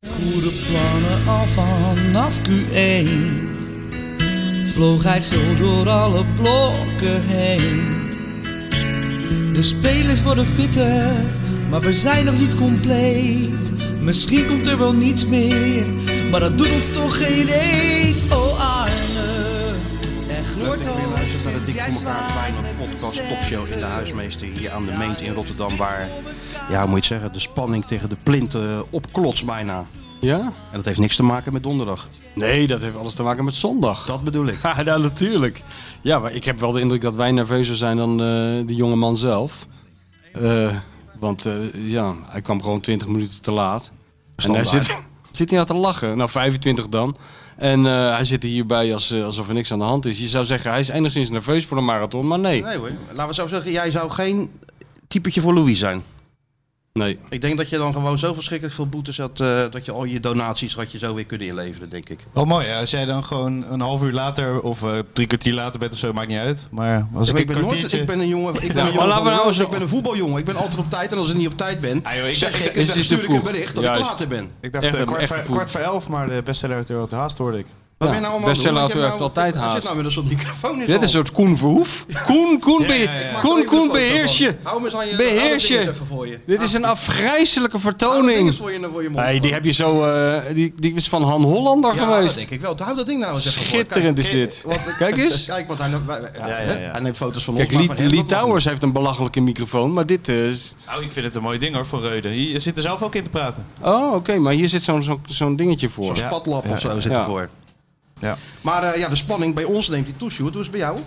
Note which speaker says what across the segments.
Speaker 1: goede plannen al vanaf Q1 Vloog hij zo door alle blokken heen De spelers worden fitter, maar we zijn nog niet compleet Misschien komt er wel niets meer, maar dat doet ons toch geen eet Oh Arne, er
Speaker 2: Leuk
Speaker 1: gloort
Speaker 2: dat je weer
Speaker 1: hoop
Speaker 2: luistert naar de
Speaker 1: sinds
Speaker 2: Dik
Speaker 1: jij
Speaker 2: voor elkaar
Speaker 1: zwaait
Speaker 2: Feyenoord
Speaker 1: met
Speaker 2: podcast
Speaker 1: een
Speaker 2: topshow in de
Speaker 1: zet.
Speaker 2: huismeester hier aan de Meent in Rotterdam. Waar, ja, hoe moet je het zeggen, de spanning tegen de plinten opklotst bijna.
Speaker 3: Ja?
Speaker 2: En dat heeft niks te maken met donderdag.
Speaker 3: Nee, dat heeft alles te maken met zondag.
Speaker 2: Dat bedoel ik.
Speaker 3: Ja, nou, natuurlijk. Ja, maar ik heb wel de indruk dat wij nerveuzer zijn dan eh de jonge man zelf. Eh, want eh, ja, hij kwam gewoon 20 minuten te laat.
Speaker 2: Standaard.
Speaker 3: En hij zit, zit hier aan te lachen. Nou, 25 dan. En eh, hij zit er hierbij als, eh, alsof er niks aan de hand is. Je zou zeggen, hij is enigszins nerveus voor de marathon, maar nee.
Speaker 2: Nee hoor, laten we zo zeggen, jij zou geen typetje voor Louis zijn.
Speaker 3: Nee,
Speaker 2: Ik denk dat je dan gewoon zo verschrikkelijk veel boetes had, eh, dat je al je donaties had je zo weer kunnen inleveren, denk ik.
Speaker 4: Wel mooi, hè? als jij dan gewoon een half uur later of eh, drie kwartier later bent of zo, maakt niet uit. Maar als
Speaker 2: Maar
Speaker 4: ik,
Speaker 2: ik, ben
Speaker 4: een
Speaker 2: nooit,
Speaker 4: kwartiertje...
Speaker 2: ik ben een jongen, ik ben, een,
Speaker 3: maar
Speaker 2: jongen
Speaker 3: laten
Speaker 2: van
Speaker 3: we nou
Speaker 2: Roos,
Speaker 3: eens-
Speaker 2: ik ben een voetbaljongen. Ik ben altijd op tijd en als ik niet op tijd ben,
Speaker 4: Ah, joh, ik
Speaker 2: zeg
Speaker 4: dacht-
Speaker 2: ik,
Speaker 4: ik-
Speaker 2: dan
Speaker 3: dit is te
Speaker 2: stuur ik een
Speaker 3: vroeg.
Speaker 2: bericht dat ik
Speaker 3: Juist.
Speaker 2: later ben.
Speaker 4: Ik dacht
Speaker 3: Echt
Speaker 4: eh,
Speaker 3: een-
Speaker 4: kwart,
Speaker 3: echt
Speaker 4: voor,
Speaker 3: een voet.
Speaker 4: kwart voor elf, maar de bestseller uit de haast hoorde ik.
Speaker 2: Wat
Speaker 3: Ja,
Speaker 2: ben je nou allemaal aan het
Speaker 3: bestseller
Speaker 2: doen? Ik heb
Speaker 3: heeft altijd
Speaker 2: Er zit
Speaker 3: haast.
Speaker 2: nou weer een soort microfoon in
Speaker 3: dit is een soort Koen Verhoef. Koen, Koen,
Speaker 4: ja,
Speaker 3: beheer-
Speaker 4: ja, ja.
Speaker 2: Maak er
Speaker 3: Koen,
Speaker 2: even een
Speaker 3: Koen
Speaker 2: foto
Speaker 3: beheers
Speaker 2: van.
Speaker 3: je.
Speaker 2: Hou hem eens aan je
Speaker 3: Beheers je.
Speaker 2: hou dat ding eens even voor je.
Speaker 3: Dit is een afgrijzelijke
Speaker 2: Hou dat ding
Speaker 3: vertoning.
Speaker 2: eens voor je, voor je mond.
Speaker 3: Nee, die heb je zo. eh, die, die is van Han Hollander
Speaker 2: ja, dat
Speaker 3: geweest.
Speaker 2: denk ik wel. Hou dat ding nou eens even voor.
Speaker 3: Schitterend is
Speaker 2: kijk,
Speaker 3: dit.
Speaker 2: want-
Speaker 3: Kijk eens.
Speaker 2: Kijk, want hij, neemt- wij- wij- ja,
Speaker 4: Ja, ja,
Speaker 2: hè,
Speaker 4: ja.
Speaker 2: hij neemt foto's van
Speaker 3: Kijk,
Speaker 2: ons. maar van
Speaker 3: Lee,
Speaker 2: hem
Speaker 3: Lee
Speaker 2: dat mag
Speaker 3: Towers heeft een belachelijke microfoon, maar dit is.
Speaker 4: Nou, ik vind het een mooi ding hoor, voor Reuden. Je zit er zelf ook in te praten.
Speaker 3: Oh, oké, maar hier zit zo'n zo'n zo'n dingetje voor.
Speaker 2: niet. Een
Speaker 4: Ja.
Speaker 2: spatlap of zo zit
Speaker 3: Ja.
Speaker 2: ervoor.
Speaker 4: Ja.
Speaker 2: Maar eh, ja, de spanning bij ons neemt die toe, Sjoerd. Hoe is het bij jou?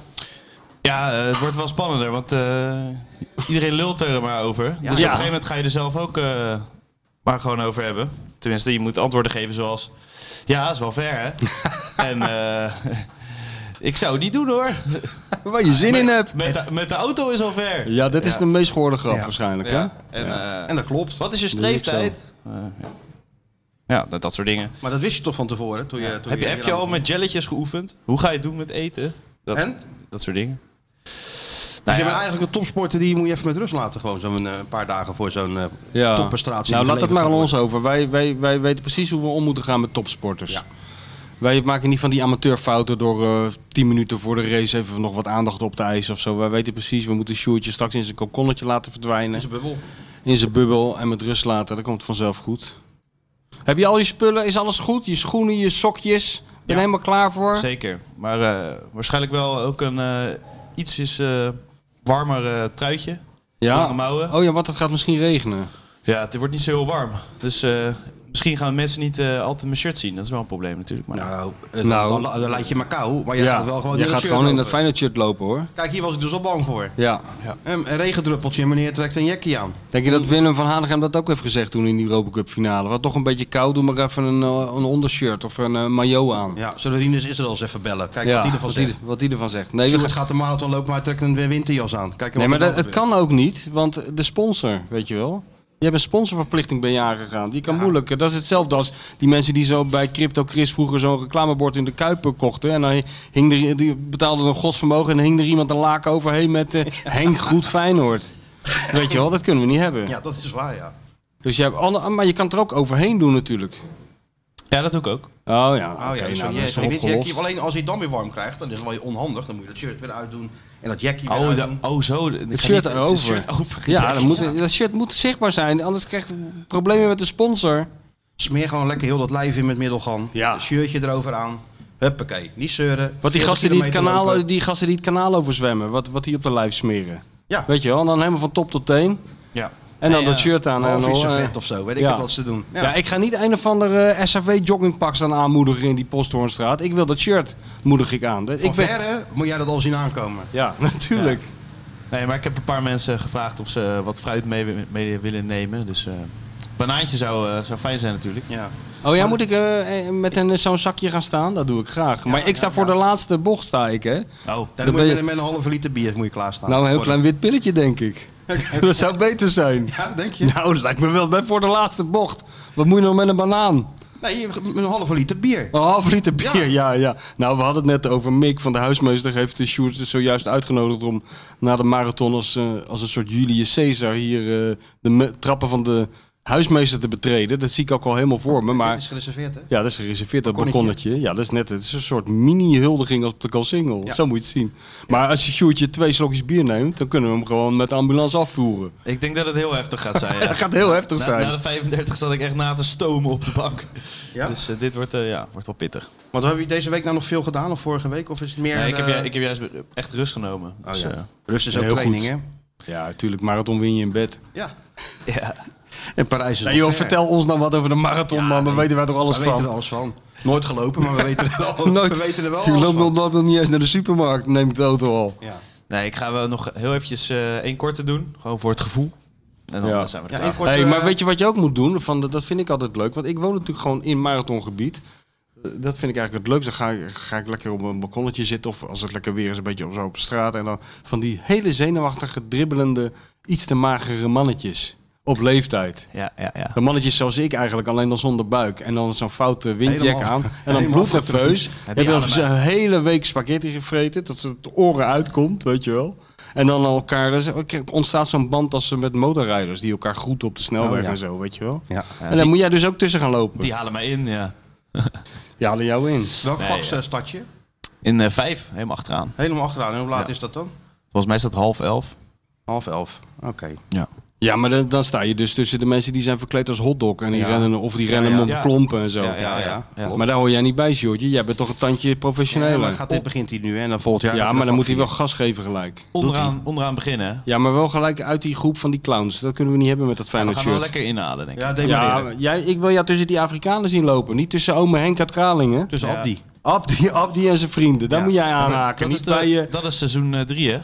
Speaker 4: Ja, eh, het wordt wel spannender, want eh, iedereen lult er maar over. Dus op een gegeven moment ga je er zelf ook eh, maar gewoon over hebben. Tenminste, je moet antwoorden geven zoals... Ja, is wel ver, hè? en eh, ik zou het niet doen, hoor.
Speaker 3: Waar je zin in hebt.
Speaker 4: Met de, met de auto is al ver.
Speaker 3: Ja, dit is de meest gehoorde grap
Speaker 2: Ah, Ja.
Speaker 3: waarschijnlijk,
Speaker 4: Ja,
Speaker 3: hè?
Speaker 4: en, eh,
Speaker 2: En dat klopt.
Speaker 4: wat is je streeftijd? Eh, ja, ja dat, dat soort dingen.
Speaker 2: Maar dat wist je toch van tevoren? Toen je, toen
Speaker 4: Heb je, heb je al met jelletjes geoefend? Hoe ga je het doen met eten? Dat,
Speaker 2: En?
Speaker 4: dat soort dingen.
Speaker 2: Dus
Speaker 4: Nou
Speaker 2: je
Speaker 4: ja,
Speaker 2: bent eigenlijk een topsporter die moet je even met rust laten. Gewoon zo'n eh, paar dagen voor zo'n eh
Speaker 3: Ja.
Speaker 2: topprestatie.
Speaker 3: Nou,
Speaker 2: die
Speaker 3: laat dat
Speaker 2: geleverd
Speaker 3: maar aan
Speaker 2: wordt.
Speaker 3: ons over. Wij, wij, wij weten precies hoe we om moeten gaan met topsporters.
Speaker 2: Ja.
Speaker 3: Wij maken niet van die amateurfouten door eh 10 minuten voor de race even nog wat aandacht op te eisen of zo. Wij weten precies, we moeten Sjoerdje straks in zijn kokonnetje laten verdwijnen.
Speaker 2: Dat is een bubbel.
Speaker 3: in zijn bubbel en met rust laten. Dat komt vanzelf goed. Heb je al je spullen? Is alles goed? Je schoenen, je sokjes? Ben je
Speaker 4: Ja.
Speaker 3: helemaal klaar voor?
Speaker 4: zeker. Maar eh, waarschijnlijk wel ook een eh ietsjes eh, warmer eh, truitje. Lange
Speaker 3: Ja.
Speaker 4: mouwen.
Speaker 3: Oh ja, want het gaat misschien regenen.
Speaker 4: Ja, het wordt niet zo heel warm. Dus eh, misschien gaan mensen niet eh, altijd mijn shirt zien. Dat is wel een probleem natuurlijk. Maar
Speaker 2: Nou, eh,
Speaker 3: Nou.
Speaker 2: Dan, dan, dan laat je maar kou. Maar je gaat wel gewoon,
Speaker 3: Jij
Speaker 2: in
Speaker 3: gaat
Speaker 2: dat shirt
Speaker 3: gewoon in dat
Speaker 2: lopen.
Speaker 3: fijne shirt lopen hoor.
Speaker 2: Kijk, hier was ik dus al bang voor.
Speaker 3: Ja.
Speaker 2: Een een regendruppeltje en meneer trekt een jackie aan.
Speaker 3: Denk je dat Willem van Hanegem dat ook heeft gezegd toen in die Europa Cup finale? Wat toch een beetje koud, doe maar even een, eh, een ondershirt of een eh, maillot aan.
Speaker 2: Ja, zullen we Rinus is er al eens even bellen? Kijk wat hij ervan
Speaker 3: wat,
Speaker 2: zegt.
Speaker 3: hij, wat hij ervan zegt. Nee, we
Speaker 2: Sjoerd
Speaker 3: gaan-
Speaker 2: gaat de marathon lopen, maar hij trekt een winterjas aan. Kijk
Speaker 3: nee
Speaker 2: wat
Speaker 3: maar
Speaker 2: er dan
Speaker 3: dat, het
Speaker 2: gebeurt.
Speaker 3: kan ook niet, want de sponsor, weet je wel. Je hebt een sponsorverplichting ben je aangegaan. Die kan moeilijk. eh, Dat is hetzelfde als die mensen die zo bij Crypto Chris vroeger zo'n reclamebord in de Kuiper kochten. En dan hing er, die betaalden een godsvermogen en dan hing er iemand een laken overheen met eh, Henk Goed Feyenoord. Weet je wel, dat kunnen we niet hebben.
Speaker 2: Ja, dat is waar, ja. Oh,
Speaker 3: Dus je hebt, ander- maar je kan het er ook overheen doen natuurlijk.
Speaker 4: Ja, dat doe ik ook.
Speaker 3: Oh ja,
Speaker 2: Oh
Speaker 3: oké,
Speaker 2: ja,
Speaker 3: nou,
Speaker 2: zo'n
Speaker 3: dat
Speaker 2: jackie.
Speaker 3: is
Speaker 2: Weet je,
Speaker 3: opgelost.
Speaker 2: jackie, Alleen als hij dan weer warm krijgt, dan is het wel onhandig. Dan moet je dat shirt weer uitdoen en dat jackie weer
Speaker 4: Oh,
Speaker 2: uitdoen.
Speaker 4: de, oh zo. Ik ga
Speaker 3: Het shirt
Speaker 4: niet-
Speaker 3: erover.
Speaker 4: Het shirt over.
Speaker 3: Ja, dan moet, dat shirt moet zichtbaar zijn, anders krijg je problemen met de sponsor.
Speaker 2: Smeer gewoon lekker heel dat lijf in met middelgan.
Speaker 3: Ja.
Speaker 2: Een shirtje erover aan. Huppakee, niet zeuren.
Speaker 3: Wat die
Speaker 2: 40
Speaker 3: gasten die, het
Speaker 2: kilometer
Speaker 3: kanaal,
Speaker 2: lopen.
Speaker 3: die gasten die het kanaal overzwemmen, wat, wat die op de lijf smeren.
Speaker 2: Ja,
Speaker 3: Weet je wel, en dan helemaal van top tot teen.
Speaker 4: Ja.
Speaker 3: En dan
Speaker 4: Nee,
Speaker 3: dat
Speaker 4: ja.
Speaker 3: shirt aan. en
Speaker 2: half
Speaker 3: dan,
Speaker 2: is
Speaker 3: eh,
Speaker 2: vet of zo. Weet ik
Speaker 3: ja.
Speaker 2: wat ze doen.
Speaker 3: ja. ik ga niet een of ander eh, SAV joggingpak aan aanmoedigen in die Posthoornstraat. Ik wil dat shirt, moedig ik aan. Dat-
Speaker 2: Van
Speaker 3: Ik ben-
Speaker 2: verre moet jij dat al zien aankomen.
Speaker 3: Ja, natuurlijk.
Speaker 4: Nee, maar ik heb een paar mensen gevraagd of ze eh, wat fruit mee, mee willen nemen. Dus eh, banaantje zou, eh, zou fijn zijn natuurlijk.
Speaker 2: Ja.
Speaker 3: Oh ja, moet ik eh, eh, met een, zo'n zakje gaan staan? Dat doe ik graag. Maar ik sta voor de laatste bocht, sta ik hè.
Speaker 4: Oh,
Speaker 2: Dan, moet
Speaker 3: Dan
Speaker 2: je
Speaker 3: ben je-
Speaker 2: met, met een halve liter bier moet je klaarstaan.
Speaker 3: Nou, een heel
Speaker 2: Voor de-
Speaker 3: klein wit pilletje, denk ik. Dat zou beter zijn.
Speaker 2: Ja, denk je?
Speaker 3: Nou, dat lijkt me wel bij voor de laatste bocht. Wat moet je nog met een banaan?
Speaker 2: Nee, je- met een halve liter bier.
Speaker 3: Een half liter bier,
Speaker 2: Ja.
Speaker 3: ja. ja, Nou, we hadden het net over Mick van de huismeester. Heeft de Sjoerd dus zojuist uitgenodigd om na de marathon als, eh, als een soort Julius Caesar hier eh, de me- trappen van de huismeester te betreden. Dat zie ik ook al helemaal voor me. Maar
Speaker 5: Dit is gereserveerd, hè?
Speaker 3: ja, dat is gereserveerd, dat
Speaker 2: Balkonnetje.
Speaker 3: balkonnetje. Ja, dat is net het is een soort mini-huldiging als op de single.
Speaker 2: Ja.
Speaker 3: Zo moet je het zien. Maar als je Sjoerdje twee slokjes bier neemt, dan kunnen we hem gewoon met de ambulance afvoeren.
Speaker 4: Ik denk dat het heel heftig gaat zijn. Ja.
Speaker 3: Dat gaat heel heftig
Speaker 2: Nou,
Speaker 4: Na,
Speaker 3: zijn.
Speaker 4: na de 35 zat ik echt na te stomen op de bank.
Speaker 5: Ja.
Speaker 4: Dus eh, dit wordt, eh, ja, wordt wel pittig.
Speaker 2: Want hebben jullie deze week nou nog veel gedaan of vorige week? Of is het meer...
Speaker 4: Nee, ik, heb,
Speaker 2: eh,
Speaker 4: ju- ik heb juist echt rust genomen.
Speaker 2: Oh,
Speaker 4: Dus,
Speaker 2: ja.
Speaker 4: eh,
Speaker 2: Rust is ook
Speaker 3: Heel
Speaker 2: training,
Speaker 3: goed.
Speaker 2: hè?
Speaker 3: Ja, natuurlijk, marathon win je in bed.
Speaker 2: Ja.
Speaker 4: ja.
Speaker 2: En Parijs is
Speaker 3: Nee,
Speaker 2: nog
Speaker 3: joh,
Speaker 2: ver.
Speaker 3: vertel ons nou wat over de marathon, man. Dan weten wij toch alles
Speaker 2: we
Speaker 3: van.
Speaker 2: weten er alles van. Nooit gelopen, maar we weten er wel,
Speaker 3: Nooit.
Speaker 2: we weten er wel
Speaker 3: Je
Speaker 2: alles
Speaker 3: loopt nog,
Speaker 2: van.
Speaker 3: loopt nog niet eens naar de supermarkt, neem ik de auto al.
Speaker 2: Ja,
Speaker 4: Nee, ik ga wel nog heel eventjes eh één korte doen. Gewoon voor het gevoel. En dan
Speaker 3: Ja.
Speaker 4: zijn we
Speaker 2: ja
Speaker 4: klaar.
Speaker 2: één korte-
Speaker 3: Hey, maar weet je wat je ook moet doen? Van, dat dat vind ik altijd leuk. Want ik woon natuurlijk gewoon in marathongebied. Eh, Dat vind ik eigenlijk het leukste. Dan ga, ik- ga ik lekker op een balkonnetje zitten. Of als het lekker weer is, een beetje op, zo op straat. En dan van die hele zenuwachtige, dribbelende, iets te magere mannetjes. Op leeftijd.
Speaker 4: Ja, ja, ja.
Speaker 3: De mannetjes zoals ik eigenlijk, alleen dan zonder buik. En dan zo'n foute windjack
Speaker 2: Helemaal-
Speaker 3: aan. En dan
Speaker 2: helemaal
Speaker 3: bloednerveus. Heb je
Speaker 4: allebei.
Speaker 3: een hele week spaghetti gevreten, tot ze de oren uitkomt, weet je wel. En dan elkaar, er ontstaat zo'n band als ze met motorrijders die elkaar groeten op de snelweg
Speaker 2: Oh, ja.
Speaker 3: en zo, weet je wel.
Speaker 2: ja.
Speaker 3: en dan moet jij dus ook tussen gaan lopen.
Speaker 4: Die halen mij in, ja.
Speaker 3: Ja, halen jou in.
Speaker 2: Welk
Speaker 4: Nee,
Speaker 2: vak eh,
Speaker 4: ja.
Speaker 2: start je?
Speaker 4: In eh, vijf, helemaal achteraan.
Speaker 2: Helemaal achteraan. En hoe laat is dat dan?
Speaker 4: Volgens mij is dat half elf.
Speaker 2: Half elf. Oké.
Speaker 3: Ja, maar dan, dan sta je dus tussen de mensen die zijn verkleed als hotdog. En die
Speaker 2: Ja.
Speaker 3: rennen, of die rennen
Speaker 4: ja.
Speaker 3: op
Speaker 4: Ja.
Speaker 3: klompen en zo.
Speaker 2: ja, ja.
Speaker 3: Maar daar hoor jij niet bij, Sjoerdje. Jij bent toch een tandje
Speaker 2: Ja,
Speaker 3: professioneler.
Speaker 2: maar gaat dit begint hij nu hè, en dan volgend jaar.
Speaker 3: ja, maar dan moet hij wel
Speaker 2: Ja,
Speaker 3: gas geven gelijk.
Speaker 4: Onderaan, onderaan beginnen. hè.
Speaker 3: Ja, maar wel gelijk uit die groep van die clowns. Dat kunnen we niet hebben met dat
Speaker 4: We
Speaker 3: Feyenoord
Speaker 4: gaan wel
Speaker 3: shirt.
Speaker 4: lekker inhalen, denk ik.
Speaker 2: Ja,
Speaker 3: Ja,
Speaker 2: demareren.
Speaker 3: maar jij, ik wil jou tussen die Afrikanen zien lopen. Niet tussen ome Henk uit Kralingen.
Speaker 2: Dus
Speaker 4: Ja.
Speaker 2: Abdi.
Speaker 3: Abdi, Abdi en zijn vrienden. Daar
Speaker 2: Ja.
Speaker 3: moet jij aanhaken.
Speaker 4: dat, is
Speaker 3: Niet
Speaker 4: de-
Speaker 3: bij je...
Speaker 4: dat is seizoen eh, drie, hè?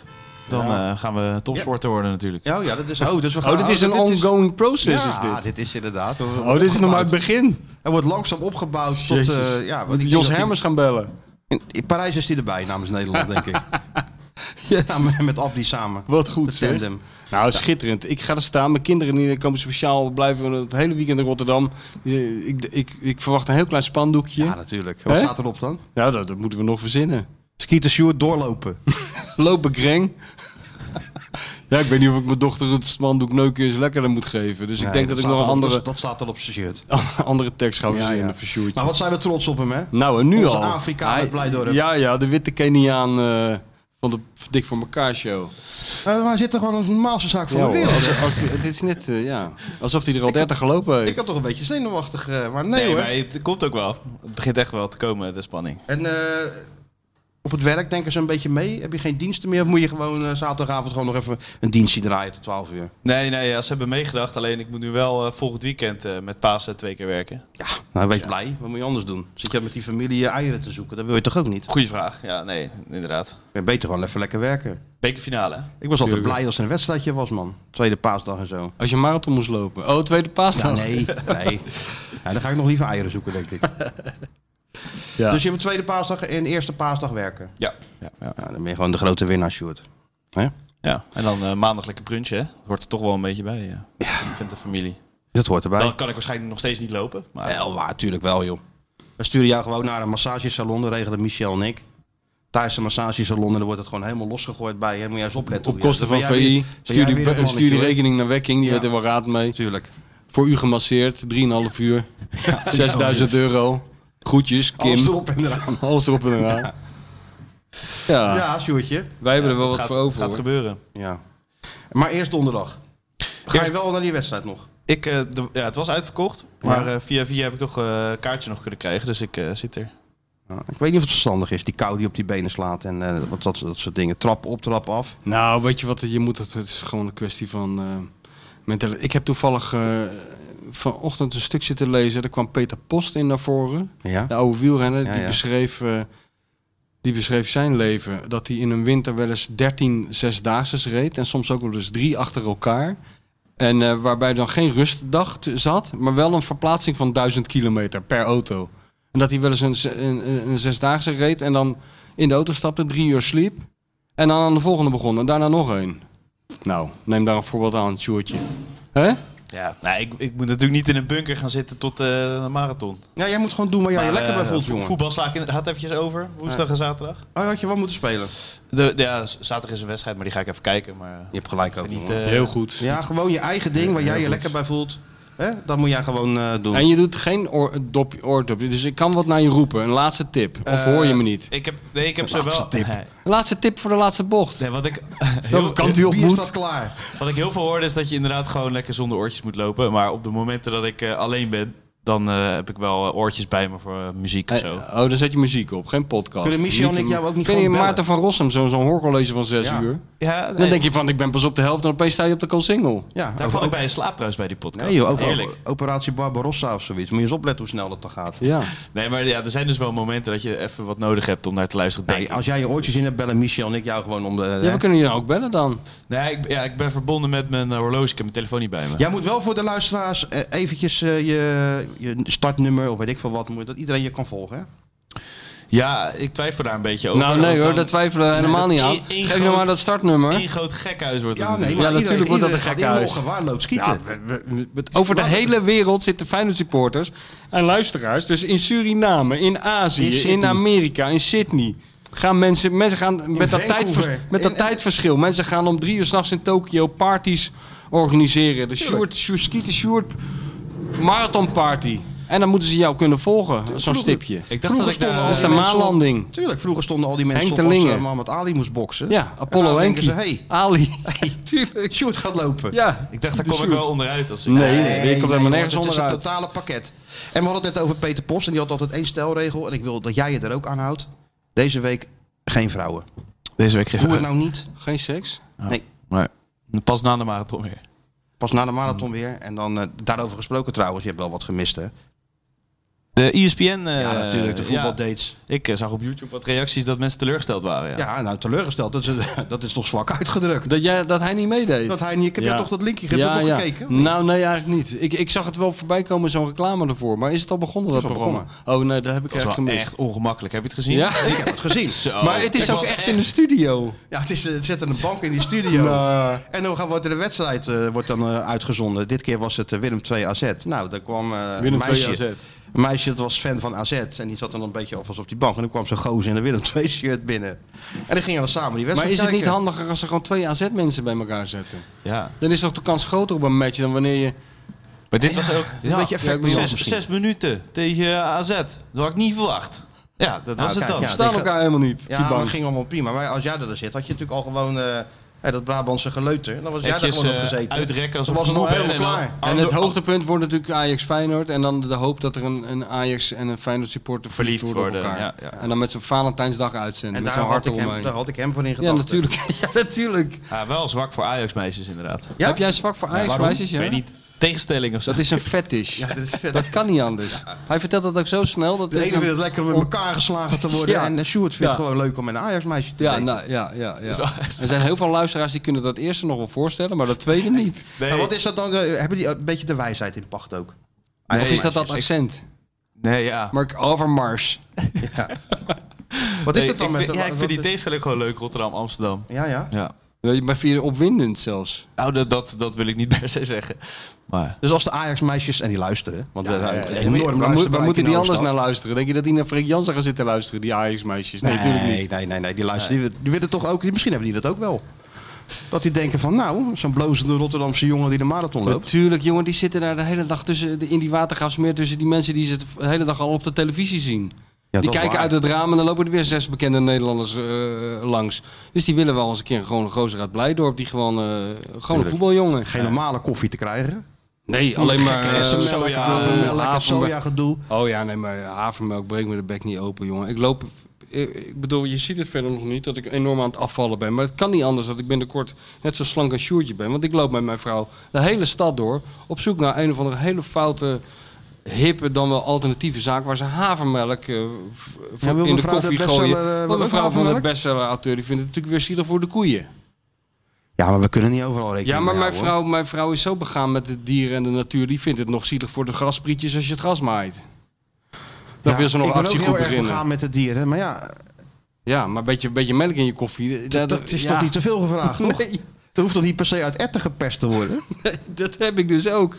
Speaker 4: Dan eh, gaan we topsporter worden natuurlijk.
Speaker 2: Ja, oh, ja, dat is. Oh, dus we gaan.
Speaker 3: Oh, dit is een ongoing process, is
Speaker 2: Ja,
Speaker 3: dit.
Speaker 2: dit is inderdaad.
Speaker 3: Oh, dit is nog maar het begin.
Speaker 2: Hij wordt langzaam opgebouwd tot.
Speaker 3: Jezus.
Speaker 2: eh ja, want
Speaker 3: Moet
Speaker 2: ik
Speaker 3: Jos
Speaker 2: denk dat
Speaker 3: Hermers gaan bellen.
Speaker 2: hij- in, in Parijs is hij erbij namens Nederland, denk ik.
Speaker 3: Yes.
Speaker 2: Ja, met met Abdi samen.
Speaker 3: Wat goed,
Speaker 2: Het
Speaker 3: zeg.
Speaker 2: tandem.
Speaker 3: Nou, schitterend. Ik ga er staan. Mijn kinderen die komen speciaal blijven het hele weekend in Rotterdam. Eh, Ik, ik, ik verwacht een heel klein spandoekje.
Speaker 2: Ja, natuurlijk. Wat
Speaker 3: Hè?
Speaker 2: staat erop dan?
Speaker 3: Nou, dat, dat moeten we nog verzinnen.
Speaker 2: Skeeter Sjoerd doorlopen.
Speaker 3: Lopen kreng. ja, ik weet niet of ik mijn dochter het spandoek neuken is lekkerder moet geven. Dus ik
Speaker 2: Nee,
Speaker 3: denk dat, ik
Speaker 2: staat
Speaker 3: nog een
Speaker 2: erop.
Speaker 3: andere, Oh,
Speaker 2: Dat, dat staat erop zijn shirt.
Speaker 3: andere tekst ga verzinnen
Speaker 2: ja.
Speaker 3: voor Sjoerdje.
Speaker 2: Maar wat zijn we trots op hem, hè?
Speaker 3: Nou, en nu
Speaker 2: Onze
Speaker 3: al.
Speaker 2: Afrikaan uit
Speaker 3: Hij-
Speaker 2: Blijdorp.
Speaker 3: Ja, ja, de witte Keniaan eh, van de Dik voor elkaar show.
Speaker 2: Eh, maar hij zit er gewoon als een normaalste zaak van
Speaker 3: Ja,
Speaker 2: de
Speaker 3: hoor.
Speaker 2: wereld.
Speaker 3: Als, als, het is net, eh, ja, alsof hij er al 30 gelopen heeft.
Speaker 2: Ik had toch een beetje zenuwachtig, eh, maar nee,
Speaker 4: Nee,
Speaker 2: hoor.
Speaker 4: maar het komt ook wel. Het begint echt wel te komen, de spanning.
Speaker 2: En eh, op het werk denken ze een beetje mee. Heb je geen diensten meer? Of moet je gewoon eh, zaterdagavond gewoon nog even een dienstje draaien tot 12 uur?
Speaker 4: Nee, nee, ja, ze hebben meegedacht. Alleen ik moet nu wel eh, volgend weekend eh, met Pasen twee keer werken.
Speaker 2: Ja, nou wees blij. Wat moet je anders doen? Zit je met die familie eh, eieren te zoeken? Dat wil je toch ook niet?
Speaker 4: Goeie vraag. Ja, nee, inderdaad.
Speaker 2: Je bent beter gewoon even lekker werken.
Speaker 4: Bekerfinale. hè?
Speaker 2: Ik was altijd
Speaker 3: Tuurlijk.
Speaker 2: blij als er een wedstrijdje was, man. Tweede paasdag en zo.
Speaker 3: Als je een marathon moest lopen. Oh, tweede paasdag.
Speaker 2: Ja, nee, nee. Ja, dan ga ik nog liever eieren zoeken, denk ik.
Speaker 3: Ja.
Speaker 2: Dus je hebt tweede paasdag en eerste paasdag werken.
Speaker 4: Ja. Ja, ja.
Speaker 2: Ja, dan ben je gewoon de grote winnaar, Sjoerd. Hè? Is
Speaker 4: ja. En dan eh, maandag lekker brunchen, hè? Dat hoort er toch wel een beetje bij, ja. Ik vind de familie.
Speaker 2: Dat hoort erbij.
Speaker 4: Dan kan ik waarschijnlijk nog steeds niet lopen. Maar
Speaker 2: Wel waar, natuurlijk wel, joh. We sturen jou gewoon naar een massagesalon, dat regelen Michel en ik. Tijdens een massagesalon en dan wordt het gewoon helemaal losgegooid bij je. Dan Moet je eens opletten.
Speaker 3: Op
Speaker 2: hoe je-
Speaker 3: kosten
Speaker 2: ben
Speaker 3: van
Speaker 2: jij weer- ben
Speaker 3: VI.
Speaker 2: jij
Speaker 3: Stuur die,
Speaker 2: weer dat
Speaker 3: stuur die
Speaker 2: mannetje,
Speaker 3: rekening naar Wekking, die
Speaker 2: Ja.
Speaker 3: weet er wel raad mee.
Speaker 2: hoor. Tuurlijk.
Speaker 3: Voor u gemasseerd, 3,5 uur. 6000 euro. Groetjes, Kim.
Speaker 2: Alles erop en eraan.
Speaker 3: Alles erop en eraan. Ja.
Speaker 2: Ja, Sjoerdje.
Speaker 3: wij hebben er wel
Speaker 4: het
Speaker 3: wat
Speaker 4: gaat,
Speaker 3: voor over.
Speaker 4: gaat
Speaker 3: hoor.
Speaker 4: gebeuren.
Speaker 2: Ja. Maar eerst donderdag. Ga
Speaker 4: Eerst-
Speaker 2: je wel naar die wedstrijd nog?
Speaker 4: Ik, eh, de- ja, het was uitverkocht, maar eh, via via heb ik toch eh, een kaartje nog kunnen krijgen, dus ik eh, zit er.
Speaker 2: Ja, ik weet niet of het verstandig is, die kou die op die benen slaat en eh, wat dat, dat soort dingen. Trap op, trap af.
Speaker 3: Nou, weet je wat, je moet het, het is gewoon een kwestie van eh mentale. Ik heb toevallig eh, vanochtend een stuk zitten lezen. Er kwam Peter Post in naar voren,
Speaker 2: Ja.
Speaker 3: de oude wielrenner.
Speaker 2: Ja,
Speaker 3: die,
Speaker 2: ja.
Speaker 3: Beschreef, eh, die beschreef zijn leven. Dat hij in een winter wel eens 13 zesdaagses reed. En soms ook wel eens drie achter elkaar. En eh, waarbij dan geen rustdag te- zat, maar wel een verplaatsing van 1000 kilometer per auto. En dat hij wel eens een, ze- een, een- een zesdaagse reed en dan in de auto stapte, drie uur sliep. En dan aan de volgende begon en daarna nog één. Nou, neem daar een voorbeeld aan, Sjoerdje. Hè?
Speaker 4: Ja, nou, ik, ik moet natuurlijk niet in een bunker gaan zitten tot eh, de marathon.
Speaker 2: Ja, jij moet gewoon doen waar jij je
Speaker 4: Maar,
Speaker 2: lekker bij
Speaker 4: eh,
Speaker 2: voelt,
Speaker 4: vo-
Speaker 2: jongen.
Speaker 4: Voetbal sla ik inderdaad eventjes over, woensdag en zaterdag.
Speaker 2: Oh, had je wel moeten spelen.
Speaker 4: De, de- ja, z- zaterdag is een wedstrijd, maar die ga ik even kijken. Maar, eh,
Speaker 2: Je hebt gelijk ook,
Speaker 4: niet,
Speaker 2: jongen.
Speaker 4: eh,
Speaker 3: Heel goed.
Speaker 2: Ja, gewoon je eigen ding waar jij je lekker bij voelt. Hè? Dat moet jij gewoon eh, doen.
Speaker 3: En je doet geen oor, dop, oordopje. Dus ik kan wat naar je roepen. Een laatste tip. Of
Speaker 2: Eh,
Speaker 3: hoor je me niet?
Speaker 4: Ik heb, nee, ik heb ze
Speaker 2: Laatste
Speaker 4: wel.
Speaker 2: tip.
Speaker 4: Nee.
Speaker 3: Een laatste tip voor de laatste bocht.
Speaker 4: Nee, wat ik,
Speaker 3: Welke
Speaker 4: heel,
Speaker 3: kant u op
Speaker 2: Bier
Speaker 3: moet.
Speaker 2: staat klaar.
Speaker 4: wat ik heel veel hoorde is dat je inderdaad gewoon lekker zonder oortjes moet lopen. Maar op de momenten dat ik eh, alleen ben, dan eh, heb ik wel eh, oortjes bij me voor eh, muziek of
Speaker 3: Eh,
Speaker 4: zo.
Speaker 3: oh, dan zet je muziek op. Geen podcast.
Speaker 2: Kunnen Michel en
Speaker 3: Niet-
Speaker 2: ik jou ook niet
Speaker 3: Ken je
Speaker 2: gewoon bellen?
Speaker 3: Maarten van Rossum, zo'n zo'n hoorcollege van zes
Speaker 2: Ja.
Speaker 3: uur?
Speaker 4: Ja, nee,
Speaker 3: Dan denk je van, ik ben pas op de helft en opeens sta je op de single.
Speaker 2: Ja,
Speaker 4: daar
Speaker 2: over-
Speaker 4: val ik bij in slaap trouwens bij die podcast.
Speaker 2: Nee joh, over
Speaker 4: Heerlijk.
Speaker 2: operatie Barbarossa of zoiets. Moet je eens opletten hoe snel dat dan gaat.
Speaker 3: Ja.
Speaker 4: Nee, maar ja, er zijn dus wel momenten dat je even wat nodig hebt om naar te luisteren. Denk
Speaker 2: Nee,
Speaker 3: ah.
Speaker 4: ik.
Speaker 2: als jij je oortjes in hebt, bellen Michel en ik jou gewoon om de...
Speaker 3: ja,
Speaker 2: hè?
Speaker 3: we kunnen je nou ook bellen dan.
Speaker 4: Nee, ik, ja, ik ben verbonden met mijn eh, horloge. Ik heb mijn telefoon niet bij me.
Speaker 2: Jij moet wel voor de luisteraars eh, eventjes eh, je, je startnummer of weet ik veel wat. moet- Dat iedereen je kan volgen. Hè?
Speaker 4: Ja, ik twijfel daar een beetje over.
Speaker 3: nou nee
Speaker 4: want
Speaker 3: hoor,
Speaker 4: dan-
Speaker 3: daar twijfelen we
Speaker 4: Nee,
Speaker 3: helemaal
Speaker 4: dat-
Speaker 3: niet aan.
Speaker 4: één- één
Speaker 3: Geef nou
Speaker 4: groot-
Speaker 3: maar dat startnummer.
Speaker 4: Eén groot gekhuis wordt het
Speaker 2: Ja, nee,
Speaker 4: natuurlijk.
Speaker 2: maar
Speaker 3: Ja,
Speaker 2: iedereen,
Speaker 3: natuurlijk wordt dat
Speaker 2: iedereen
Speaker 3: een
Speaker 2: gaat
Speaker 3: gekhuis.
Speaker 2: inloggen, gewaarloosd schieten.
Speaker 3: Met- Over de hele wereld zitten Feyenoord supporters en luisteraars. Dus in Suriname, in
Speaker 2: In
Speaker 3: Azië, in,
Speaker 2: Sydney.
Speaker 3: Amerika, in Sydney. Gaan mensen, mensen gaan met dat,
Speaker 2: Vancouver.
Speaker 3: tijdvers- met dat
Speaker 2: In- in-
Speaker 3: tijdverschil. Mensen gaan om drie uur s'nachts in Tokio parties organiseren. De Sjoerd, Sjoerd, Skieten Sjoerd Marathon Party. En dan moeten ze jou kunnen volgen, zo'n stipje.
Speaker 4: Ik dacht dat ik
Speaker 2: stonden
Speaker 4: daar-
Speaker 2: al
Speaker 3: Dat is de
Speaker 2: die mensen op-
Speaker 3: maanlanding.
Speaker 2: Tuurlijk, vroeger stonden al die mensen
Speaker 3: Henk
Speaker 2: op als
Speaker 3: Terlinge.
Speaker 2: eh, Muhammad Ali moest boksen.
Speaker 3: Ja,
Speaker 2: En
Speaker 3: Apollo
Speaker 2: dan denken
Speaker 3: Henkie.
Speaker 2: ze, hey,
Speaker 3: Ali. Tuurlijk.
Speaker 2: Sjoerd gaat lopen.
Speaker 3: Ja.
Speaker 4: Ik dacht, daar
Speaker 3: De
Speaker 4: kom ik
Speaker 3: Sjoerd.
Speaker 4: wel onderuit als ik...
Speaker 3: Nee, je komt helemaal nergens
Speaker 2: Het is het
Speaker 3: onderuit.
Speaker 2: totale pakket. En we hadden het net over Peter Post. En die had altijd één stelregel. En ik wil dat jij je er ook aan houdt. Deze week geen vrouwen.
Speaker 4: Deze week
Speaker 2: Doe het
Speaker 4: geen...
Speaker 2: nou niet.
Speaker 3: Geen seks?
Speaker 4: Maar pas na de marathon weer.
Speaker 2: Pas na de marathon weer. En dan, eh, daarover gesproken trouwens, je hebt wel wat gemist hè.
Speaker 4: De
Speaker 3: E
Speaker 4: ESPN... eh,
Speaker 2: Ja, natuurlijk, de
Speaker 4: ja.
Speaker 2: voetbaldates.
Speaker 4: Ik eh, zag op YouTube wat reacties dat mensen teleurgesteld waren. Ja.
Speaker 2: Ja, nou teleurgesteld, dat is, dat is toch zwak uitgedrukt.
Speaker 3: Dat, jij, dat hij niet meedeed?
Speaker 2: Dat hij niet, ik heb
Speaker 3: Ja.
Speaker 2: jij toch dat linkje, heb je dat nog gekeken? of niet?
Speaker 3: Nou, nee, eigenlijk niet. Ik, ik zag het wel voorbij komen, zo'n reclame ervoor. Maar is het al begonnen, dat,
Speaker 2: is al
Speaker 3: programma? Oh nee, dat heb ik
Speaker 4: Dat is
Speaker 3: echt
Speaker 4: wel
Speaker 3: gemist.
Speaker 4: echt ongemakkelijk. Heb je het gezien?
Speaker 3: Ja?
Speaker 2: Ik heb het gezien.
Speaker 4: Zo.
Speaker 3: maar het is
Speaker 4: Ik
Speaker 3: ook
Speaker 4: was
Speaker 3: echt, in de studio.
Speaker 2: Ja, het, is, eh, het zit aan de bank in die studio.
Speaker 3: Nou.
Speaker 2: En dan gaat- wordt er de wedstrijd eh, wordt dan, eh, uitgezonden. Dit keer was het eh, Willem 2 AZ. Nou, daar kwam eh, een meisje. Een meisje dat was fan van AZ. En die zat dan een beetje alvast op die bank. En dan kwam zo'n gozer in een Willem 2 shirt binnen. En dan gingen we samen die wedstrijd
Speaker 3: Maar is het niet
Speaker 2: kijken.
Speaker 3: handiger als ze gewoon twee AZ-mensen bij elkaar zetten?
Speaker 4: Ja.
Speaker 3: Dan is toch de kans groter op een match dan wanneer je...
Speaker 4: Maar dit was ook...
Speaker 2: Een beetje effect
Speaker 3: Ja,
Speaker 2: Milan
Speaker 4: zes,
Speaker 2: misschien.
Speaker 4: zes minuten tegen AZ. Dat had ik niet verwacht. Nou, Ja, dat was
Speaker 2: kijk,
Speaker 4: het dan.
Speaker 2: ja.
Speaker 3: Staan
Speaker 2: die
Speaker 3: elkaar helemaal niet,
Speaker 2: Ja,
Speaker 3: die
Speaker 2: maar
Speaker 3: bank.
Speaker 2: dat ging allemaal prima. Maar als jij er zit, had je natuurlijk al gewoon eh, hè, dat Brabantse geleuter. Dan was jij er
Speaker 4: Eventjes
Speaker 2: gewoon op
Speaker 4: eh,
Speaker 2: gezeten.
Speaker 4: uitrekken als
Speaker 2: Dan was het al
Speaker 4: helemaal
Speaker 2: helemaal klaar.
Speaker 3: En
Speaker 4: Oh,
Speaker 3: het hoogtepunt wordt natuurlijk Ajax-Feyenoord. En dan de hoop dat er een, een Ajax en een Feyenoord supporter
Speaker 4: Verliefd
Speaker 3: verliefd worden. op
Speaker 4: worden,
Speaker 3: elkaar.
Speaker 4: ja, ja.
Speaker 3: En dan met zijn Valentijnsdag uitzenden.
Speaker 2: En
Speaker 3: met
Speaker 2: daar
Speaker 3: zo'n
Speaker 2: had,
Speaker 3: hart
Speaker 2: ik hem,
Speaker 3: eromheen.
Speaker 2: daar had ik hem voor in
Speaker 3: Ja,
Speaker 2: gedachten.
Speaker 3: natuurlijk. Ja, natuurlijk.
Speaker 4: Ja, Ah, wel zwak voor Ajax-meisjes inderdaad.
Speaker 2: Ja?
Speaker 3: Heb jij zwak voor Ajax-meisjes?
Speaker 4: Ik
Speaker 3: ja?
Speaker 4: weet niet. Tegenstelling of zo.
Speaker 3: Dat is een fetish.
Speaker 2: Ja, dat is vet.
Speaker 3: Dat kan niet anders. Hij vertelt dat ook zo snel. Dat
Speaker 2: De
Speaker 3: het
Speaker 2: ene
Speaker 3: een-
Speaker 2: vindt het lekker om met elkaar geslagen te worden.
Speaker 3: Ja.
Speaker 2: En eh, Sjoerd vindt
Speaker 3: Ja.
Speaker 2: het gewoon leuk om met een Ajax-meisje te
Speaker 3: Ja,
Speaker 2: daten.
Speaker 3: nou, ja, ja, ja. Er zijn heel veel luisteraars die kunnen dat eerste nog wel voorstellen, maar dat tweede niet.
Speaker 4: Nee.
Speaker 2: Maar wat is dat dan? eh, Hebben die een beetje de wijsheid in pacht ook?
Speaker 3: of is dat dat
Speaker 2: Ajax-meisjes.
Speaker 3: accent?
Speaker 4: Nee, ja.
Speaker 3: Mark Overmars.
Speaker 2: Wat is
Speaker 4: Nee,
Speaker 2: dat dan
Speaker 4: ik
Speaker 2: met
Speaker 4: vind,
Speaker 2: de-
Speaker 4: ja, ik
Speaker 2: wat
Speaker 4: vind die
Speaker 2: is-
Speaker 4: tegenstelling gewoon leuk, Rotterdam, Amsterdam.
Speaker 2: Ja, ja.
Speaker 4: Ja.
Speaker 3: Weet je, Maar via opwindend zelfs.
Speaker 4: Nou, dat, dat, dat wil ik niet per se zeggen. Maar
Speaker 2: Dus als de Ajax-meisjes, en die luisteren, want we hebben een enorm
Speaker 3: Waar, moet-
Speaker 2: luisterbereik
Speaker 3: waar moeten
Speaker 2: in
Speaker 3: die anders
Speaker 2: Hoofdstad.
Speaker 3: naar luisteren? Denk je dat die naar Freek Jansen gaan zitten luisteren, die Ajax-meisjes? Nee,
Speaker 2: Nee,
Speaker 3: natuurlijk
Speaker 2: nee,
Speaker 3: niet.
Speaker 2: nee, nee, die luisteren, die, die willen toch ook, die- misschien hebben die dat ook wel. Dat die denken van, nou, zo'n blozende Rotterdamse jongen die de marathon loopt.
Speaker 3: Natuurlijk, jongen, die zitten daar de hele dag tussen, de- in die watergasmeer tussen die mensen die ze de hele dag al op de televisie zien.
Speaker 2: Ja,
Speaker 3: die
Speaker 2: dat is
Speaker 3: kijken
Speaker 2: waar.
Speaker 3: uit het raam en dan lopen er weer zes bekende Nederlanders eh, langs. Dus die willen wel eens een keer gewoon een gozer uit Blijdorp, die gewoon, eh, gewoon een voetbaljongen. Eh,
Speaker 2: Geen normale koffie te krijgen.
Speaker 3: Nee, alleen maar...
Speaker 2: Gekke
Speaker 3: eh,
Speaker 2: soja,
Speaker 4: soja,
Speaker 2: havermelk,
Speaker 3: eh,
Speaker 2: lekker
Speaker 3: havermelk.
Speaker 2: soja gedoe.
Speaker 3: oh ja, nee, maar havermelk breekt me de bek niet open, jongen. Ik loop... Ik ik bedoel, je ziet het verder nog niet dat ik enorm aan het afvallen ben. Maar het kan niet anders dat ik binnenkort net zo slank als Sjoerdje ben. Want ik loop met mijn vrouw de hele stad door op zoek naar een of andere hele foute, hippe, dan wel alternatieve zaak... waar ze havermelk eh, v-
Speaker 2: Ja, wil
Speaker 3: in de
Speaker 2: mevrouw de
Speaker 3: koffie
Speaker 2: bestseller, eh, wil
Speaker 3: gooien. Want
Speaker 2: ook
Speaker 3: mevrouw van de
Speaker 2: havermelk?
Speaker 3: bestseller-auteur die vindt het natuurlijk weer zielig voor de koeien.
Speaker 2: Ja, maar we kunnen niet overal rekening
Speaker 3: Ja, maar
Speaker 2: mee
Speaker 3: mijn
Speaker 2: houden, hoor.
Speaker 3: vrouw, mijn vrouw is zo begaan met de dieren en de natuur. Die vindt het nog zielig voor de grasprietjes als je het gras maait. Dan
Speaker 2: Ja,
Speaker 3: wil ze nog een actie goed
Speaker 2: Ik ben ook heel erg
Speaker 3: beginnen.
Speaker 2: begaan met de dieren, maar ja,
Speaker 3: Ja, maar een beetje, beetje melk in je koffie.
Speaker 2: dat, dat is toch niet te veel gevraagd, toch?
Speaker 3: Nee,
Speaker 2: Dat hoeft toch niet per se uit etten gepest te worden?
Speaker 3: dat heb ik dus ook.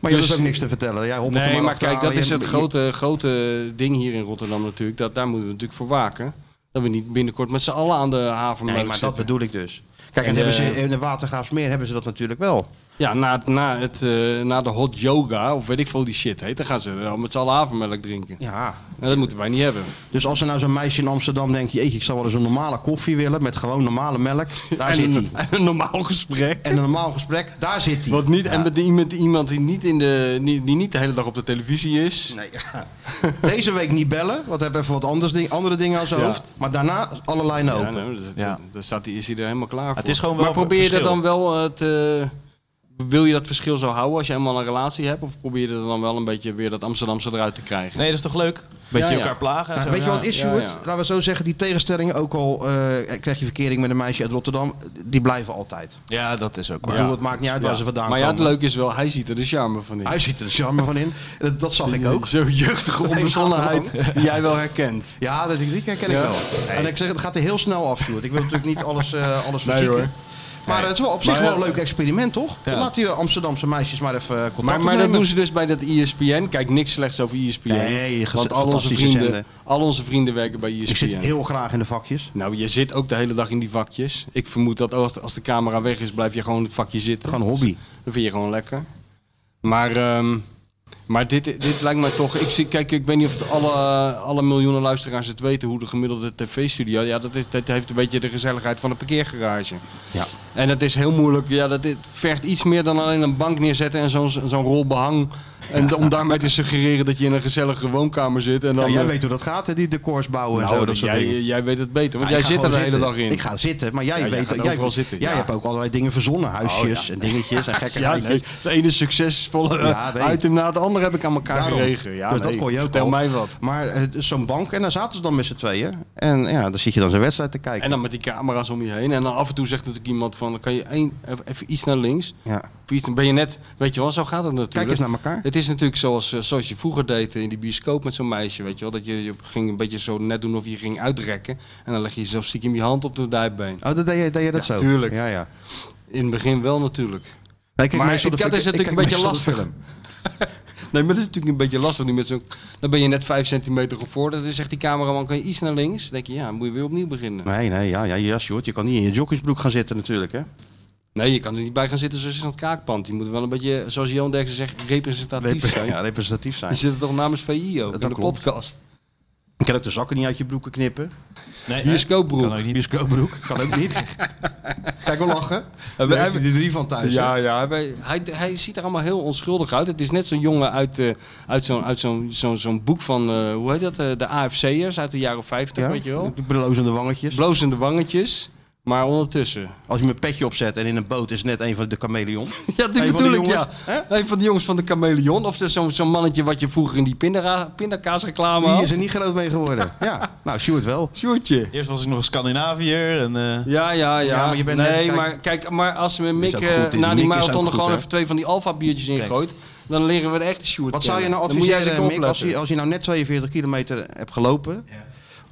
Speaker 2: Maar je hebt
Speaker 3: Dus-
Speaker 2: dus ook niks te vertellen. Jij hobbelt er
Speaker 3: Nee, maar
Speaker 2: achteraan.
Speaker 3: kijk, dat
Speaker 2: Je-
Speaker 3: is het
Speaker 2: je-
Speaker 3: grote, grote ding hier in Rotterdam natuurlijk. Dat, daar moeten we natuurlijk voor waken. Dat we niet binnenkort met z'n allen aan de havenmelk
Speaker 2: Nee, maar dat
Speaker 3: zitten.
Speaker 2: bedoel ik dus. Kijk, en
Speaker 3: En,
Speaker 2: hebben
Speaker 3: eh,
Speaker 2: ze, in de Watergraafsmeer hebben ze dat natuurlijk wel.
Speaker 3: Ja, na, het- na, het, eh, na de hot yoga, of weet ik veel hoe die shit heet, dan gaan ze wel met z'n allen havermelk drinken.
Speaker 2: Ja.
Speaker 3: En dat moeten wij niet hebben.
Speaker 2: Dus als er nou zo'n meisje in Amsterdam denkt, jeetje, ik zou wel eens een normale koffie willen met gewoon normale melk. Daar
Speaker 3: en
Speaker 2: zit hij.
Speaker 3: een, en een normaal gesprek.
Speaker 2: En een normaal gesprek, daar zit hij.
Speaker 3: Wat niet, En met iemand, iemand die, niet in de, die, die niet de hele dag op de televisie is.
Speaker 2: Nee, ja. Deze week niet bellen, want we hebben even wat anders ding, andere dingen aan zijn
Speaker 3: Ja.
Speaker 2: hoofd. Maar daarna alle lijnen
Speaker 3: Ja,
Speaker 2: open.
Speaker 3: nee, dat,
Speaker 4: Ja.
Speaker 3: dan staat die, is hij er helemaal klaar voor.
Speaker 4: het is gewoon wel
Speaker 3: maar probeer je er
Speaker 4: verschil.
Speaker 3: dan wel eh, het. eh, wil je dat verschil zo houden als je eenmaal een relatie hebt? Of probeer je er dan wel een beetje weer dat Amsterdamse eruit te krijgen?
Speaker 4: Nee, dat is toch leuk? Beetje
Speaker 3: Ja, ja.
Speaker 4: elkaar plagen en
Speaker 2: Nou,
Speaker 4: zo.
Speaker 2: weet je
Speaker 4: Ja.
Speaker 2: wat het is,
Speaker 3: ja,
Speaker 2: Sjoerd?
Speaker 3: ja.
Speaker 2: Laten we zo zeggen, die tegenstellingen, ook al eh, krijg je verkering met een meisje uit Rotterdam, die blijven altijd. Ik
Speaker 4: Ja, dat is ook
Speaker 3: Ja.
Speaker 4: waar.
Speaker 2: bedoel, het maakt niet uit waar
Speaker 3: Ja.
Speaker 2: ze vandaan
Speaker 3: maar ja,
Speaker 2: komen.
Speaker 3: het leuke is wel, hij ziet er de charme van in.
Speaker 2: Hij ziet er de charme van in. Dat, dat zag ik ook.
Speaker 3: Zo'n jeugdige onbezonnenheid die jij wel herkent.
Speaker 2: Ja, dat, die herken ik
Speaker 3: Ja.
Speaker 2: wel. En ik zeg, het gaat er heel snel af, Sjoerd. Ik wil natuurlijk niet alles, eh alles
Speaker 3: Nee,
Speaker 2: verzieken.
Speaker 3: hoor.
Speaker 2: Maar het is wel op zich
Speaker 3: Maar ja.
Speaker 2: wel een leuk experiment, toch?
Speaker 4: Ja.
Speaker 2: Laat die Amsterdamse meisjes maar even eh, contact
Speaker 3: Maar, maar dat
Speaker 2: opnemen.
Speaker 3: doen ze dus bij dat ESPN. Kijk, niks slechts over E ESPN.
Speaker 2: Nee, gez-
Speaker 3: want al onze,
Speaker 2: fantastische
Speaker 3: vrienden,
Speaker 2: zender.
Speaker 3: al onze vrienden werken bij E ESPN.
Speaker 2: Ik zit heel graag in de vakjes.
Speaker 3: Nou, je zit ook de hele dag in die vakjes. Ik vermoed dat als, als de camera weg is, blijf je gewoon in het vakje zitten. Dus,
Speaker 2: Gewoon hobby.
Speaker 3: Dat vind je gewoon lekker. Maar, ehm, maar dit, dit lijkt mij toch... Ik zie, kijk, ik weet niet of het alle, eh, alle miljoenen luisteraars het weten... hoe de gemiddelde tv-studio... Ja, dat, is, dat heeft een beetje de gezelligheid van een parkeergarage.
Speaker 2: Ja.
Speaker 3: En dat is heel moeilijk. Ja, dat dit vergt iets meer dan alleen een bank neerzetten... en zo'n zo'n rol behang. En om daarmee te suggereren dat je in een gezellige woonkamer zit. En dan,
Speaker 2: Ja, jij
Speaker 3: eh,
Speaker 2: weet hoe dat gaat, hè? Die decors bouwen
Speaker 3: nou,
Speaker 2: en zo. Dat soort
Speaker 3: jij,
Speaker 2: dingen.
Speaker 3: jij weet het beter, want
Speaker 2: Ja, Nou, ik ga
Speaker 3: jij zit er de
Speaker 2: gewoon
Speaker 3: hele
Speaker 2: zitten.
Speaker 3: dag in.
Speaker 2: Ik ga zitten, maar jij
Speaker 3: Ja, jij
Speaker 2: weet
Speaker 3: gaat
Speaker 2: jij,
Speaker 3: overal zitten,
Speaker 2: Jij
Speaker 3: ja. Oh,
Speaker 2: hebt ook allerlei dingen verzonnen, huisjes en dingetjes en gekke
Speaker 3: Ja, nee. Het ene succesvolle
Speaker 2: Ja, nee.
Speaker 3: eh, item na het andere heb ik aan elkaar
Speaker 2: Daarom.
Speaker 3: geregen. Ja,
Speaker 2: Dus dat
Speaker 3: nee,
Speaker 2: kon je ook
Speaker 3: Vertel
Speaker 2: al.
Speaker 3: mij wat.
Speaker 2: Maar eh, dus zo'n bank, en daar zaten ze dan met z'n tweeën. En ja, dan zit je dan zijn wedstrijd te kijken.
Speaker 3: En dan met die camera's om je heen. En dan af en toe zegt natuurlijk iemand van, kan je één, even- even iets naar links.
Speaker 2: ja.
Speaker 3: Of iets, ben je net, weet je wel, zo gaat het natuurlijk.
Speaker 2: Kijk eens naar elkaar.
Speaker 3: Het is natuurlijk zoals, eh, zoals je vroeger deed in die bioscoop met zo'n meisje, weet je wel. Dat je, je ging een beetje zo net doen of je ging uitrekken. En dan leg je jezelf stiekem je hand op de dijbeen.
Speaker 2: Oh, dat deed je, deed je dat
Speaker 3: Ja,
Speaker 2: zo?
Speaker 3: tuurlijk.
Speaker 2: Ja, ja.
Speaker 3: In het begin wel natuurlijk.
Speaker 2: Nee, ik kijk
Speaker 3: Maar
Speaker 2: meestal de
Speaker 3: dat
Speaker 2: fik-
Speaker 3: is
Speaker 2: ik
Speaker 3: natuurlijk
Speaker 2: kijk
Speaker 3: een beetje
Speaker 2: meestal de
Speaker 3: lastig.
Speaker 2: film.
Speaker 3: Nee, maar dat is natuurlijk een beetje lastig nu met zo'n... Dan ben je net 5 centimeter gevorderd. Dan zegt die cameraman, kan je iets naar links? Dan denk je, ja, dan moet je weer opnieuw beginnen.
Speaker 2: Nee, nee, ja, ja, ja, Sjoerd. Je kan niet in je joggingsbroek gaan zitten natuurlijk, hè?
Speaker 3: Nee, je kan er niet bij gaan zitten zoals in het kaakpand. Je moet wel een beetje, zoals Jan Derksen zegt, representatief
Speaker 2: Repre-
Speaker 3: zijn.
Speaker 2: ja, representatief
Speaker 3: Je
Speaker 2: zijn.
Speaker 3: zit er toch namens VI ook,
Speaker 2: Dat
Speaker 3: in de
Speaker 2: klopt.
Speaker 3: podcast.
Speaker 2: Je kan ook de zakken niet uit je broeken knippen.
Speaker 4: Nee,
Speaker 3: Bioscoopbroek.
Speaker 4: Kan ook niet.
Speaker 2: Bioscoopbroek, kan ook niet. Kijk, we lachen. Daar
Speaker 3: we-
Speaker 2: heeft hij er drie van thuis. hè?
Speaker 3: ja. Hij, hij, hij ziet er allemaal heel onschuldig uit. Het is net zo'n jongen uit, eh, uit zo'n uit zo'n zo'n zo'n boek van, eh, hoe heet dat, eh, de AFC'ers uit de jaren 50,
Speaker 2: Ja,
Speaker 3: weet je wel.
Speaker 2: die blozende wangetjes.
Speaker 3: Blozende wangetjes, maar ondertussen.
Speaker 2: Als je mijn petje opzet en in een boot is het net een van de chameleon.
Speaker 3: Ja, die
Speaker 2: Een van die
Speaker 3: bedoel ik, ja.
Speaker 2: jongens,
Speaker 3: Een van de jongens van de Chameleon. Of dus zo'n zo'n mannetje wat je vroeger in die pindara- pindakaasreclame
Speaker 2: Die is
Speaker 3: had.
Speaker 2: er niet groot mee geworden. Ja, nou, Sjoerd wel.
Speaker 3: Sjoertje.
Speaker 4: Eerst was ik nog een Scandinaviër en... eh,
Speaker 3: Ja, ja, ja.
Speaker 2: Ja, maar je bent
Speaker 3: nee,
Speaker 2: net- kijk-
Speaker 3: maar kijk, maar als we Mick
Speaker 2: ook
Speaker 3: eh,
Speaker 2: goed in.
Speaker 3: na die
Speaker 2: Mick is
Speaker 3: marathon
Speaker 2: ook
Speaker 3: er
Speaker 2: goed,
Speaker 3: gewoon
Speaker 2: hè?
Speaker 3: even twee van die alfa-biertjes in
Speaker 2: Kijk.
Speaker 3: gooit, dan leren we de echte Sjoerd
Speaker 2: Wat zou je
Speaker 3: kennen.
Speaker 2: nou
Speaker 3: Dan moet jij
Speaker 2: adviseren,
Speaker 3: eens
Speaker 2: Mick, als je,
Speaker 3: opletten.
Speaker 2: als je nou net 42 kilometer hebt gelopen,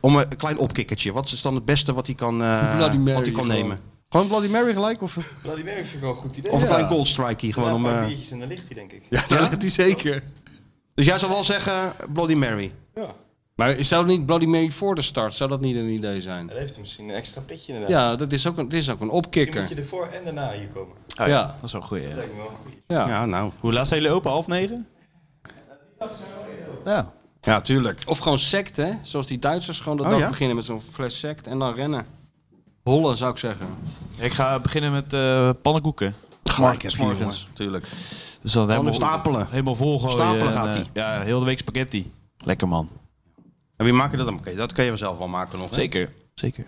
Speaker 2: om een klein opkikkertje. Wat is dan het beste wat hij kan, eh,
Speaker 3: Bloody Mary
Speaker 2: wat hij kan
Speaker 3: gewoon.
Speaker 2: nemen? Gewoon Bloody Mary gelijk? Of, of
Speaker 5: Bloody Mary vind ik wel een goed idee.
Speaker 2: een klein cold strike gewoon.
Speaker 5: Ja,
Speaker 2: om,
Speaker 5: een paar
Speaker 2: eh,
Speaker 5: biertjes en dan ligt hij, denk ik.
Speaker 3: Ja, dat is zeker.
Speaker 2: dus jij zou wel zeggen Bloody Mary.
Speaker 5: Ja.
Speaker 3: Maar zou het niet Bloody Mary voor de start, zou dat niet een idee zijn?
Speaker 5: Dan heeft hij misschien een extra pitje inderdaad.
Speaker 3: Ja, dat is ook een, dit is ook een
Speaker 5: Misschien
Speaker 3: opkikker.
Speaker 5: moet je ervoor en daarna hier komen. Dat
Speaker 4: oh ja,
Speaker 3: Ja.
Speaker 4: dat is wel een goeie. ja.
Speaker 5: lijkt me wel een goeie.
Speaker 3: Ja.
Speaker 2: Ja, nou.
Speaker 4: Hoe laat zijn jullie open? Half negen? Ja.
Speaker 2: Ja, tuurlijk.
Speaker 3: Of gewoon sect, hè? Zoals die Duitsers gewoon de
Speaker 2: Oh,
Speaker 3: dag
Speaker 2: ja?
Speaker 3: beginnen met zo'n fles sect en dan rennen. Hollen zou ik zeggen.
Speaker 4: Ik ga beginnen met eh pannenkoeken.
Speaker 2: Gelijk heb je,
Speaker 4: morgens.
Speaker 2: Oh, jongen. Tuurlijk.
Speaker 4: Dus dan helemaal,
Speaker 2: Stapelen.
Speaker 4: helemaal vol gooien.
Speaker 2: Stapelen
Speaker 4: en,
Speaker 2: gaat
Speaker 4: eh,
Speaker 2: ie.
Speaker 4: Ja, heel de week spaghetti. Lekker man.
Speaker 2: En wie maakt dat dan? Oké, dat kan je wel zelf wel maken nog. hè?
Speaker 4: Zeker. Zeker.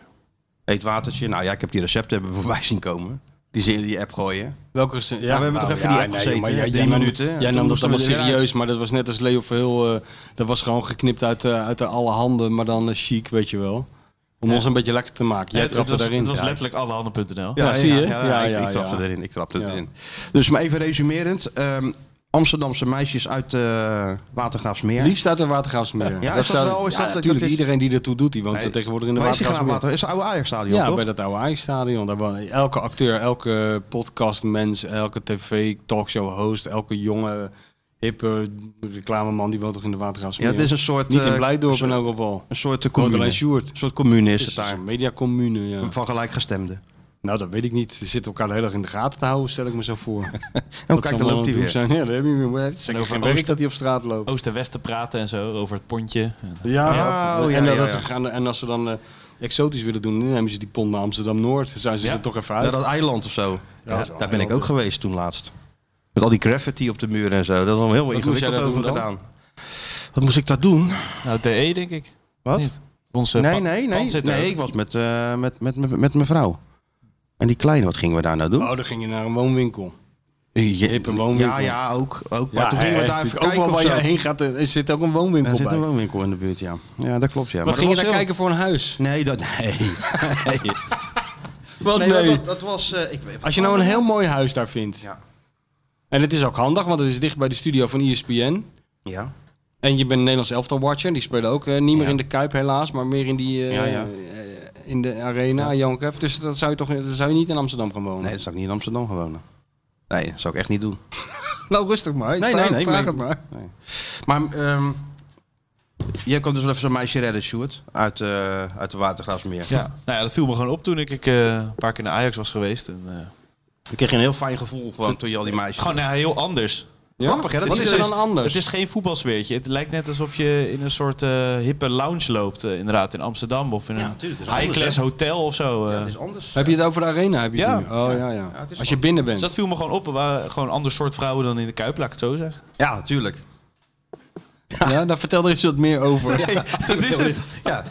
Speaker 2: Eetwatertje. Nou ja, ik heb die recepten hebben we voorbij zien komen. Die ze in die app gooien.
Speaker 3: Welke recen- ja,
Speaker 2: we hebben toch even die app gezeten,
Speaker 3: maar
Speaker 2: hè?
Speaker 3: jij-
Speaker 2: Drie
Speaker 3: jij nam-
Speaker 2: minuten, en
Speaker 3: Jij
Speaker 2: toen
Speaker 3: nam dat
Speaker 2: moesten we
Speaker 3: allemaal
Speaker 2: eruit.
Speaker 3: serieus, maar dat was net als Leo Verhul. eh, dat was gewoon geknipt uit, eh, uit de alle handen, maar dan eh, chic, weet je wel. Om ons een beetje lekker te maken. Jij
Speaker 4: het, het
Speaker 3: trapte
Speaker 4: was,
Speaker 3: daarin.
Speaker 4: het was
Speaker 3: Ja.
Speaker 4: letterlijk allehanden.nl.
Speaker 3: Ja, Nou, zie je?
Speaker 2: Ja,
Speaker 3: Ja,
Speaker 2: ik,
Speaker 3: ja,
Speaker 2: ik trapte
Speaker 3: ja.
Speaker 2: erin. Ik trapte
Speaker 3: Ja.
Speaker 2: erin. Dus maar even resumerend. ehm, Amsterdamse meisjes uit eh Watergraafsmeer.
Speaker 3: Liefst uit de Watergraafsmeer.
Speaker 2: is dat
Speaker 3: staat-
Speaker 2: wel- is
Speaker 3: ja,
Speaker 2: dat- dat
Speaker 3: natuurlijk,
Speaker 2: is-
Speaker 3: iedereen die ertoe doet, die woont
Speaker 2: Nee.
Speaker 3: er tegenwoordig in de
Speaker 2: Waar is die gaan
Speaker 3: Watergraafsmeer.
Speaker 2: water? Is het oude Ajax-stadion,
Speaker 3: Ja,
Speaker 2: toch?
Speaker 3: bij dat oude Ajax-stadion. Daar wonen Elke acteur, elke podcastmens, elke tv-talkshow-host, elke jonge, hippe reclameman, die woont toch in de Watergraafsmeer.
Speaker 2: Ja, het is een soort...
Speaker 3: Niet in
Speaker 2: eh,
Speaker 3: Blijdorp in
Speaker 2: Een
Speaker 3: elk geval.
Speaker 2: een soort eh,
Speaker 3: Woont
Speaker 2: commune.
Speaker 3: alleen
Speaker 2: Een
Speaker 3: Sjoerd.
Speaker 2: soort commune is
Speaker 3: Het
Speaker 2: het
Speaker 3: is
Speaker 2: daar.
Speaker 3: een mediacommune, ja.
Speaker 2: Van gelijkgestemden.
Speaker 3: Nou, dat weet ik niet. Ze zitten elkaar heel erg in de gaten te houden, stel ik me zo voor.
Speaker 2: Oh, kijk, dan loopt hij weer.
Speaker 3: Zijn. Ja, dat heb je meer. Het is
Speaker 4: En
Speaker 3: zeker
Speaker 4: over
Speaker 3: geen werk
Speaker 4: Oost-
Speaker 3: dat hij op straat loopt.
Speaker 4: Oost en Westen praten en zo over het pontje.
Speaker 3: Ja,
Speaker 2: Ja, oh, ja,
Speaker 3: en,
Speaker 2: ja,
Speaker 3: eh, dat
Speaker 2: ja.
Speaker 3: ze gaan- en als ze dan eh, exotisch willen doen, dan nemen ze die pont naar Amsterdam-Noord. Dan zijn ze
Speaker 4: Ja.
Speaker 3: er toch even
Speaker 2: Naar
Speaker 3: uit.
Speaker 2: dat eiland of zo.
Speaker 3: Ja, dat is wel
Speaker 2: Daar ben ik
Speaker 3: eiland,
Speaker 2: ook geweest toen laatst. Met al die graffiti op de muur en zo. Dat is al heel
Speaker 3: moest
Speaker 2: ingewikkeld
Speaker 3: jij daar
Speaker 2: over
Speaker 3: doen dan? E,
Speaker 2: gedaan. Wat moest ik daar doen?
Speaker 4: Nou, DE denk ik.
Speaker 2: Wat?
Speaker 4: Niet. Onze
Speaker 2: Nee,
Speaker 4: eh, pa-
Speaker 2: nee, nee.
Speaker 4: pand zit daar
Speaker 2: Nee,
Speaker 4: ook.
Speaker 2: ik was met, eh, met, met, met, met mijn vrouw. En die kleine, wat gingen we daar nou doen?
Speaker 3: Oh, dan ging je naar een woonwinkel.
Speaker 2: Je-
Speaker 3: hippe woonwinkel.
Speaker 2: Ja, ja, ook. ook. Maar
Speaker 3: Ja,
Speaker 2: toen gingen we
Speaker 3: eh,
Speaker 2: daar even
Speaker 3: natuurlijk.
Speaker 2: kijken
Speaker 3: Overal
Speaker 2: of
Speaker 3: waar
Speaker 2: zo.
Speaker 3: je heen gaat, eh, er zit ook een woonwinkel
Speaker 2: Er zit
Speaker 3: bij.
Speaker 2: een woonwinkel in de buurt, ja. Ja, dat klopt, ja.
Speaker 3: Wat
Speaker 2: Maar
Speaker 3: ging je
Speaker 2: dat was
Speaker 3: daar
Speaker 2: heel-
Speaker 3: kijken voor een huis?
Speaker 2: Nee, dat, nee. nee.
Speaker 3: Wat
Speaker 2: Nee,
Speaker 3: nee.
Speaker 2: maar Dat, dat was... eh, ik weet-
Speaker 3: Als je nou een heel mooi huis daar vindt.
Speaker 2: Ja.
Speaker 3: En het is ook handig, want het is dicht bij de studio van E ESPN.
Speaker 2: Ja.
Speaker 3: En je bent een Nederlands elftal watcher. Die spelen ook eh, niet meer
Speaker 2: Ja.
Speaker 3: in de Kuip helaas, maar meer in, die, eh,
Speaker 2: Ja, ja.
Speaker 3: eh, in de arena, Johan Cruijff. Dus dat zou je toch dat zou je niet in Amsterdam gaan wonen.
Speaker 2: Nee, dat zou ik niet in Amsterdam gaan wonen. Nee, dat zou ik echt niet doen.
Speaker 3: Nou, rustig maar.
Speaker 2: Nee,
Speaker 3: vraag,
Speaker 2: nee, nee,
Speaker 3: Vraag
Speaker 2: nee.
Speaker 3: het maar.
Speaker 2: Maar ehm jij kan dus wel even zo'n meisje redden, Sjoerd. Uit, eh, uit de Watergraafsmeer.
Speaker 4: Ja. Nou ja, dat viel me gewoon op toen ik eh, een paar keer naar Ajax was geweest. En, eh,
Speaker 2: Ik kreeg een heel fijn gevoel gewoon toen je al die meisjes...
Speaker 4: gewoon nou, ja, heel anders.
Speaker 3: Ja?
Speaker 2: Grappig, hè? Dat
Speaker 3: Wat
Speaker 2: is
Speaker 3: is er
Speaker 2: dus-
Speaker 3: dan anders?
Speaker 4: Het is geen voetbalsfeertje. Het lijkt net alsof je in een soort eh, hippe lounge loopt. eh, inderdaad, in Amsterdam of in
Speaker 2: Ja,
Speaker 4: een
Speaker 2: natuurlijk, dat is anders,
Speaker 4: high-class
Speaker 2: hè?
Speaker 4: hotel of zo. eh.
Speaker 2: Ja, het is anders.
Speaker 3: Heb je het over de arena? Heb je het
Speaker 4: Ja.
Speaker 3: nu? Oh ja, ja.
Speaker 2: het is
Speaker 3: Als je
Speaker 2: gewoon-
Speaker 3: binnen bent.
Speaker 4: dus dat viel me gewoon op. We waren gewoon een ander soort vrouwen dan in de Kuip, laat ik het zo zeggen.
Speaker 2: Ja, natuurlijk.
Speaker 3: Ja, daar vertel er eens wat meer over.
Speaker 4: dat is het.
Speaker 2: Ja.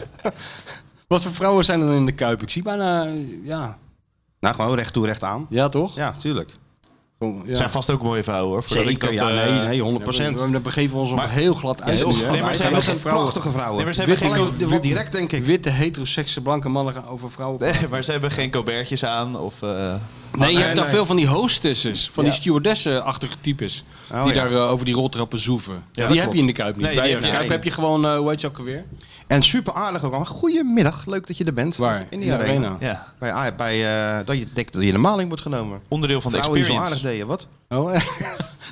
Speaker 3: Wat voor vrouwen zijn er dan in de Kuip? Ik zie bijna, eh, ja.
Speaker 2: Nou, gewoon recht toe, recht aan.
Speaker 3: Ja, toch?
Speaker 2: Ja, tuurlijk.
Speaker 3: Gewoon, ja.
Speaker 4: Er zijn vast ook mooie vrouwen hoor. voordat ik dat,
Speaker 2: ja,
Speaker 4: eh,
Speaker 2: nee, nee, 100
Speaker 3: Ja, we, we begeven ons op
Speaker 4: Maar-
Speaker 3: heel glad uit.
Speaker 2: heel
Speaker 3: nu, hè?
Speaker 2: goed.
Speaker 4: Nee, maar
Speaker 2: maar
Speaker 4: ze
Speaker 2: zijn
Speaker 4: hebben
Speaker 2: zijn
Speaker 4: geen
Speaker 2: prachtige vrouwen.
Speaker 4: Nee, maar ze hebben
Speaker 2: Witte-
Speaker 4: geen-
Speaker 2: Gelijk direct, denk ik.
Speaker 3: Witte, heterosekse, blanke mannen gaan over vrouwen. praten.
Speaker 4: Nee, maar ze hebben geen Colbertjes aan. Of, eh,
Speaker 3: Nee, je
Speaker 2: nee,
Speaker 3: hebt daar
Speaker 2: nee.
Speaker 3: veel van die hostesses, van die
Speaker 2: Ja.
Speaker 3: stewardessen-achtige types.
Speaker 2: Oh,
Speaker 3: die
Speaker 2: ja.
Speaker 3: daar eh, over die roltrappen zoeven. die
Speaker 2: dat
Speaker 3: heb je in de Kuip niet.
Speaker 4: Nee,
Speaker 3: Bij
Speaker 4: die
Speaker 3: de
Speaker 4: heb je
Speaker 3: Kuip
Speaker 4: niet.
Speaker 3: heb je gewoon, eh hoe heet je ook alweer?
Speaker 2: En super aardig ook allemaal. Goedemiddag, leuk dat je er bent.
Speaker 3: Waar?
Speaker 2: In die arena.
Speaker 4: ja,
Speaker 2: Bij, A- bij eh, dat je denkt dat je de maling wordt genomen.
Speaker 4: onderdeel van de
Speaker 2: Vrouwen die zo
Speaker 4: experience.
Speaker 2: aardig deden, wat?
Speaker 3: Oh,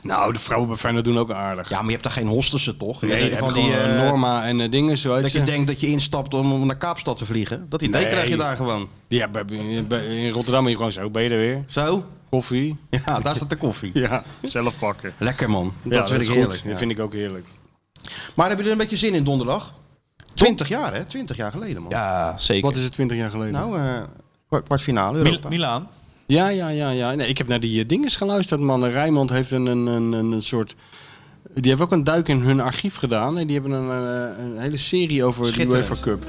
Speaker 3: nou, de vrouwen bij Feyenoord doen ook aardig.
Speaker 2: Ja, maar je hebt daar geen hostessen, toch? Je
Speaker 3: nee,
Speaker 2: hebt
Speaker 3: die
Speaker 2: in ieder
Speaker 3: hebben
Speaker 2: geval
Speaker 3: gewoon
Speaker 2: die,
Speaker 3: eh,
Speaker 2: eh,
Speaker 3: Norma en eh, dingen, zo heet
Speaker 2: Dat je
Speaker 3: ze.
Speaker 2: denkt dat je instapt om om naar Kaapstad te vliegen. Dat idee
Speaker 3: Nee.
Speaker 2: krijg je daar gewoon.
Speaker 3: Ja, bij- bij- bij- in Rotterdam ben je gewoon zo, ben je er weer?
Speaker 2: Zo?
Speaker 3: Koffie?
Speaker 2: Ja, daar staat de koffie.
Speaker 3: Ja, zelf pakken.
Speaker 2: Lekker man. Dat
Speaker 3: ja,
Speaker 2: vind
Speaker 3: is
Speaker 2: ik
Speaker 3: goed.
Speaker 2: heerlijk.
Speaker 3: Dat
Speaker 2: Ja.
Speaker 3: vind ik ook heerlijk.
Speaker 2: Maar hebben jullie er een beetje zin in donderdag? 20 jaar hè? 20 jaar geleden man.
Speaker 4: Ja, zeker.
Speaker 3: Wat is het, 20 jaar geleden?
Speaker 2: Nou, eh kwart- kwartfinale
Speaker 4: Mil-
Speaker 2: Europa.
Speaker 4: Milaan?
Speaker 3: Ja, ja, ja, ja. Nee, ik heb naar die eh, dinges geluisterd, man. Rijmond heeft een, een, een, een een soort. Die heeft ook een duik in hun archief gedaan. En die hebben een, eh, een hele serie over de
Speaker 2: Schitterend.
Speaker 3: UEFA Cup.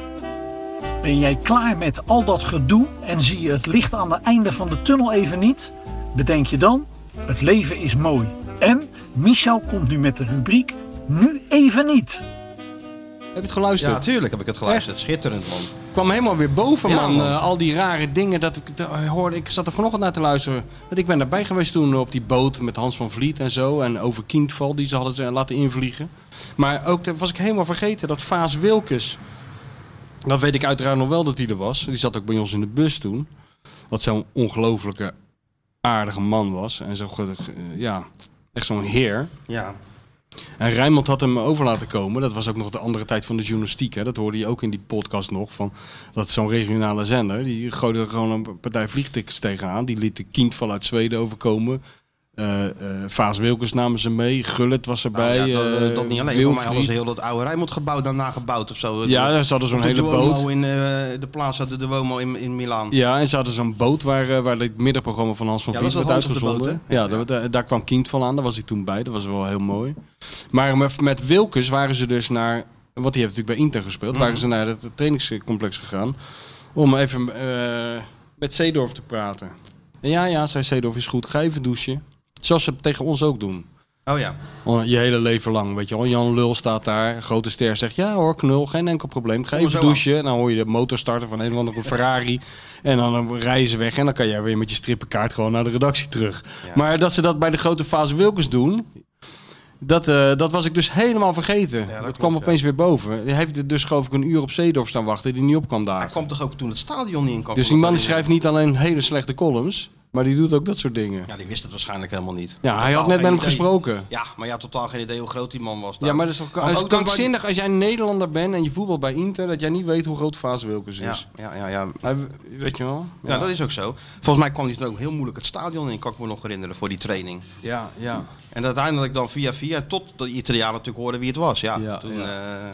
Speaker 6: Ben jij klaar met al dat gedoe en zie je het licht aan het einde van de tunnel even niet? Bedenk je dan, het leven is mooi. En Michel komt nu met de rubriek Nu even niet.
Speaker 3: Heb je het
Speaker 2: Ja,
Speaker 3: geluisterd?
Speaker 2: tuurlijk heb ik het geluisterd. Schitterend man.
Speaker 3: Het kwam helemaal weer boven,
Speaker 2: Ja,
Speaker 3: man.
Speaker 2: man.
Speaker 3: Eh, al die rare dingen dat ik dat eh, hoorde. Ik zat er vanochtend naar te luisteren. Want ik ben daarbij geweest toen op die boot met Hans van Vliet en zo. En over Kindval, die ze hadden ze laten invliegen. Maar ook dat was ik helemaal vergeten dat Vaas Wilkes. Dat weet ik uiteraard nog wel dat hij er was. Die zat ook bij ons in de bus toen. Wat zo'n ongelofelijke aardige man was. En zo, ge- ge- ja, echt zo'n heer.
Speaker 2: Ja. Nou,
Speaker 3: En Rijnmond had hem over laten komen. Dat was ook nog de andere tijd van de journalistiek. Hè. Dat hoorde je ook in die podcast nog. Van, dat zo'n regionale zender. Die gooide er gewoon een partij vliegtickets tegenaan. Die liet de Kindval uit Zweden overkomen. Eh, eh, Vaas Wilkens namen ze mee. Gullet was erbij.
Speaker 2: Nou ja, dat,
Speaker 3: eh,
Speaker 2: eh, dat niet alleen. Voor mij
Speaker 3: Wilfried.
Speaker 2: hadden ze heel dat oude Rijnmond gebouw daarna gebouwd of zo.
Speaker 3: Ja, daar hadden zo'n
Speaker 2: de
Speaker 3: hele
Speaker 2: Duomo
Speaker 3: boot.
Speaker 2: in eh, de Plaza de Duomo in, in Milaan.
Speaker 3: Ja, en ze hadden zo'n boot waar, eh, waar het middenprogramma van Hans van
Speaker 2: Ja,
Speaker 3: Vliet
Speaker 2: dat
Speaker 3: werd
Speaker 2: was Hans op de
Speaker 3: uitgezonden.
Speaker 2: boot, hè?
Speaker 3: ja, daar, werd- eh, daar kwam Kind van aan, daar was ik toen bij, dat was wel heel mooi. Maar met, met Wilkes waren ze dus naar, want die heeft natuurlijk bij Inter gespeeld,
Speaker 2: Mhm.
Speaker 3: waren ze naar het trainingscomplex gegaan om even eh, met Zeedorf te praten. En ja, ja, zei Zeedorf, is goed, ga even douchen. Zoals ze het tegen ons ook doen.
Speaker 2: Oh ja.
Speaker 3: Al Je hele leven lang, weet je wel. Jan Lul staat daar, grote ster, zegt ja hoor, knul, geen enkel probleem. Ga
Speaker 2: Kom er
Speaker 3: even
Speaker 2: zo
Speaker 3: douchen. En dan hoor je de motor starten van een of andere Ferrari. En dan rijden ze weg en dan kan jij weer met je strippenkaart gewoon naar de redactie terug. Maar dat ze dat bij de grote fase Wilkens doen, dat, eh, dat was ik dus helemaal vergeten. dat
Speaker 2: klopt,
Speaker 3: kwam
Speaker 2: ja.
Speaker 3: opeens weer boven. Hij heeft er dus geloof ik een uur op Zeedorf staan wachten die niet op kwam
Speaker 2: Hij
Speaker 3: daar.
Speaker 2: kwam toch ook toen het stadion niet in kwam.
Speaker 3: Dus die man die schrijft niet alleen hele slechte columns, Maar die doet ook dat soort dingen.
Speaker 2: Ja, die wist het waarschijnlijk helemaal niet.
Speaker 3: Ja, hij
Speaker 2: Totaal
Speaker 3: had net met
Speaker 2: geen
Speaker 3: hem
Speaker 2: idee.
Speaker 3: gesproken.
Speaker 2: Ja, maar ja, totaal geen idee hoe groot die man was.
Speaker 3: Ja, maar dat is toch
Speaker 2: Maar
Speaker 3: het is
Speaker 2: Nou, ook dan-
Speaker 3: krankzinnig als jij een Nederlander bent en je voetbalt bij Inter, dat jij niet weet hoe groot Fase Wilkens
Speaker 2: Ja,
Speaker 3: is.
Speaker 2: ja, ja, ja.
Speaker 3: Hij, weet je wel?
Speaker 2: Ja, dat is ook zo. Volgens mij kwam hij toen ook heel moeilijk het stadion in, kan ik me nog herinneren, voor die training.
Speaker 3: ja, ja.
Speaker 2: En uiteindelijk dan via via, tot de Italianen natuurlijk hoorden wie het was. Ja,
Speaker 3: Ja,
Speaker 2: toen,
Speaker 3: ja.
Speaker 2: eh,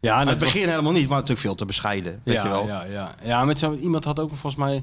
Speaker 3: Ja,
Speaker 2: aan
Speaker 3: dat
Speaker 2: het begin helemaal niet, maar natuurlijk veel te bescheiden. Weet
Speaker 3: ja,
Speaker 2: je wel.
Speaker 3: Ja, ja. ja met zo, iemand had ook volgens mij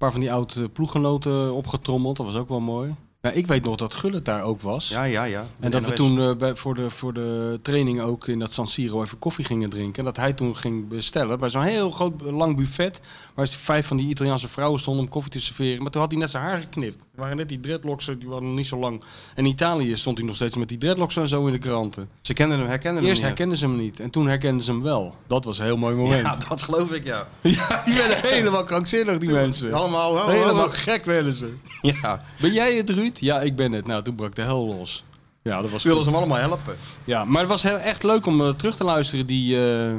Speaker 3: een paar van die oude ploeggenoten opgetrommeld. Dat was ook wel mooi. Ja, ik weet nog dat Gullit daar ook was.
Speaker 2: Ja, ja, ja.
Speaker 3: en dat we
Speaker 2: NOS.
Speaker 3: toen eh, bij, voor, de, voor de training ook in dat San Siro even koffie gingen drinken. En dat hij toen ging bestellen bij zo'n heel groot eh, lang buffet. Waar vijf van die Italiaanse vrouwen stonden om koffie te serveren. Maar toen had hij net zijn haar geknipt. Er waren net die dreadlocks, eh, die waren nog niet zo lang. En in Italië stond hij nog steeds met die dreadlocks en zo in de kranten.
Speaker 2: Ze kenden hem, herkenden
Speaker 3: Eerst
Speaker 2: hem. niet.
Speaker 3: herkenden ze hem niet. En toen herkenden ze hem wel. Dat was een heel mooi moment.
Speaker 2: Ja, dat geloof ik, ja.
Speaker 3: Ja, die werden helemaal krankzinnig, die mensen.
Speaker 2: Allemaal, ho, ho, ho.
Speaker 3: helemaal gek werden ze.
Speaker 2: Ja,
Speaker 3: Ben jij het, Ruud? Ja, ik ben het. Nou, toen brak de hel los. Ja, dat was
Speaker 2: ze wilden hem allemaal helpen.
Speaker 3: Ja, maar het was heel, echt leuk om eh, terug te luisteren, die, eh,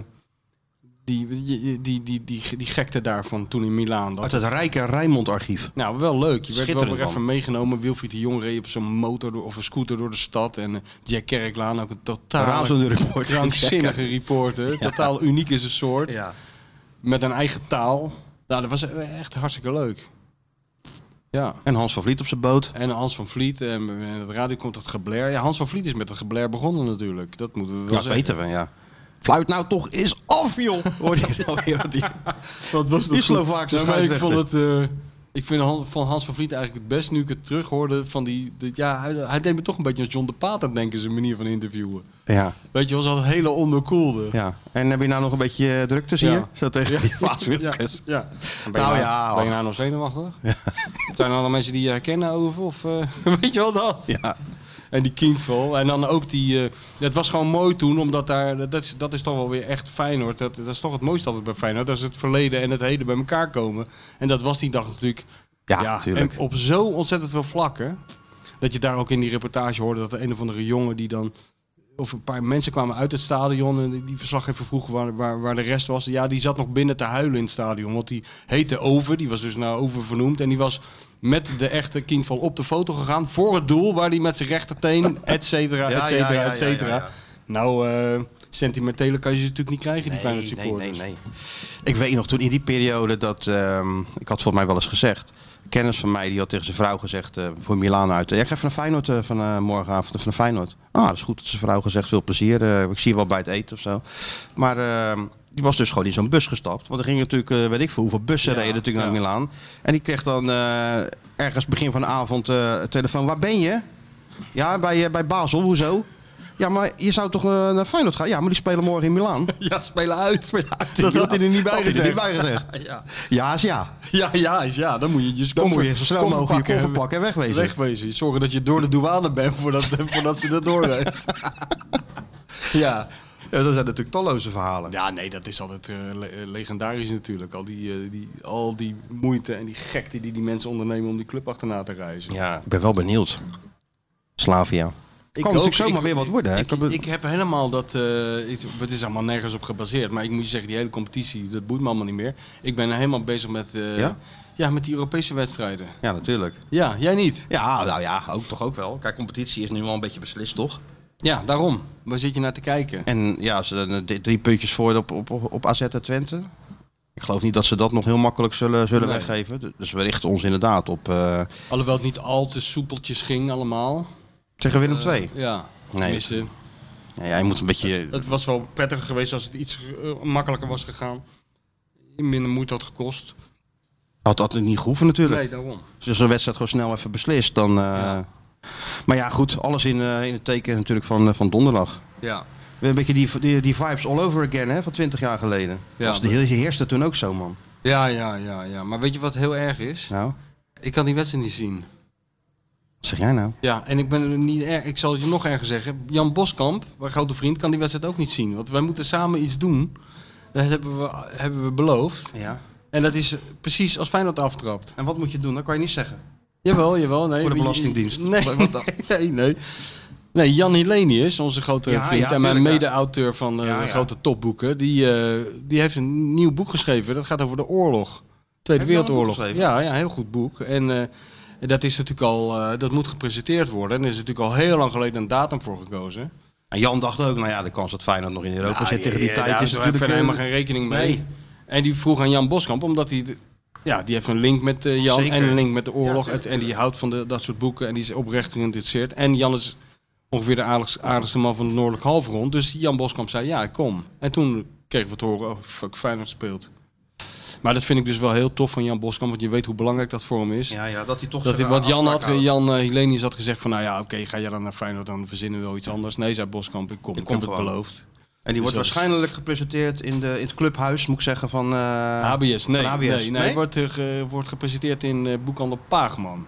Speaker 3: die, die, die, die, die, die gekte daarvan toen in Milaan.
Speaker 2: Uit
Speaker 3: Dat,
Speaker 2: het rijke Rijnmond-archief.
Speaker 3: nou, wel leuk. Je werd wel
Speaker 2: Schitterend,
Speaker 3: weer even
Speaker 2: man.
Speaker 3: meegenomen. Wilfried de Jong reed op zijn motor door, of een scooter door de stad. En eh, Jack Kerklaan, ook een totaal
Speaker 2: Razende reporter.
Speaker 3: krankzinnige reporter. Totaal uniek is een soort.
Speaker 2: Ja.
Speaker 3: Met een eigen taal. Nou, dat was echt hartstikke leuk. Ja.
Speaker 2: En Hans van Vliet op zijn boot.
Speaker 3: En Hans van Vliet, en met het radio komt het gebler. Ja, Hans van Vliet is met het gebler begonnen natuurlijk. Dat moeten we wel
Speaker 2: Dat
Speaker 3: zeggen.
Speaker 2: weten we, ja. Fluit nou toch eens af, joh. Hoor je dat nou weer? Die-
Speaker 3: Dat was
Speaker 2: Die goed. Slovaakse
Speaker 3: Ja, maar ik vond
Speaker 2: scheidsrechter.
Speaker 3: het... eh, ik vind Han- van Hans van Vliet eigenlijk het best nu ik het terughoorde van die... die- ja, hij, hij deed me toch een beetje aan John de Paat aan denken, zijn manier van interviewen.
Speaker 2: Ja,
Speaker 3: Weet je, was al een hele onderkoelde.
Speaker 2: ja. En heb je nou nog een beetje eh, drukte, zie
Speaker 3: Ja.
Speaker 2: je? Zo tegen die Vaas
Speaker 3: ja.
Speaker 2: Wilkens.
Speaker 3: ja. En Ben je
Speaker 2: Nou
Speaker 3: nou,
Speaker 2: ja,
Speaker 3: ben
Speaker 2: ach.
Speaker 3: je nou nog zenuwachtig? Zijn er nou mensen die je herkennen over? Of, eh, weet je wel dat?
Speaker 2: Ja.
Speaker 3: En die Kindval. En dan ook die... eh, het was gewoon mooi toen, omdat daar... Dat is, dat is toch wel weer echt Feyenoord. Dat, dat is toch het mooiste altijd bij Feyenoord. Dat is het verleden en het heden bij elkaar komen. En dat was die dag natuurlijk...
Speaker 2: Ja, tuurlijk.
Speaker 3: En op zo ontzettend veel vlakken. Dat je daar ook in die reportage hoorde dat de een of andere jongen die dan... Of een paar mensen kwamen uit het stadion en die- die verslaggever vroeg waar, waar, waar de rest was. Ja, die zat nog binnen te huilen in het stadion. Want die heette Over, die was dus naar Over vernoemd. En die was met de echte Kindval op de foto gegaan voor het doel. Waar die met zijn rechterteen, et cetera,
Speaker 2: Ja,
Speaker 3: et
Speaker 2: ja, ja,
Speaker 3: cetera,
Speaker 2: ja,
Speaker 3: et cetera.
Speaker 2: ja, ja.
Speaker 3: Nou, eh sentimentele kan je ze natuurlijk niet krijgen, die kleine
Speaker 2: nee,
Speaker 3: supporters.
Speaker 2: nee, nee. Ik weet nog toen in die periode dat, ehm, ik had volgens mij wel eens gezegd, een kennis van mij die had tegen zijn vrouw gezegd eh, voor Milaan uit, ja, ik ga even naar Feyenoord eh, van eh, morgenavond, van Feyenoord. Ah, dat is goed dat zijn vrouw gezegd, veel plezier, eh, ik zie je wel bij het eten of zo. Maar ehm, die was dus gewoon in zo'n bus gestapt, want er gingen natuurlijk, eh, weet ik veel, hoeveel bussen reden natuurlijk naar Milaan. En die kreeg dan eh, ergens begin van de avond eh, een telefoon, waar ben je? Ja, bij, eh, bij Basel, hoezo? Ja, maar je zou toch eh, naar Feyenoord gaan? Ja, maar die spelen morgen in Milaan.
Speaker 3: Ja, spelen uit.
Speaker 2: Ja,
Speaker 3: dat had hij er niet bij
Speaker 2: had hij er
Speaker 3: gezegd.
Speaker 2: niet bij gezegd. ja. is ja.
Speaker 3: Ja, ja, is ja. Dan moet je je
Speaker 2: Dan
Speaker 3: koffer-
Speaker 2: moet je zo snel
Speaker 3: koffer
Speaker 2: mogelijk je
Speaker 3: pakken.
Speaker 2: koffer pakken en wegwezen.
Speaker 3: Wegwezen. Zorgen dat je door de douane bent voordat, voordat ze dat doorheeft. ja.
Speaker 2: Ja, dat zijn natuurlijk talloze verhalen.
Speaker 3: ja, nee, dat is altijd eh, le- eh, legendarisch natuurlijk. Al die, eh, die, al die moeite en die gekte die die mensen ondernemen om die club achterna te reizen.
Speaker 2: Ja, ik ben wel benieuwd. Slavia.
Speaker 3: Ik
Speaker 2: kan
Speaker 3: ook.
Speaker 2: natuurlijk zomaar
Speaker 3: Ik-
Speaker 2: weer wat worden. Hè?
Speaker 3: Ik,
Speaker 2: heb het-
Speaker 3: ik heb helemaal dat. eh, ik- het is allemaal nergens op gebaseerd. Maar ik moet je zeggen, die hele competitie, dat boeit me allemaal niet meer. Ik ben helemaal bezig met. eh,
Speaker 2: Ja?
Speaker 3: ja, met die Europese wedstrijden.
Speaker 2: Ja, natuurlijk.
Speaker 3: Ja, jij niet?
Speaker 2: Ja, nou ja, ook, toch ook wel. Kijk, competitie is nu wel een beetje beslist, toch?
Speaker 3: Ja, daarom. Waar zit je naar te kijken?
Speaker 2: En ja, ze eh, d- drie puntjes voor op, op, op AZ en Twente. Ik geloof niet dat ze dat nog heel makkelijk zullen, zullen
Speaker 3: Nee.
Speaker 2: weggeven. Dus we richten ons inderdaad op eh,
Speaker 3: Alhoewel het niet al te soepeltjes ging allemaal.
Speaker 2: tegen Willem II.
Speaker 3: Ja,
Speaker 2: Nee.
Speaker 3: Eh, tenminste. Eh,
Speaker 2: ja, jij moet een beetje...
Speaker 3: Het was wel prettiger geweest als het iets eh, makkelijker was gegaan. Minder moeite had gekost.
Speaker 2: Had dat niet gehoeven natuurlijk.
Speaker 3: Nee, daarom.
Speaker 2: Als je zo'n wedstrijd gewoon snel even beslist, dan... eh, Maar ja, goed, alles in, eh, in het teken natuurlijk van, eh, van donderdag.
Speaker 3: Ja.
Speaker 2: Weer Een beetje die, die, die vibes all over again, hè, van 20 jaar geleden.
Speaker 3: Ja,
Speaker 2: was de
Speaker 3: maar-
Speaker 2: heel- die heerste toen ook zo, man.
Speaker 3: Ja, ja, ja, ja. Maar weet je wat heel erg is?
Speaker 2: Nou,
Speaker 3: Ik kan die wedstrijd niet zien.
Speaker 2: wat zeg jij nou?
Speaker 3: Ja, en ik ben er niet erg. Ik zal het je nog erger zeggen. Jan Boskamp, mijn grote vriend, kan die wedstrijd ook niet zien. Want wij moeten samen iets doen. Dat hebben we, hebben we beloofd.
Speaker 2: Ja.
Speaker 3: En dat is precies als Feyenoord aftrapt.
Speaker 2: En wat moet je doen? Dat kan je niet zeggen.
Speaker 3: Jawel, jawel. Nee,
Speaker 2: Voor de Belastingdienst.
Speaker 3: Nee,
Speaker 2: Wat- wat dan?
Speaker 3: nee, nee. Nee, Jan Hilenius, onze grote
Speaker 2: Ja,
Speaker 3: vriend
Speaker 2: ja,
Speaker 3: en mijn
Speaker 2: tuurlijk, ja.
Speaker 3: mede-auteur van eh,
Speaker 2: Ja, ja.
Speaker 3: grote topboeken, die, eh, die heeft een nieuw boek geschreven. Dat gaat over de oorlog. Tweede
Speaker 2: Heeft Jan een boek
Speaker 3: Wereldoorlog.
Speaker 2: geschreven?
Speaker 3: Ja, ja, heel goed boek. En eh, Dat, is natuurlijk al, eh, dat moet gepresenteerd worden. En er is natuurlijk al heel lang geleden een datum voor gekozen.
Speaker 2: En Jan dacht ook, nou ja, de kans dat Feyenoord nog in Europa zit tegen die
Speaker 3: Ah, Ja,
Speaker 2: tijd
Speaker 3: daar
Speaker 2: is
Speaker 3: is
Speaker 2: natuurlijk...
Speaker 3: verder helemaal
Speaker 2: eh,
Speaker 3: geen rekening mee.
Speaker 2: Nee.
Speaker 3: En die vroeg aan Jan Boskamp, omdat hij... de- Ja, die heeft een link met eh, Jan
Speaker 2: Zeker.
Speaker 3: en een link met de oorlog. Het- en die houdt van de, dat soort boeken en die is oprecht geïnteresseerd. En Jan is ongeveer de aardigste, aardigste man van het noordelijk halfrond. Dus Jan Boskamp zei, ja, kom. En toen kregen we het horen, oh, fuck, Feyenoord speelt. Maar dat vind ik dus wel heel tof van Jan Boskamp, want je weet hoe belangrijk dat voor hem is.
Speaker 2: Ja, ja, dat hij toch...
Speaker 3: Dat hij,
Speaker 2: zijn
Speaker 3: want Jan, had,
Speaker 2: afspraak houdt.
Speaker 3: Jan eh, Hilenius had gezegd van, nou ja, oké, ga jij dan naar Feyenoord, dan verzinnen we wel iets anders. Nee, zei Boskamp, ik kom,
Speaker 2: kom
Speaker 3: ik kom het
Speaker 2: gewoon.
Speaker 3: beloofd.
Speaker 2: En die wordt
Speaker 3: Dus dat-
Speaker 2: waarschijnlijk gepresenteerd in, de, in het clubhuis, moet ik zeggen, van... eh,
Speaker 3: HBS, nee.
Speaker 2: Van HBS,
Speaker 3: nee, nee,
Speaker 2: nee?
Speaker 3: hij Wordt, eh, ge- wordt gepresenteerd in eh, boekhandel Paagman.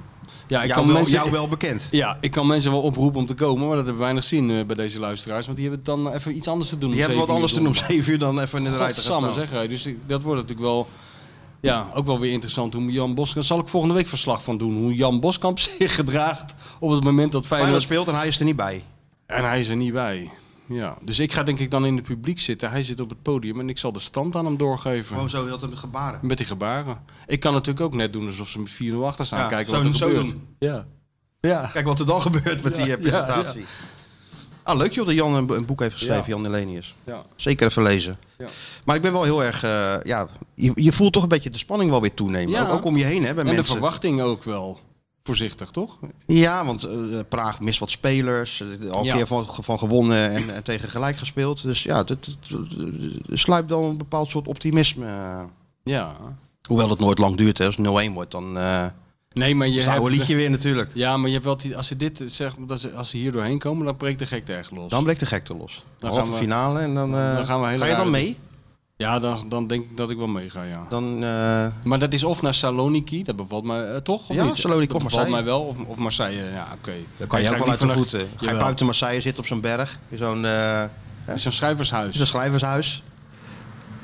Speaker 3: Ja, ik
Speaker 2: jou,
Speaker 3: kan
Speaker 2: wel,
Speaker 3: mensen,
Speaker 2: jou wel bekend.
Speaker 3: Ja, ik kan mensen wel oproepen om te komen, maar dat hebben we weinig zin eh, bij deze luisteraars. Want die hebben het dan even iets anders te doen.
Speaker 2: Die hebben wat anders te doen om 7 uur dan even in de rij
Speaker 3: Dat
Speaker 2: te
Speaker 3: is
Speaker 2: gaan staan.
Speaker 3: samen, zeg hij. Dus ik- dat wordt natuurlijk wel... Ja, ook wel weer interessant hoe Jan Boskamp... Zal ik volgende week verslag van doen. Hoe Jan Boskamp zich gedraagt op het moment
Speaker 2: Feyenoord
Speaker 3: dat Feyenoord...
Speaker 2: speelt en hij is er niet bij.
Speaker 3: En hij is er niet bij. Ja, dus ik ga denk ik dan in het publiek zitten. Hij zit op het podium en ik zal de stand aan hem doorgeven.
Speaker 2: Gewoon zo, heel te gebaren.
Speaker 3: Met die gebaren. Ik kan natuurlijk ook net doen alsof ze met 4-0 achter staan.
Speaker 2: Ja,
Speaker 3: Nou, kijken
Speaker 2: zo-
Speaker 3: wat er
Speaker 2: zo
Speaker 3: gebeurt.
Speaker 2: doen.
Speaker 3: Ja. Ja.
Speaker 2: Kijk wat er dan gebeurt met die eh,
Speaker 3: ja,
Speaker 2: presentatie. Ah, leuk joh dat Jan een, bo- een boek heeft geschreven,
Speaker 3: Ja.
Speaker 2: Jan Nelenius.
Speaker 3: ja.
Speaker 2: Zeker even lezen.
Speaker 3: Ja.
Speaker 2: Maar ik ben wel heel erg... eh, ja, je, je voelt toch een beetje de spanning wel weer toenemen.
Speaker 3: Ja.
Speaker 2: Ook, ook om je heen hè, bij
Speaker 3: En de
Speaker 2: mensen.
Speaker 3: verwachting ook wel. Voorzichtig, toch?
Speaker 2: Ja, want eh, Praag mist wat spelers. eh, Al een
Speaker 3: Ja.
Speaker 2: keer van, van gewonnen en, en tegen gelijk gespeeld. Dus ja, dat dat- dat- er sluipt dan een bepaald soort optimisme. eh.
Speaker 3: Ja.
Speaker 2: Hoewel het nooit lang duurt. Hè. Als het 0-1 wordt, dan eh is
Speaker 3: Nee, maar je
Speaker 2: het oude
Speaker 3: hebt...
Speaker 2: liedje weer natuurlijk.
Speaker 3: Ja, maar je hebt wel... die- Als ze dit zeg, dat ze, als ze hier doorheen komen, dan breekt de gek erg los.
Speaker 2: Dan bleek de gekte los.
Speaker 3: Dan
Speaker 2: Dan gaan
Speaker 3: gaan we-
Speaker 2: finale en dan, eh,
Speaker 3: dan gaan we heel
Speaker 2: ga je dan
Speaker 3: raar-
Speaker 2: mee?
Speaker 3: Ja, dan, dan denk ik dat ik wel meega, ja.
Speaker 2: Dan, eh,
Speaker 3: Maar dat is of naar Saloniki, dat bevalt mij eh, toch? Of
Speaker 2: Ja,
Speaker 3: niet?
Speaker 2: Saloniki
Speaker 3: Dat
Speaker 2: of
Speaker 3: bevalt mij
Speaker 2: Marseille.
Speaker 3: wel. Of, of Marseille, ja, oké.
Speaker 2: dan kan je
Speaker 3: Ga
Speaker 2: ook
Speaker 3: ik
Speaker 2: wel uit
Speaker 3: niet
Speaker 2: de
Speaker 3: vanaf-
Speaker 2: voeten. Ga je
Speaker 3: Jawel.
Speaker 2: buiten Marseille zitten op zo'n berg. In zo'n eh,
Speaker 3: Het is Zo'n schrijvershuis.
Speaker 2: zo'n schrijvershuis.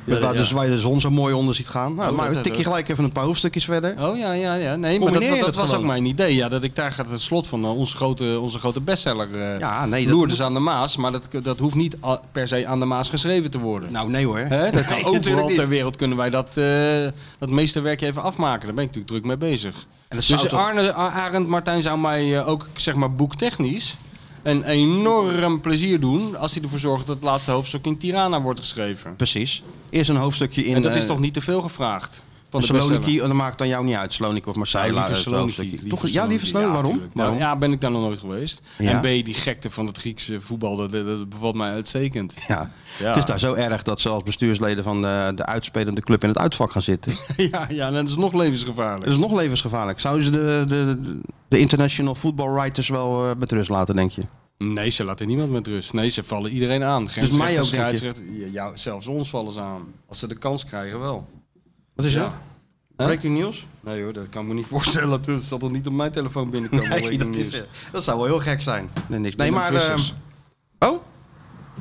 Speaker 3: Ja,
Speaker 2: Met waar-
Speaker 3: ja.
Speaker 2: Dus waar je de zon zo mooi onder ziet gaan. Nou,
Speaker 3: Oh,
Speaker 2: maar
Speaker 3: dat
Speaker 2: tik je
Speaker 3: hebben
Speaker 2: gelijk even een paar hoofdstukjes verder.
Speaker 3: Oh ja, ja, ja. Nee, maar dat,
Speaker 2: Combineer
Speaker 3: dat,
Speaker 2: je
Speaker 3: dat
Speaker 2: dat
Speaker 3: was ook
Speaker 2: gewoon?
Speaker 3: mijn idee. Ja, dat ik daar gaat het slot van eh, onze grote, onze grote bestseller. eh
Speaker 2: Ja, nee. dat
Speaker 3: Loerders
Speaker 2: moet-
Speaker 3: aan de Maas. Maar dat, dat hoeft niet al- per se aan de Maas geschreven te worden.
Speaker 2: Nou, nee hoor.
Speaker 3: Hè? Dat kan
Speaker 2: Nee, natuurlijk
Speaker 3: overal
Speaker 2: niet.
Speaker 3: ter wereld kunnen wij dat, eh dat meesterwerk even afmaken. Daar ben ik natuurlijk druk mee bezig.
Speaker 2: En dat zou
Speaker 3: Dus
Speaker 2: toch-
Speaker 3: Arne, A- Arend Martijn zou mij eh, ook zeg maar boektechnisch een enorm plezier doen als hij ervoor zorgt dat het laatste hoofdstuk in Tirana wordt geschreven.
Speaker 2: Precies. Eerst een hoofdstukje in...
Speaker 3: En dat is
Speaker 2: eh,
Speaker 3: toch niet te veel gevraagd van de bestseller?
Speaker 2: Saloniki, en dat maakt dan jou niet uit, Saloniki of Marseille.
Speaker 3: Ja,
Speaker 2: laat het
Speaker 3: liever Saloniki.
Speaker 2: hoofdstukje. Toch, ja, liever Saloniki.
Speaker 3: Ja,
Speaker 2: Waarom?
Speaker 3: tuurlijk.
Speaker 2: Waarom?
Speaker 3: Nou, ja, ben ik daar nog nooit geweest.
Speaker 2: Ja.
Speaker 3: En B, die gekte van het Griekse voetbal, dat, dat- dat bevalt mij uitstekend.
Speaker 2: Ja.
Speaker 3: Ja.
Speaker 2: Het is daar zo erg dat ze als bestuursleden van eh, de, de uitspelende club in het uitvak gaan zitten.
Speaker 3: ja, ja, en dat is nog levensgevaarlijk.
Speaker 2: Dat is nog levensgevaarlijk. Zouden ze de, de, de, de international football writers wel eh, met rust laten, denk je?
Speaker 3: Nee, ze laten niemand met rust. Nee, ze vallen iedereen aan. Geen
Speaker 2: Dus mij
Speaker 3: scheidsrechter,
Speaker 2: ook, denk je?
Speaker 3: scheidsrechter. Ja, ja, zelfs ons vallen ze aan. Als ze de kans krijgen, wel.
Speaker 2: Wat is
Speaker 3: Ja.
Speaker 2: dat? Breaking news?
Speaker 3: Nee hoor, dat kan ik me niet voorstellen. Dat zal toch niet op mijn telefoon binnenkomen?
Speaker 2: Nee,
Speaker 3: breaking
Speaker 2: dat, is,
Speaker 3: news.
Speaker 2: eh, dat zou wel heel gek zijn. Nee, niks. nee
Speaker 3: Willem
Speaker 2: maar...
Speaker 3: Vissers,
Speaker 2: eh, oh?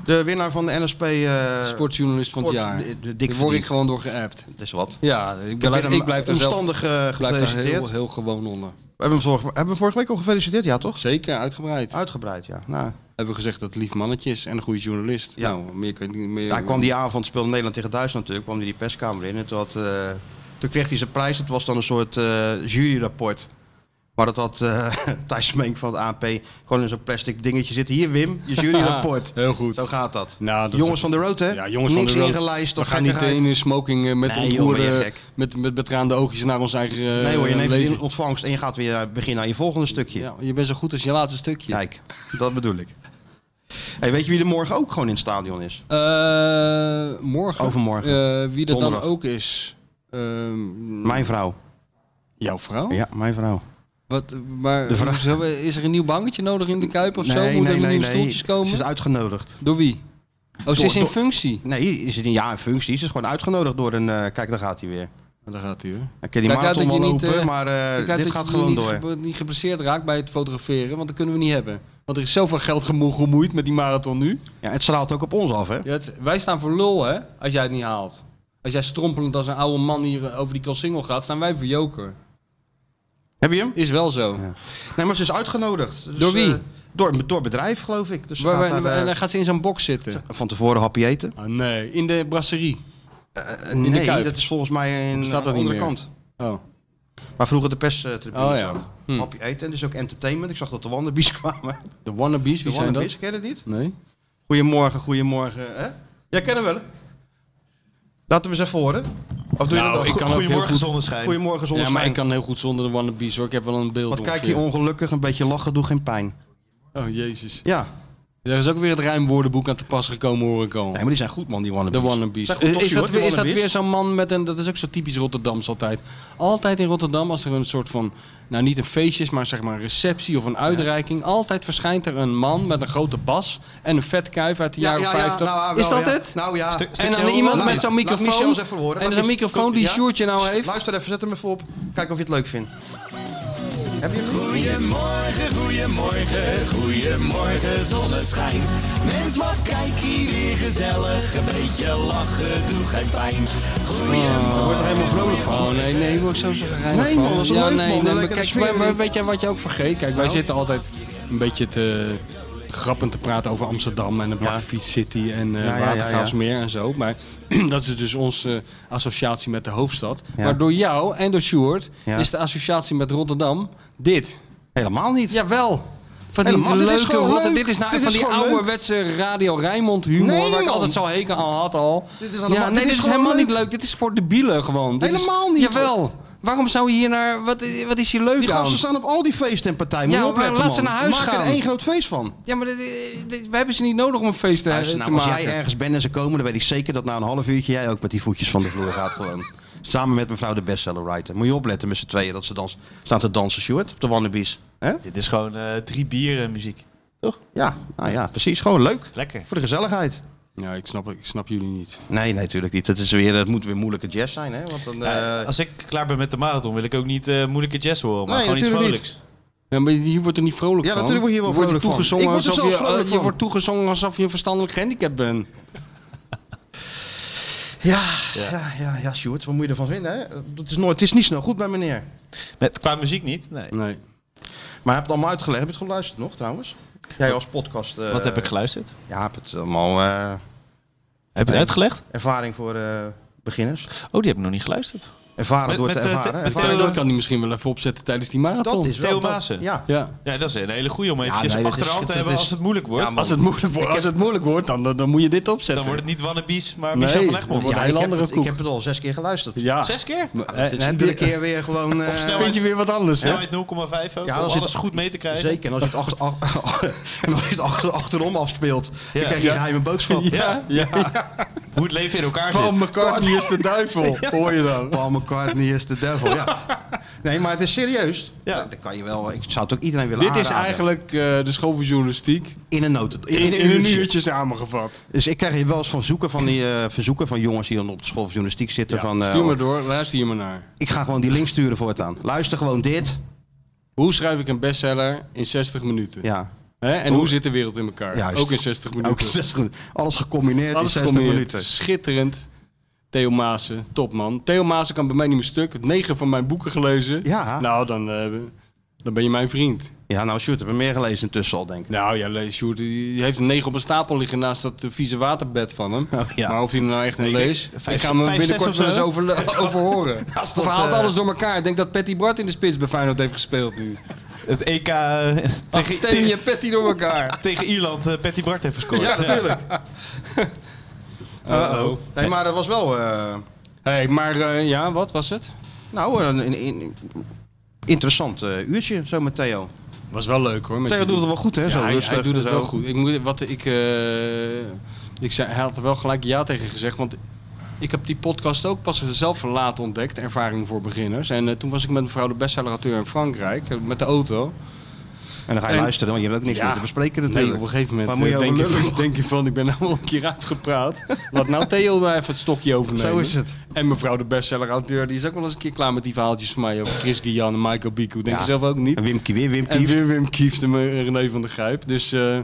Speaker 2: De winnaar van de NSP... eh,
Speaker 3: sportjournalist van het
Speaker 2: sport-
Speaker 3: jaar.
Speaker 2: de- de dik
Speaker 3: Daar word ik
Speaker 2: verdiend.
Speaker 3: gewoon door geappt.
Speaker 2: Dat is wat.
Speaker 3: Ja, ik blijf,
Speaker 2: Willem
Speaker 3: ik blijf er zelf
Speaker 2: omstandig eh,
Speaker 3: ik blijf daar
Speaker 2: gefeliciteerd.
Speaker 3: heel, heel gewoon onder.
Speaker 2: We hebben hem, vorige, hebben we hem vorige week al gefeliciteerd, ja toch?
Speaker 3: Zeker, uitgebreid.
Speaker 2: Uitgebreid, ja. Nou,
Speaker 3: hebben we gezegd dat het lief mannetje is en een goede journalist.
Speaker 2: Ja.
Speaker 3: Nou, meer kan ik niet meer.
Speaker 2: Hij kwam die avond, speelde Nederland tegen Duitsland natuurlijk, kwam hij die perskamer in. En toen, had, eh, toen kreeg hij zijn prijs, het was dan een soort eh, juryrapport. Maar dat had eh Thijs Menk van het AP gewoon in zo'n plastic dingetje zitten. Hier Wim, je juryrapport.
Speaker 3: Ah, Heel goed.
Speaker 2: Zo gaat dat.
Speaker 3: Nou, dat
Speaker 2: jongens
Speaker 3: is-
Speaker 2: van de road hè?
Speaker 3: Ja, jongens
Speaker 2: Niks
Speaker 3: van de road.
Speaker 2: ingelijst
Speaker 3: We
Speaker 2: of
Speaker 3: gaan niet eh,
Speaker 2: gekkigheid.
Speaker 3: in een smoking eh, met
Speaker 2: Nee, joh,
Speaker 3: ontvoerde,
Speaker 2: ben je gek.
Speaker 3: met, met betraande oogjes naar ons eigen eh,
Speaker 2: Nee hoor, je neemt het
Speaker 3: leven.
Speaker 2: in ontvangst en je gaat weer eh, beginnen aan je volgende stukje.
Speaker 3: Ja, je bent zo goed als je laatste stukje.
Speaker 2: Kijk, dat bedoel ik. Hey, weet je wie er morgen ook gewoon in het stadion is?
Speaker 3: Eh, morgen.
Speaker 2: Overmorgen.
Speaker 3: Eh, wie dat dan
Speaker 2: Donderdag.
Speaker 3: ook is. Ehm,
Speaker 2: Mijn vrouw.
Speaker 3: jouw vrouw?
Speaker 2: Ja, mijn vrouw.
Speaker 3: Wat, eh, maar,
Speaker 2: De vrouw.
Speaker 3: hoezo, eh, Is er een nieuw banketje nodig in de Kuip of zo? Moeten er nieuwe stoeltjes komen?
Speaker 2: Ze is uitgenodigd.
Speaker 3: Door wie? Oh, ze
Speaker 2: Door-
Speaker 3: is in
Speaker 2: door-
Speaker 3: functie.
Speaker 2: Nee, is het een ja in functie. Ze is gewoon uitgenodigd door een. eh, kijk, daar gaat hij weer.
Speaker 3: Nou, Daar gaat hij hoor.
Speaker 2: Ik ken die
Speaker 3: Kijk uit
Speaker 2: marathon
Speaker 3: dat
Speaker 2: wel
Speaker 3: je niet,
Speaker 2: lopen,
Speaker 3: eh,
Speaker 2: maar eh,
Speaker 3: Kijk uit
Speaker 2: dit
Speaker 3: dat
Speaker 2: gaat
Speaker 3: je
Speaker 2: gewoon
Speaker 3: niet
Speaker 2: door.
Speaker 3: ge- niet geblesseerd raakt bij het fotograferen, want dat kunnen we niet hebben. Want er is zoveel geld gemo- gemoeid met die marathon nu.
Speaker 2: Ja, het straalt ook op ons af, hè?
Speaker 3: Ja, het- wij staan voor lul, hè, als jij het niet haalt. Als jij strompelend als een oude man hier eh, over die Kalsingel gaat, staan wij voor joker.
Speaker 2: Heb je hem?
Speaker 3: Is wel zo.
Speaker 2: Ja. Nee, maar ze is uitgenodigd. Dus,
Speaker 3: Door wie?
Speaker 2: eh, door, door bedrijf, geloof ik. Dus ze
Speaker 3: Waar- waar-
Speaker 2: gaat daar, eh,
Speaker 3: en dan gaat ze in zo'n box zitten.
Speaker 2: van tevoren happy eten.
Speaker 3: Ah, nee, in de brasserie.
Speaker 2: Eh,
Speaker 3: de
Speaker 2: nee,
Speaker 3: Kuip.
Speaker 2: dat is volgens mij een
Speaker 3: Bestaat
Speaker 2: aan de
Speaker 3: dat niet
Speaker 2: andere
Speaker 3: meer?
Speaker 2: kant.
Speaker 3: Oh.
Speaker 2: Maar vroeger de perstribune.
Speaker 3: Oh,
Speaker 2: Oh,
Speaker 3: ja. Hm.
Speaker 2: Hapje eten en dus ook entertainment. Ik zag dat de wannabies kwamen.
Speaker 3: De wannabes,
Speaker 2: De
Speaker 3: wie zijn
Speaker 2: wannabies,
Speaker 3: dat?
Speaker 2: ken je dat niet?
Speaker 3: Nee.
Speaker 2: Goedemorgen, goedemorgen. Hè? Jij kent hem wel? hè? Laat hem eens even horen. Of doe je dat
Speaker 4: Nou,
Speaker 2: al?
Speaker 4: ik kan ook heel
Speaker 2: Goedemorgen,
Speaker 4: goed zonneschijn.
Speaker 2: Goedemorgen,
Speaker 3: Ja,
Speaker 2: zonneschijn.
Speaker 3: maar ik kan heel goed zonder de wannabes hoor. Ik heb wel een beeld
Speaker 2: Wat kijk je
Speaker 3: ongeveer.
Speaker 2: ongelukkig, een beetje lachen, doe geen pijn.
Speaker 3: Oh, jezus.
Speaker 2: Ja,
Speaker 3: Er is ook weer het rijmwoordenboek aan te pas gekomen, hoor ik al.
Speaker 2: nee, maar die zijn goed man, die
Speaker 3: De
Speaker 2: wannabes.
Speaker 3: wannabes.
Speaker 2: Zijn goed
Speaker 3: Eh, is,
Speaker 2: topsie,
Speaker 3: dat,
Speaker 2: hoor, die
Speaker 3: weer- is dat
Speaker 2: wannabes.
Speaker 3: weer zo'n man met een... Dat is ook zo typisch Rotterdams altijd. Altijd in Rotterdam, als er een soort van... Nou, niet een feestje is, maar zeg maar een receptie of een uitreiking. Altijd verschijnt er een man met een grote bas en een vet kuif uit de jaren 50.
Speaker 2: nou, wel,
Speaker 3: is dat
Speaker 2: ja.
Speaker 3: het?
Speaker 2: Nou ja.
Speaker 4: Stuk-
Speaker 3: en
Speaker 4: stukje
Speaker 3: dan
Speaker 4: heel-
Speaker 3: iemand
Speaker 2: Laat-
Speaker 3: met zo'n
Speaker 2: laat Michel
Speaker 3: microfoon.
Speaker 2: eens even horen.
Speaker 3: En
Speaker 2: Laat
Speaker 3: zo'n
Speaker 2: Michel-
Speaker 3: microfoon die
Speaker 2: Ja?
Speaker 3: Sjoertje nou
Speaker 2: Sst,
Speaker 3: heeft.
Speaker 2: Luister even, zet hem even op. Kijk of je het leuk vindt. Heb je hem?
Speaker 7: Goedemorgen, goedemorgen, goedemorgen zonneschijn. Mens, wat kijk hier weer gezellig. Een beetje lachen, doe geen pijn. Goedemorgen.
Speaker 2: Wordt er helemaal vrolijk van.
Speaker 3: Oh nee, nee, word ik zo zo gereinigd
Speaker 2: Nee,
Speaker 3: van.
Speaker 2: man, dat is
Speaker 3: ja,
Speaker 2: leuk,
Speaker 3: nee,
Speaker 2: man.
Speaker 3: nee,
Speaker 2: Dan
Speaker 3: maar,
Speaker 2: lekker
Speaker 3: kijk,
Speaker 2: de sfeer Nou?
Speaker 3: maar- maar
Speaker 2: in.
Speaker 3: weet je wat je ook vergeet? Kijk, wij zitten altijd een beetje te grappend te praten over Amsterdam en een pak fiets City en eh
Speaker 2: ja, ja, ja.
Speaker 3: Watergraafsmeer en zo. Maar dat is dus onze associatie met de hoofdstad.
Speaker 2: Ja.
Speaker 3: Maar door jou en door Sjoerd
Speaker 2: Ja.
Speaker 3: is de associatie met Rotterdam dit.
Speaker 2: Helemaal niet.
Speaker 3: Jawel. Van die
Speaker 2: Helemaal, dit is
Speaker 3: leuke
Speaker 2: gewoon
Speaker 3: rotte.
Speaker 2: leuk.
Speaker 3: Dit is nou
Speaker 2: Dit
Speaker 3: van
Speaker 2: is
Speaker 3: die
Speaker 2: gewoon leuk.
Speaker 3: ouderwetse Radio Rijnmond humor.
Speaker 2: Nee,
Speaker 3: waar ik
Speaker 2: man.
Speaker 3: altijd zo'n hekel aan had al.
Speaker 2: Dit is allemaal-
Speaker 3: ja,
Speaker 2: dit
Speaker 3: nee, dit
Speaker 2: is
Speaker 3: is,
Speaker 2: gewoon
Speaker 3: helemaal
Speaker 2: leuk.
Speaker 3: niet leuk. Dit is voor debielen gewoon. Dit is-
Speaker 2: Helemaal niet,
Speaker 3: Jawel. Waarom zou je hier naar... Wat, wat is hier leuk
Speaker 2: Die
Speaker 3: aan?
Speaker 2: gasten staan op al die feesten en partijen. Moet
Speaker 3: Ja,
Speaker 2: je
Speaker 3: maar
Speaker 2: opletten,
Speaker 3: laat ze
Speaker 2: man.
Speaker 3: naar huis
Speaker 2: Maak
Speaker 3: gaan.
Speaker 2: er één groot feest van.
Speaker 3: Ja, maar dit- dit- dit- we hebben ze niet nodig om een feest te,
Speaker 2: Luister,
Speaker 3: te
Speaker 2: nou, als
Speaker 3: maken.
Speaker 2: jij ergens bent en ze komen, dan weet ik zeker dat na een half uurtje jij ook met die voetjes van de vloer gaat gewoon. Samen met mevrouw de bestseller writer. Moet je opletten met z'n tweeën dat ze dan staan te dansen, Sjoerd, op de wannabies. hè?
Speaker 4: Dit is gewoon eh, drie bieren muziek.
Speaker 2: Ja, nou ja, precies. Gewoon leuk.
Speaker 4: Lekker.
Speaker 2: Voor de gezelligheid.
Speaker 3: Ja, ik snap, ik snap jullie niet.
Speaker 2: Nee, nee, natuurlijk niet. Het, is weer, het moet weer moeilijke jazz zijn, hè? Want dan,
Speaker 4: Ja,
Speaker 2: eh,
Speaker 4: als ik klaar ben met de marathon, wil ik ook niet eh, moeilijke jazz horen, maar
Speaker 2: Nee,
Speaker 4: gewoon iets
Speaker 2: natuurlijk
Speaker 4: vrolijks.
Speaker 3: Ja, maar hier wordt er niet vrolijk
Speaker 2: Ja,
Speaker 3: van.
Speaker 2: natuurlijk word je hier wel
Speaker 3: Wordt
Speaker 2: vrolijk van.
Speaker 3: toegezongen
Speaker 2: Ik word er
Speaker 3: alsof
Speaker 2: zelfs
Speaker 3: je, eh,
Speaker 2: vrolijk
Speaker 3: je
Speaker 2: van.
Speaker 3: wordt toegezongen alsof je een verstandelijk handicap bent.
Speaker 2: ja, ja. Ja, ja, Sjoerd, wat moet je ervan vinden, hè? Het is, nooit, het is niet snel goed bij meneer.
Speaker 4: Met, qua muziek niet, nee.
Speaker 3: Nee.
Speaker 2: Maar heb het allemaal uitgelegd? Heb je het geluisterd nog, trouwens? Jij als podcast... eh,
Speaker 4: Wat heb ik geluisterd?
Speaker 2: Ja, heb het allemaal eh,
Speaker 4: Heb je het uitgelegd?
Speaker 2: ervaring voor eh, beginners.
Speaker 4: Oh, die heb ik nog niet geluisterd.
Speaker 2: Ervaren
Speaker 4: Met-
Speaker 2: door
Speaker 4: met,
Speaker 2: te
Speaker 4: eh, te-
Speaker 2: ervaren.
Speaker 4: met
Speaker 2: Ervaren
Speaker 4: Theo-
Speaker 2: door-
Speaker 3: Dat kan hij misschien wel even opzetten tijdens die marathon.
Speaker 2: dat is wel
Speaker 4: Theo
Speaker 2: dat-
Speaker 4: Maassen.
Speaker 2: Ja.
Speaker 3: Ja.
Speaker 4: Ja, dat is een hele goede om eventjes
Speaker 2: nee, dat is-
Speaker 4: achterhand te
Speaker 2: dat
Speaker 4: hebben
Speaker 2: is-
Speaker 4: als het moeilijk wordt.
Speaker 2: Ja, man.
Speaker 3: Als het moeilijk, wordt, als het moeilijk wordt, dan, dan, dan moet je dit
Speaker 4: dan
Speaker 3: opzetten.
Speaker 4: wordt het niet wannabies, maar
Speaker 3: Nee,
Speaker 4: Michel van
Speaker 3: dan
Speaker 4: Egmond.
Speaker 3: wordt
Speaker 2: Ja,
Speaker 3: een
Speaker 2: ik, heb
Speaker 3: heel andere
Speaker 2: het, ik
Speaker 3: koek.
Speaker 2: heb het al zes keer geluisterd.
Speaker 3: Ja.
Speaker 4: Zes keer?
Speaker 3: Maar,
Speaker 2: Nou, Het is
Speaker 3: eh,
Speaker 2: iedere
Speaker 3: die-
Speaker 2: keer weer gewoon... eh,
Speaker 4: snelheid.
Speaker 3: Vind je weer wat anders, hè?
Speaker 4: Snelheid 0,5 ook,
Speaker 2: Ja,
Speaker 4: om
Speaker 2: dan zit-
Speaker 4: alles goed mee te krijgen.
Speaker 2: Zeker, en als je het, achter, ach- en als je het achter- achterom afspeelt, dan
Speaker 4: Ja.
Speaker 2: krijg je
Speaker 4: Ja.
Speaker 2: een geheime boodschap.
Speaker 4: Ja,
Speaker 3: Ja,
Speaker 4: hoe het leven in elkaar zit.
Speaker 3: Paul Oh, McCartney is de duivel, hoor je dan.
Speaker 2: Paul McCartney is de devil, ja. Nee, maar het is serieus.
Speaker 4: Ja.
Speaker 2: Dat kan je wel, ik zou het ook iedereen willen
Speaker 3: Dit is
Speaker 2: aanraden.
Speaker 3: eigenlijk eh, de school van journalistiek
Speaker 2: In een noten.
Speaker 3: in,
Speaker 2: een
Speaker 3: in een
Speaker 2: uurtje.
Speaker 3: uurtje samengevat.
Speaker 2: Dus ik krijg hier wel eens van zoeken van die eh, verzoeken van jongens die dan op de school van journalistiek zitten.
Speaker 3: Ja,
Speaker 2: van, eh,
Speaker 3: stuur maar door, luister hier maar naar.
Speaker 2: Ik ga gewoon die link sturen voortaan. Luister gewoon dit.
Speaker 3: Hoe schrijf ik een bestseller in 60 minuten?
Speaker 2: Ja,
Speaker 3: Hè? En hoe zit de wereld in elkaar?
Speaker 2: Juist.
Speaker 3: Ook in 60 minuten.
Speaker 2: ook 60 minuten. Alles gecombineerd
Speaker 3: Alles
Speaker 2: in 60
Speaker 3: gecombineerd.
Speaker 2: minuten.
Speaker 3: Schitterend. Theo Maassen, topman. Theo Maassen kan bij mij niet meer stuk. Het negen van mijn boeken gelezen.
Speaker 2: Ja.
Speaker 3: Nou, dan, eh, dan ben je mijn vriend.
Speaker 2: Ja, nou Sjoerd, hebben we meer gelezen intussen al, denk ik.
Speaker 3: Nou ja, Le- Sjoerd die heeft een negen op een stapel liggen naast dat eh, vieze waterbed van hem.
Speaker 2: ja.
Speaker 3: Maar of hij er nou echt een
Speaker 4: Oh, denk
Speaker 3: leest, ik
Speaker 4: vijf-
Speaker 3: ga hem
Speaker 4: vijf,
Speaker 3: binnenkort
Speaker 4: zes of
Speaker 3: wel eens
Speaker 4: zo.
Speaker 3: over, overhoren.
Speaker 2: Als dat,
Speaker 3: Of hij haalt
Speaker 2: eh,
Speaker 3: alles door elkaar. Ik denk dat Patty Bart in de spits bij Feyenoord heeft gespeeld nu.
Speaker 4: Het EK eh,
Speaker 3: Tegen,
Speaker 4: tegen, tegen,
Speaker 3: je Patty door elkaar.
Speaker 4: tegen Ierland, eh, Patty Bart heeft gescoord.
Speaker 2: Ja, natuurlijk.
Speaker 3: Uh-oh.
Speaker 2: Nee, maar dat was wel... eh,
Speaker 3: hey, maar eh, ja, wat was het?
Speaker 2: nou, een, een- een- interessant eh, uurtje zo met Theo.
Speaker 3: Was wel leuk hoor. Met
Speaker 2: Theo doet
Speaker 3: jullie.
Speaker 2: het wel goed, hè?
Speaker 3: Ja,
Speaker 2: zo
Speaker 3: hij,
Speaker 2: rustig
Speaker 3: hij doet
Speaker 2: en
Speaker 3: het
Speaker 2: zo.
Speaker 3: wel goed. Ik, moet, wat, ik, eh, ik zei, hij had er wel gelijk ja tegen gezegd. Want ik heb die podcast ook pas zelf laat ontdekt. Ervaring voor beginners. En eh, toen was ik met mevrouw de bestsellerauteur in Frankrijk. eh, met de auto.
Speaker 2: En dan ga je
Speaker 3: En-
Speaker 2: luisteren, want je hebt ook niks
Speaker 3: Ja.
Speaker 2: meer te bespreken
Speaker 3: Nee,
Speaker 2: natuurlijk.
Speaker 3: op een gegeven
Speaker 2: Waar
Speaker 3: moment
Speaker 2: moet
Speaker 3: eh,
Speaker 2: je
Speaker 3: denk,
Speaker 2: over
Speaker 3: je,
Speaker 2: lullen?
Speaker 3: denk je van... ik ben nou al een keer uitgepraat. Laat nou Theo maar even het stokje overnemen.
Speaker 2: Zo is het.
Speaker 3: En mevrouw de bestsellerauteur die is ook wel eens een keer klaar met die verhaaltjes van mij. Over Chris Guyan en Michael Biku. Denk
Speaker 2: Ja.
Speaker 3: je zelf ook niet?
Speaker 2: En Wimkie weer, Wim
Speaker 3: En
Speaker 2: Kieft.
Speaker 3: weer Wim Kieft en eh, René van der Grijp. Dus eh,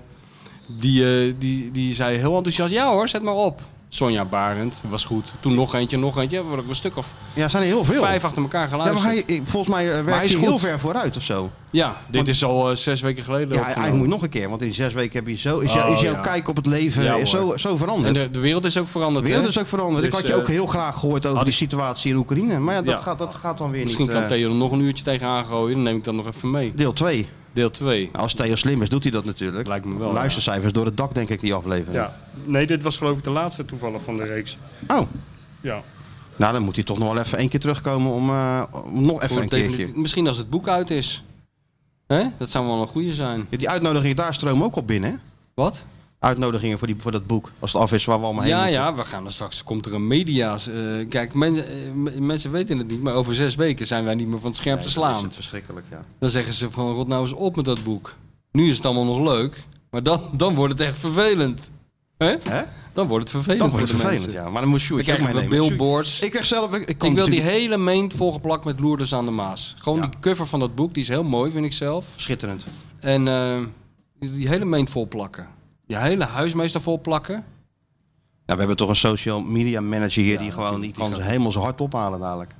Speaker 3: die, eh, die, die zei heel enthousiast, ja hoor, zet maar op. Sonja Barend was goed. Toen nog eentje, nog eentje. We hebben er een stuk of
Speaker 2: Ja, er zijn er heel veel.
Speaker 3: vijf achter elkaar
Speaker 2: ja, maar
Speaker 3: geluisterd.
Speaker 2: hij, ik- volgens mij eh, werkt
Speaker 3: hij
Speaker 2: hij,
Speaker 3: is
Speaker 2: heel
Speaker 3: goed.
Speaker 2: ver vooruit of zo.
Speaker 3: Ja, dit
Speaker 2: Want-
Speaker 3: is al eh, zes weken geleden.
Speaker 2: Ja,
Speaker 3: opgenomen.
Speaker 2: eigenlijk moet je nog een keer, want in zes weken heb je zo, is, jou-
Speaker 3: nou. Oh,
Speaker 2: is jouw
Speaker 3: ja.
Speaker 2: kijk op het leven
Speaker 3: Ja,
Speaker 2: is zo,
Speaker 3: hoor.
Speaker 2: zo
Speaker 3: En
Speaker 2: veranderd.
Speaker 3: de, de wereld is ook veranderd.
Speaker 2: de wereld
Speaker 3: hè?
Speaker 2: is ook veranderd. ik
Speaker 3: Dus,
Speaker 2: had je
Speaker 3: eh,
Speaker 2: ook heel graag gehoord over die situatie in Oekraïne. Maar ja, dat,
Speaker 3: Ja.
Speaker 2: gaat, dat gaat dan weer
Speaker 3: Misschien
Speaker 2: niet.
Speaker 3: kan
Speaker 2: eh,
Speaker 3: Theo er nog een uurtje tegenaan gooien. Dan neem ik dat nog even mee.
Speaker 2: Deel 2.
Speaker 3: Deel 2.
Speaker 2: Als Theo slim is, doet hij dat natuurlijk.
Speaker 3: Lijkt me wel,
Speaker 2: Luistercijfers door het dak, denk ik, die aflevering.
Speaker 8: Ja. Nee, dit was geloof ik de laatste toevallig van de reeks.
Speaker 2: Oh,
Speaker 8: Ja.
Speaker 2: nou dan moet hij toch nog wel even één keer terugkomen om, eh, om nog even
Speaker 3: Voor
Speaker 2: een
Speaker 3: definitief-
Speaker 2: keertje.
Speaker 3: Misschien als het boek uit is. Hè? Dat zou wel een goede zijn.
Speaker 2: Ja, die uitnodigingen daar stromen ook op binnen. hè?
Speaker 3: Wat?
Speaker 2: Uitnodigingen voor, die, voor dat boek. Als het af is waar we allemaal heen
Speaker 3: Ja,
Speaker 2: moeten.
Speaker 3: ja, we gaan er straks. Komt er een media's. eh, kijk, men- eh, m- mensen weten het niet, maar over zes weken zijn wij niet meer van het scherm
Speaker 2: Nee,
Speaker 3: te
Speaker 2: dat is
Speaker 3: slaan.
Speaker 2: het verschrikkelijk, ja.
Speaker 3: Dan zeggen ze van rot nou eens op met dat boek. Nu is het allemaal nog leuk, maar dan, dan wordt het echt vervelend. Hè?
Speaker 2: Hè?
Speaker 3: Dan wordt het vervelend
Speaker 2: Dan
Speaker 3: voor
Speaker 2: wordt
Speaker 3: de
Speaker 2: het vervelend,
Speaker 3: mensen.
Speaker 2: ja. Maar dan moet
Speaker 3: Dan
Speaker 2: Sjoerd ook
Speaker 3: krijgen we
Speaker 2: meenemen.
Speaker 3: billboards.
Speaker 2: Sjoerd- Ik krijg zelf... Ik, ik kan
Speaker 3: Ik wil die
Speaker 2: natuurlijk-
Speaker 3: hele meent volgeplakt met Loerders aan de Maas. Gewoon
Speaker 2: Ja.
Speaker 3: die cover van dat boek, die is heel mooi, vind ik zelf.
Speaker 2: Schitterend.
Speaker 3: En eh, die hele meent volplakken. Je hele huismeester volplakken.
Speaker 2: Ja, we hebben toch een social media manager hier die gewoon die
Speaker 3: natuurlijk,
Speaker 2: kan
Speaker 3: die
Speaker 2: zijn helemaal zijn hart ophalen dadelijk.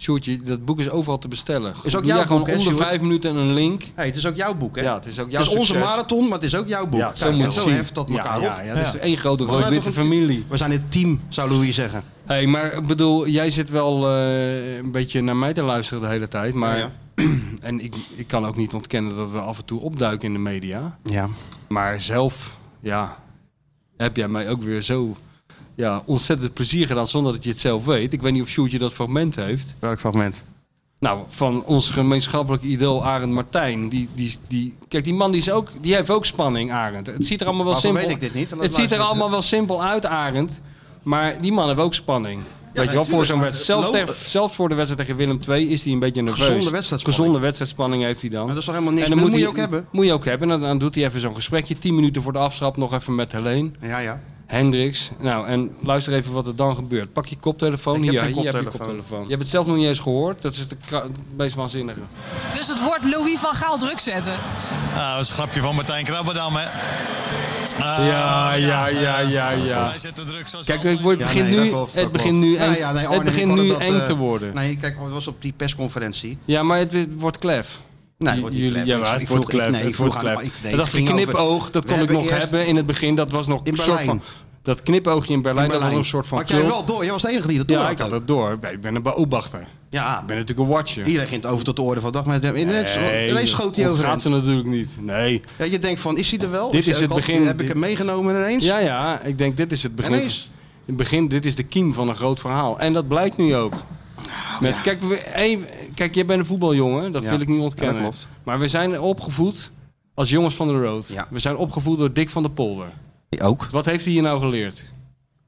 Speaker 3: Sjoerdje, dat boek is overal te bestellen.
Speaker 2: Is ook
Speaker 3: Doe
Speaker 2: jouw
Speaker 3: jij gewoon
Speaker 2: boek, hè,
Speaker 3: onder
Speaker 2: Sjoerd?
Speaker 3: vijf minuten een link.
Speaker 2: Hey, het is ook jouw boek, hè?
Speaker 3: Ja, het is ook jouw
Speaker 2: het is onze
Speaker 3: succes.
Speaker 2: marathon, maar het is ook jouw boek.
Speaker 8: Ja,
Speaker 2: Kijk,
Speaker 8: zo
Speaker 2: en
Speaker 3: moet
Speaker 2: zo
Speaker 3: het zien.
Speaker 2: heft dat
Speaker 3: Ja,
Speaker 2: elkaar
Speaker 3: ja,
Speaker 2: op.
Speaker 3: Ja, dat is één grote
Speaker 2: Maar we zijn
Speaker 3: rood-witte
Speaker 2: toch een-
Speaker 3: familie.
Speaker 2: We zijn het team, zou Louis zeggen.
Speaker 3: hey, maar ik bedoel, jij zit wel eh, een beetje naar mij te luisteren de hele tijd. Maar,
Speaker 2: Ja,
Speaker 3: En ik, ik kan ook niet ontkennen dat we af en toe opduiken in de media.
Speaker 2: Ja.
Speaker 3: Maar zelf, ja, heb jij mij ook weer zo ja, ontzettend plezier gedaan zonder dat je het zelf weet. Ik weet niet of Sjoerdje dat fragment heeft.
Speaker 2: Welk fragment?
Speaker 3: Nou, van ons gemeenschappelijk idool Arend Martijn. Die, die, die, kijk, die man die is ook, die heeft ook spanning, Arend. Het ziet er allemaal wel
Speaker 2: Waarom
Speaker 3: simpel
Speaker 2: weet ik dit niet?
Speaker 3: Het ziet er allemaal wel simpel uit, Arend. Maar die man heeft ook spanning. Weet je wel,
Speaker 2: natuurlijk,
Speaker 3: voor zo'n
Speaker 2: maar
Speaker 3: wedstrijd. Zelfs,
Speaker 2: logisch.
Speaker 3: tegen- zelfs voor de wedstrijd tegen Willem II is hij een beetje nerveus.
Speaker 2: Gezonde wedstrijdspanning.
Speaker 3: Gezonde wedstrijdspanning heeft hij dan.
Speaker 2: Maar dat is toch helemaal niks?
Speaker 3: En dan
Speaker 2: dat moet je
Speaker 3: hij-
Speaker 2: ook hebben.
Speaker 3: Moet je ook hebben. En dan, dan doet hij even zo'n gesprekje. 10 minuten voor de afschap nog even met Helene.
Speaker 2: Ja, ja.
Speaker 3: Hendricks. Nou, en luister even wat er dan gebeurt. Pak je koptelefoon.
Speaker 2: Ik heb
Speaker 3: hier,
Speaker 2: geen
Speaker 3: hier heb je
Speaker 2: koptelefoon.
Speaker 3: koptelefoon. Je hebt het zelf nog niet eens gehoord. Dat is de kra- het meest waanzinnige.
Speaker 9: Dus het woord Louis van Gaal druk zetten.
Speaker 7: Nou, dat is een grapje van Martijn Krabbedam, hè? Ah,
Speaker 3: Ja, ja, ja, ja, ja.
Speaker 7: Hij zet de druk zoals
Speaker 3: Kijk, het
Speaker 7: altijd.
Speaker 3: wordt-
Speaker 2: Ja,
Speaker 3: begint
Speaker 2: nee, dat
Speaker 3: nu,
Speaker 2: klopt, dat
Speaker 3: het begint
Speaker 2: klopt.
Speaker 3: nu
Speaker 2: Ja,
Speaker 3: eng,
Speaker 2: ja, nee,
Speaker 3: het
Speaker 2: Arne,
Speaker 3: begint
Speaker 2: ik kon
Speaker 3: nu
Speaker 2: dat,
Speaker 3: eng
Speaker 2: eh,
Speaker 3: te worden.
Speaker 2: Nee, kijk, het was op die persconferentie.
Speaker 3: Ja, maar het, het wordt klef.
Speaker 2: Nee,
Speaker 3: J-
Speaker 2: wordt niet
Speaker 3: jullie-
Speaker 2: klef.
Speaker 3: ja,
Speaker 2: Ik
Speaker 3: maar het
Speaker 2: vroeg-
Speaker 3: wordt
Speaker 2: ik-
Speaker 3: klef,
Speaker 2: nee, ik
Speaker 3: het
Speaker 2: vroeg
Speaker 3: wordt
Speaker 2: aan-
Speaker 3: klef.
Speaker 2: ik- nee,
Speaker 3: dat
Speaker 2: het
Speaker 3: je
Speaker 2: ging over-
Speaker 3: knipoog, dat
Speaker 2: We
Speaker 3: kon ik
Speaker 2: hebben
Speaker 3: nog
Speaker 2: eerst-
Speaker 3: hebben in het begin. Dat was nog
Speaker 2: In
Speaker 3: een soort
Speaker 2: Berlijn.
Speaker 3: van... Dat knipoogje in Berlijn, dat was
Speaker 2: Berlijn.
Speaker 3: een soort van
Speaker 2: Had jij
Speaker 3: cult.
Speaker 2: wel door? Jij was de enige die dat door
Speaker 3: Ja,
Speaker 2: had
Speaker 3: ik had
Speaker 2: ook.
Speaker 3: dat door. Ik ben een beobachter.
Speaker 2: Ja,
Speaker 3: Ik ben natuurlijk een watcher.
Speaker 2: iedereen ging het over tot de orde van de dag. Maar het- ineens, ineens schoot hij over.
Speaker 3: gaat ze natuurlijk niet. Nee.
Speaker 2: Ja, je denkt van, is hij er wel?
Speaker 3: Dit
Speaker 2: hij
Speaker 3: is
Speaker 2: ook
Speaker 3: het
Speaker 2: al-
Speaker 3: begin.
Speaker 2: Heb ik hem meegenomen ineens?
Speaker 3: Ja, ja, ik denk dit is het begin.
Speaker 2: Ineens.
Speaker 3: Het begin, dit is de kiem van een groot verhaal. En dat blijkt nu ook. Met, kijk, we, even, kijk, jij bent een voetbaljongen, dat
Speaker 2: Nou, Ja,
Speaker 3: wil ik niet
Speaker 2: ja, dat
Speaker 3: ontkennen.
Speaker 2: klopt.
Speaker 3: Maar we zijn opgevoed als jongens van de road.
Speaker 2: Ja.
Speaker 3: We zijn opgevoed door Dick van der Polder.
Speaker 2: Ook.
Speaker 3: Wat heeft hij hier nou geleerd?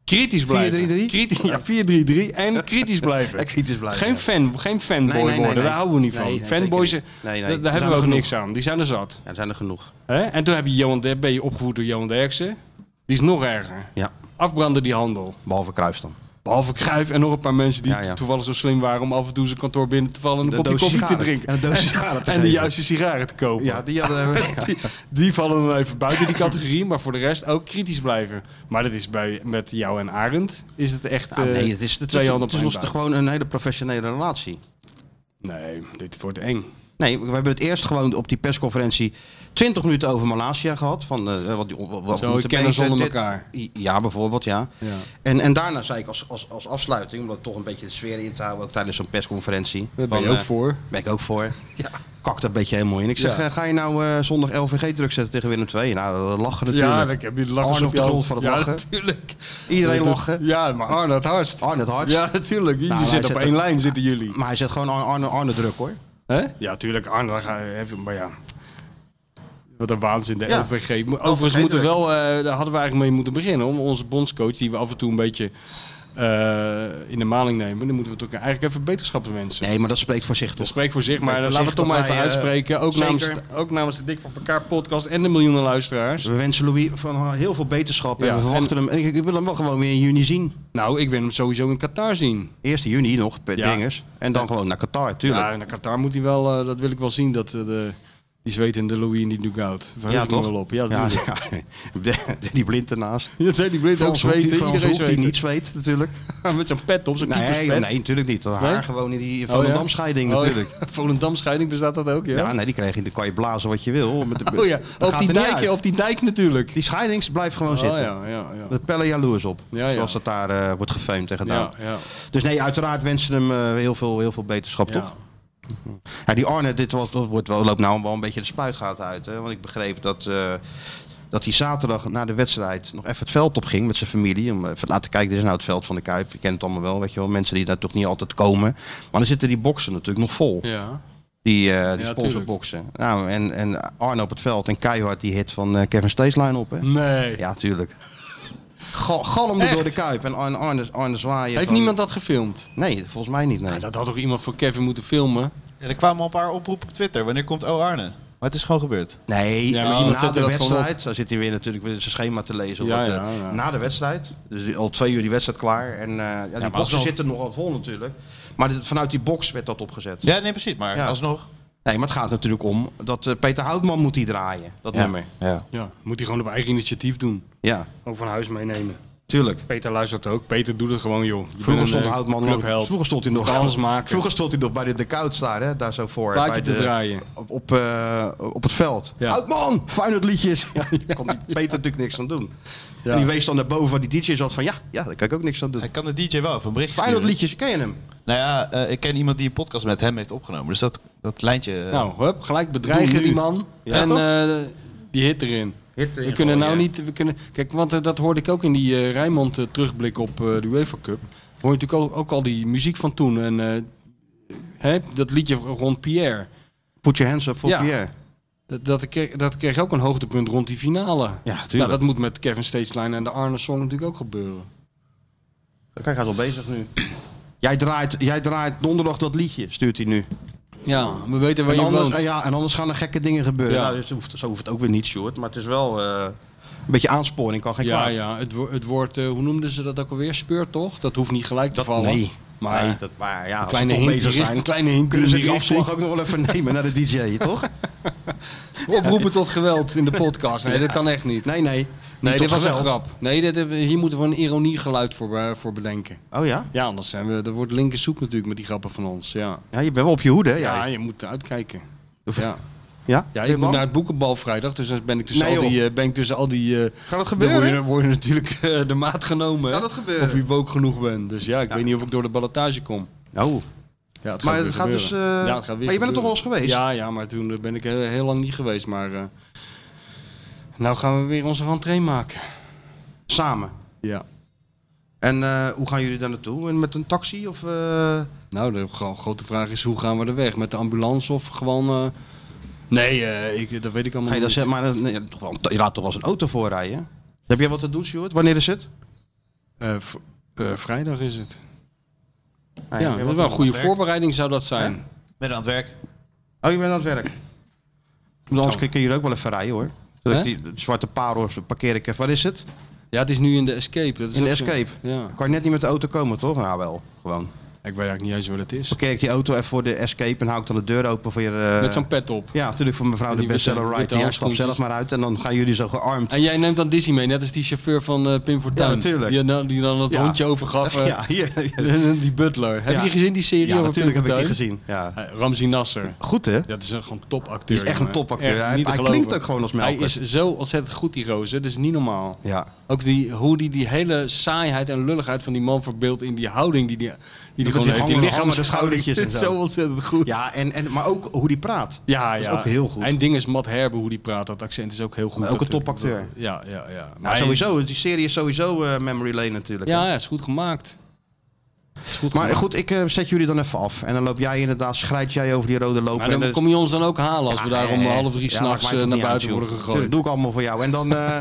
Speaker 3: Kritisch blijven.
Speaker 2: 4-3-3?
Speaker 3: Kritisch, ja, 4-3-3 en
Speaker 2: En
Speaker 3: kritisch blijven.
Speaker 2: kritisch blijven.
Speaker 3: Geen,
Speaker 2: ja.
Speaker 3: fan, geen fanboy
Speaker 2: Nee, nee, nee,
Speaker 3: worden,
Speaker 2: nee.
Speaker 3: daar houden we niet
Speaker 2: Nee,
Speaker 3: van.
Speaker 2: nee,
Speaker 3: Fanboys,
Speaker 2: zeker niet. Nee, nee.
Speaker 3: da-
Speaker 2: Er
Speaker 3: daar
Speaker 2: zijn
Speaker 3: hebben
Speaker 2: er
Speaker 3: we ook
Speaker 2: genoeg.
Speaker 3: niks aan. Die zijn er zat.
Speaker 2: Ja, er zijn er genoeg.
Speaker 3: Hè? En toen heb je Johan, Der- ben je opgevoed door Johan Derksen. Die is nog erger.
Speaker 2: Ja,
Speaker 3: Afbranden die handel.
Speaker 2: behalve Kruis dan.
Speaker 3: Behalve Cruijff en nog een paar mensen die
Speaker 2: Ja, ja.
Speaker 3: toevallig zo slim waren om af en toe zijn kantoor binnen te vallen en
Speaker 2: De
Speaker 3: een kopje
Speaker 2: doosje
Speaker 3: koffie te
Speaker 2: sigaren.
Speaker 3: drinken.
Speaker 2: En een doosje sigaren te
Speaker 3: en Eh, de
Speaker 2: geven.
Speaker 3: juiste sigaren te kopen.
Speaker 2: Ja, die hadden we.
Speaker 3: Die, die vallen dan even buiten die categorie, maar voor de rest ook kritisch blijven. Maar dat is bij, met jou en Arend is het echt
Speaker 2: Ah,
Speaker 3: eh,
Speaker 2: nee, het is, het
Speaker 3: twee
Speaker 2: is,
Speaker 3: handen
Speaker 2: het
Speaker 3: op
Speaker 2: is
Speaker 3: één
Speaker 2: ons toch
Speaker 3: buik.
Speaker 2: gewoon een hele professionele relatie.
Speaker 3: Nee, dit wordt eng.
Speaker 2: Nee, we hebben het eerst gewoon op die persconferentie 20 minuten over Malaysia gehad. Van, eh, wat, wat, wat
Speaker 3: Zo,
Speaker 2: moeten
Speaker 3: kennis
Speaker 2: mensen,
Speaker 3: onder
Speaker 2: dit-
Speaker 3: elkaar.
Speaker 2: I- Ja, bijvoorbeeld, ja.
Speaker 3: Ja.
Speaker 2: En, en daarna zei ik als, als, als afsluiting, om dat toch een beetje de sfeer in te houden, ook tijdens zo'n persconferentie.
Speaker 3: Daar ben
Speaker 2: van,
Speaker 3: je ook
Speaker 2: eh,
Speaker 3: voor.
Speaker 2: Ben ik ook voor. Ja. Kak dat beetje helemaal in. Ik zeg,
Speaker 3: Ja.
Speaker 2: eh, ga je nou eh, zondag LVG druk zetten tegen Willem II? Nou, we lachen natuurlijk.
Speaker 3: Ja, ik heb je lachen
Speaker 2: Arne op
Speaker 3: je
Speaker 2: de
Speaker 3: hand.
Speaker 2: grond van het
Speaker 3: ja,
Speaker 2: lachen.
Speaker 3: Natuurlijk.
Speaker 2: Iedereen
Speaker 3: Dat-
Speaker 2: lachen.
Speaker 3: Ja, maar Arne het hardst.
Speaker 2: Arne het hardst.
Speaker 3: Ja, natuurlijk. Jullie
Speaker 2: Nou, wij
Speaker 3: zitten op
Speaker 2: zitten-
Speaker 3: één lijn, zitten jullie.
Speaker 2: Maar hij zet gewoon Ar- Arne, Arne druk hoor.
Speaker 3: Hè? Ja, tuurlijk. Arne, daar ga je even, maar ja. Wat een waanzin, de
Speaker 2: Ja.
Speaker 3: LVG. Mo- Overigens moeten we wel, eh, daar hadden we eigenlijk mee moeten beginnen. Om onze bondscoach, die we af en toe een beetje eh, in de maling nemen, dan moeten we toch eigenlijk even beterschappen wensen.
Speaker 2: Nee, maar dat spreekt voor zich
Speaker 3: Dat
Speaker 2: toch.
Speaker 3: spreekt voor zich, maar
Speaker 2: Spreekt voor
Speaker 3: laten we
Speaker 2: zich
Speaker 3: het toch
Speaker 2: dat
Speaker 3: maar even
Speaker 2: wij, eh,
Speaker 3: uitspreken. Ook
Speaker 2: zeker.
Speaker 3: namens, de- ook namens de Dik van elkaar podcast en de miljoenen luisteraars.
Speaker 2: Dus We wensen Louis van heel veel beterschap en
Speaker 3: Ja,
Speaker 2: we verwachten hem. En ik, ik wil hem wel gewoon weer in juni zien.
Speaker 3: Nou, ik wil hem sowieso in Qatar zien.
Speaker 2: 1 juni nog, per
Speaker 3: Ja.
Speaker 2: dingers. En dan gewoon naar Qatar, tuurlijk.
Speaker 3: Ja, in Qatar moet hij wel, eh, dat wil ik wel zien, dat eh, de, Die zwetende Louis en die Dugout. Verheug
Speaker 2: Ja,
Speaker 3: ik me
Speaker 2: toch?
Speaker 3: wel op. Ja,
Speaker 2: ja,
Speaker 3: natuurlijk.
Speaker 2: ja. Danny Blind ernaast.
Speaker 3: Ja, Danny Blind ook
Speaker 2: Frans Hoek, die-
Speaker 3: zweten,
Speaker 2: Frans
Speaker 3: iedereen
Speaker 2: Hoek, die
Speaker 3: zweten.
Speaker 2: niet zweet, natuurlijk.
Speaker 3: Met zijn pet op, zijn
Speaker 2: Nee,
Speaker 3: keeperspet.
Speaker 2: nee, natuurlijk niet. Haar
Speaker 3: Nee?
Speaker 2: gewoon in die
Speaker 3: Oh, ja?
Speaker 2: Volendam-scheiding,
Speaker 3: Oh, ja.
Speaker 2: natuurlijk.
Speaker 3: Volendam-scheiding bestaat dat ook, ja?
Speaker 2: Ja, nee, die kreeg je, dan kan je blazen wat je wil. Met de,
Speaker 3: Oh ja,
Speaker 2: dat gaat
Speaker 3: op die,
Speaker 2: er niet
Speaker 3: dijk,
Speaker 2: uit.
Speaker 3: op die dijk natuurlijk.
Speaker 2: Die scheidings blijft gewoon
Speaker 3: Oh ja,
Speaker 2: zitten.
Speaker 3: ja, ja. ja.
Speaker 2: Dat pellen jaloers op,
Speaker 3: Ja, ja.
Speaker 2: zoals dat daar eh, wordt gefeund en gedaan.
Speaker 3: ja, ja.
Speaker 2: Dus nee, uiteraard wensen hem eh, heel, veel, heel veel beterschap,
Speaker 3: Ja.
Speaker 2: toch? Ja, die Arne, dit was, dat wordt wel, loopt nou wel een beetje de spuitgaten uit. Hè? Want ik begreep dat, eh, dat hij zaterdag na de wedstrijd nog even het veld op ging met zijn familie. Om even te laten kijken, dit is nou het veld van de Kuip. Je kent het allemaal wel, weet je wel. Mensen die daar toch niet altijd komen. Maar dan zitten die boksen natuurlijk nog vol.
Speaker 3: Ja.
Speaker 2: Die, eh die
Speaker 3: Ja,
Speaker 2: sponsorboksen. Nou, en, en Arne op het veld en keihard die hit van eh, Kevin Steesline op, hè?
Speaker 3: Nee.
Speaker 2: Ja, tuurlijk. Gal, galmde
Speaker 3: Mm. Echt?
Speaker 2: door de Kuip en Arne, Arne, Arne zwaaien.
Speaker 3: Heeft
Speaker 2: van-
Speaker 3: niemand Ah, dat gefilmd?
Speaker 2: Nee, volgens mij niet, nee.
Speaker 3: Ja, dat had toch iemand voor Kevin moeten filmen?
Speaker 4: Ja, er kwamen al een paar oproepen op Twitter. Wanneer komt O Arne? Maar het is gewoon gebeurd.
Speaker 2: Nee, eh,
Speaker 3: Ja, maar iemand
Speaker 2: na
Speaker 3: zette
Speaker 2: de
Speaker 3: dat gewoon
Speaker 2: wedstrijd. Daar zit hij weer natuurlijk weer zijn schema te lezen.
Speaker 3: Ja,
Speaker 2: want, eh,
Speaker 3: ja, ja.
Speaker 2: Na de wedstrijd. Dus al twee uur die wedstrijd klaar. En eh, ja, die boxen
Speaker 4: alsnog-
Speaker 2: zitten nogal vol natuurlijk. Maar dit- vanuit die box werd dat opgezet.
Speaker 4: Ja, nee, precies. Maar
Speaker 2: Ja.
Speaker 4: alsnog.
Speaker 2: Nee, maar het gaat natuurlijk om dat eh, Peter Houtman moet die draaien. Dat nummer.
Speaker 4: Ja.
Speaker 3: Ja, moet hij gewoon op eigen initiatief doen.
Speaker 2: Ja,
Speaker 8: Ook van huis meenemen.
Speaker 2: tuurlijk.
Speaker 3: Peter luistert ook. Peter doet het gewoon, joh. Je bent
Speaker 2: Vroeger
Speaker 3: een,
Speaker 2: stond
Speaker 3: eh,
Speaker 2: Houtman nog,
Speaker 3: clubheld.
Speaker 2: vroeger stond hij nog
Speaker 3: Moet alles maken.
Speaker 2: Vroeger stond hij nog bij de, de couch daar, hè, daar zo voor.
Speaker 3: Plaatje
Speaker 2: bij
Speaker 3: te draaien.
Speaker 2: Op, op, eh, op het veld.
Speaker 3: Ja.
Speaker 2: Houtman, Feyenoord liedjes. Ja, daar kon die Peter natuurlijk niks aan doen.
Speaker 3: Ja.
Speaker 2: En die wees dan naar boven waar die DJ zat van ja, ja, daar kan ik ook niks aan doen.
Speaker 4: Hij kan de DJ wel even een berichtje
Speaker 2: Feyenoord
Speaker 4: sturen.
Speaker 2: liedjes, ken je hem?
Speaker 4: Nou ja, eh, ik ken iemand die een podcast met hem heeft opgenomen. Dus dat, dat lijntje... eh,
Speaker 3: Nou, hup, gelijk bedreigen
Speaker 2: Doe nu.
Speaker 3: die man.
Speaker 2: Ja,
Speaker 3: en
Speaker 2: toch?
Speaker 3: eh, die hit erin.
Speaker 2: Hit erin
Speaker 3: we kunnen
Speaker 2: gooien,
Speaker 3: nou
Speaker 2: ja.
Speaker 3: niet... We kunnen, kijk, want eh, dat hoorde ik ook in die eh Rijnmond eh, terugblik op eh, de UEFA Cup. Hoor je natuurlijk ook, ook al die muziek van toen. En eh, hè, dat liedje rond Pierre.
Speaker 2: Put your hands up for
Speaker 3: Ja.
Speaker 2: Pierre.
Speaker 3: Dat, dat, kreeg, dat kreeg ook een hoogtepunt rond die finale.
Speaker 2: Ja, tuurlijk.
Speaker 3: Nou, dat moet met Kevin Stageline en de Arne Song natuurlijk ook gebeuren.
Speaker 2: Kijk, hij is al bezig nu. Jij draait, jij draait donderdag dat liedje, stuurt hij nu.
Speaker 3: Ja, we weten waar
Speaker 2: En
Speaker 3: je
Speaker 2: anders,
Speaker 3: woont.
Speaker 2: en ja, en anders gaan er gekke dingen gebeuren.
Speaker 3: Ja.
Speaker 2: Nou, dus hoeft, zo hoeft het ook weer niet, Sjoerd. Maar het is wel eh, een beetje aansporing, kan geen
Speaker 3: Ja,
Speaker 2: kwaad.
Speaker 3: ja, het, wo- het woord, eh, hoe noemden ze dat ook alweer? Speurtocht? Dat hoeft niet gelijk te vallen.
Speaker 2: Nee.
Speaker 3: Maar
Speaker 2: nee, dat, maar ja, als
Speaker 3: kleine
Speaker 2: we toch
Speaker 3: hint
Speaker 2: bezig
Speaker 3: die-
Speaker 2: zijn,
Speaker 3: een kleine hint
Speaker 2: kunnen
Speaker 3: in
Speaker 2: ze
Speaker 3: die
Speaker 2: die
Speaker 3: richting.
Speaker 2: afslag ook nog wel even nemen naar de DJ, toch?
Speaker 3: oproepen tot geweld in de podcast. Nee, dat kan echt niet.
Speaker 2: Nee, nee.
Speaker 3: Nee,
Speaker 2: Niet
Speaker 3: dit
Speaker 2: tot
Speaker 3: was een
Speaker 2: geweld.
Speaker 3: grap. Nee, dit, hebben- hier moeten we een ironiegeluid voor, eh, voor bedenken.
Speaker 2: Oh ja?
Speaker 3: Ja, anders zijn we, dat wordt linker soep natuurlijk met die grappen van ons. Ja,
Speaker 2: Ja, je bent wel op je hoede, hè?
Speaker 3: ja
Speaker 2: jij?
Speaker 3: je moet uitkijken. Ja,
Speaker 2: ja?
Speaker 3: ja
Speaker 2: Ben
Speaker 3: ik
Speaker 2: je
Speaker 3: moet
Speaker 2: bang?
Speaker 3: naar het boekenbal vrijdag, dus dan ben ik tussen
Speaker 2: Nee,
Speaker 3: al die,
Speaker 2: joh.
Speaker 3: eh, ben ik tussen al die... eh,
Speaker 2: Gaat dat
Speaker 3: dan word
Speaker 2: gebeuren?
Speaker 3: je, word je natuurlijk eh, de maat genomen. hè?
Speaker 2: Gaat dat gebeuren?
Speaker 3: Of je woke genoeg bent. Dus ja, ik weet niet of ik door de ballotage kom.
Speaker 2: Oh.
Speaker 3: Ja, het
Speaker 2: Maar
Speaker 3: weer
Speaker 2: het gaat
Speaker 3: gebeuren.
Speaker 2: dus, eh,
Speaker 3: het
Speaker 2: maar je
Speaker 3: gaat weer
Speaker 2: bent er
Speaker 3: gebeuren.
Speaker 2: toch wel eens geweest?
Speaker 3: Ja, ja, maar toen eh, ben ik heel, heel lang niet geweest. Maar eh, nou gaan we weer onze rentree maken.
Speaker 2: Samen.
Speaker 3: Ja.
Speaker 2: En eh, hoe gaan jullie daar naartoe? En Met een taxi of... eh,
Speaker 3: Nou, de gro- grote vraag is hoe gaan we er weg? Met de ambulance of gewoon... eh, Nee, eh, ik, dat weet ik allemaal
Speaker 2: Ga je, dat
Speaker 3: niet.
Speaker 2: zeggen, maar, dat- nee, toch wel een- je laat toch wel eens een auto voorrijden? Heb jij wat te doen, Stuart? Wanneer is het? Ah,
Speaker 3: Eh, v- eh, vrijdag is het.
Speaker 2: Nee,
Speaker 3: ja,
Speaker 2: heb je
Speaker 3: dat
Speaker 2: Ah, wat
Speaker 3: is wel een
Speaker 2: te-
Speaker 3: goede
Speaker 4: werk?
Speaker 3: voorbereiding zou dat zijn.
Speaker 4: Ben aan het werk.
Speaker 2: Oh, je bent aan het werk. Want Anders kunnen jullie ook wel even rijden, hoor. Dat
Speaker 3: Hè?
Speaker 2: ik die zwarte parel parkeer ik even. Waar is het?
Speaker 3: Ja, het is nu in de Escape. Dat is
Speaker 2: In de
Speaker 3: ook zo-
Speaker 2: Escape?
Speaker 3: Ja.
Speaker 2: Dan kan je net niet met de auto komen, toch? Nou, wel. Gewoon.
Speaker 3: Ik weet eigenlijk niet eens wat het is.
Speaker 2: Parkeer ik die auto even voor de escape en hou ik dan de deur open voor je... eh,
Speaker 3: Met zo'n pet op.
Speaker 2: Ja, natuurlijk voor mevrouw
Speaker 3: En
Speaker 2: de
Speaker 3: die witte-
Speaker 2: bestseller
Speaker 3: witte
Speaker 2: writer. Ja, stap
Speaker 3: handschoentjes.
Speaker 2: zelf maar uit en dan gaan jullie zo gearmd.
Speaker 3: En jij neemt dan Dizzy mee, net als die chauffeur van eh, Pim Fortuyn.
Speaker 2: Ja, natuurlijk.
Speaker 3: Die, dan- die dan dat
Speaker 2: Ja.
Speaker 3: hondje overgaf. eh,
Speaker 2: ja, hier.
Speaker 3: die butler.
Speaker 2: Ja.
Speaker 3: Heb je die gezien, die serie
Speaker 2: ja,
Speaker 3: over
Speaker 2: natuurlijk
Speaker 3: Pim
Speaker 2: heb ik die
Speaker 3: Fortuyn?
Speaker 2: gezien. Ja.
Speaker 3: Eh, Ramzi Nasser.
Speaker 2: Goed, hè?
Speaker 3: Dat is een gewoon
Speaker 2: Die
Speaker 3: topacteur.
Speaker 2: is echt een
Speaker 3: jongen.
Speaker 2: topacteur.
Speaker 3: Echt
Speaker 2: Hij,
Speaker 3: niet te
Speaker 2: hij
Speaker 3: geloven.
Speaker 2: klinkt ook gewoon als
Speaker 3: Hij
Speaker 2: melk.
Speaker 3: is zo ontzettend goed, die roze. Dat is niet normaal.
Speaker 2: Ja.
Speaker 3: Ook die, hoe die, die hele saaiheid en lulligheid van die man verbeeldt in die houding die die, die, die
Speaker 2: met
Speaker 3: gewoon
Speaker 2: die
Speaker 3: heeft. Die
Speaker 2: hangende
Speaker 3: lichaamshouding.
Speaker 2: schoudertjes en
Speaker 3: is
Speaker 2: zo.
Speaker 3: zo ontzettend goed.
Speaker 2: Ja, en, en, maar ook hoe die praat.
Speaker 3: Ja,
Speaker 2: is
Speaker 3: ja.
Speaker 2: ook heel goed.
Speaker 3: En ding is Matt Herbe, hoe die praat. Dat accent is ook heel goed.
Speaker 2: Maar ook
Speaker 3: Dat-
Speaker 2: een topacteur.
Speaker 3: Ja, ja, ja. Maar
Speaker 2: Maar
Speaker 3: hij-
Speaker 2: sowieso, die serie is sowieso eh, memory lane natuurlijk. hè.
Speaker 3: Ja, ja, is goed gemaakt. Is goed
Speaker 2: Maar
Speaker 3: gemaakt.
Speaker 2: goed, ik eh, zet jullie dan even af. En dan loop jij inderdaad, schrijt jij over die rode loper.
Speaker 3: Maar
Speaker 2: en
Speaker 3: dan
Speaker 2: dan-
Speaker 3: kom je ons dan ook halen als we
Speaker 2: dus- Ja,
Speaker 3: daar om
Speaker 2: eh,
Speaker 3: half drie
Speaker 2: ja, maakt
Speaker 3: s'nachts
Speaker 2: mij toch
Speaker 3: naar
Speaker 2: niet uit,
Speaker 3: buiten
Speaker 2: joh.
Speaker 3: worden
Speaker 2: Tuurlijk,
Speaker 3: gegooid.
Speaker 2: doe ik allemaal voor jou. En dan... eh,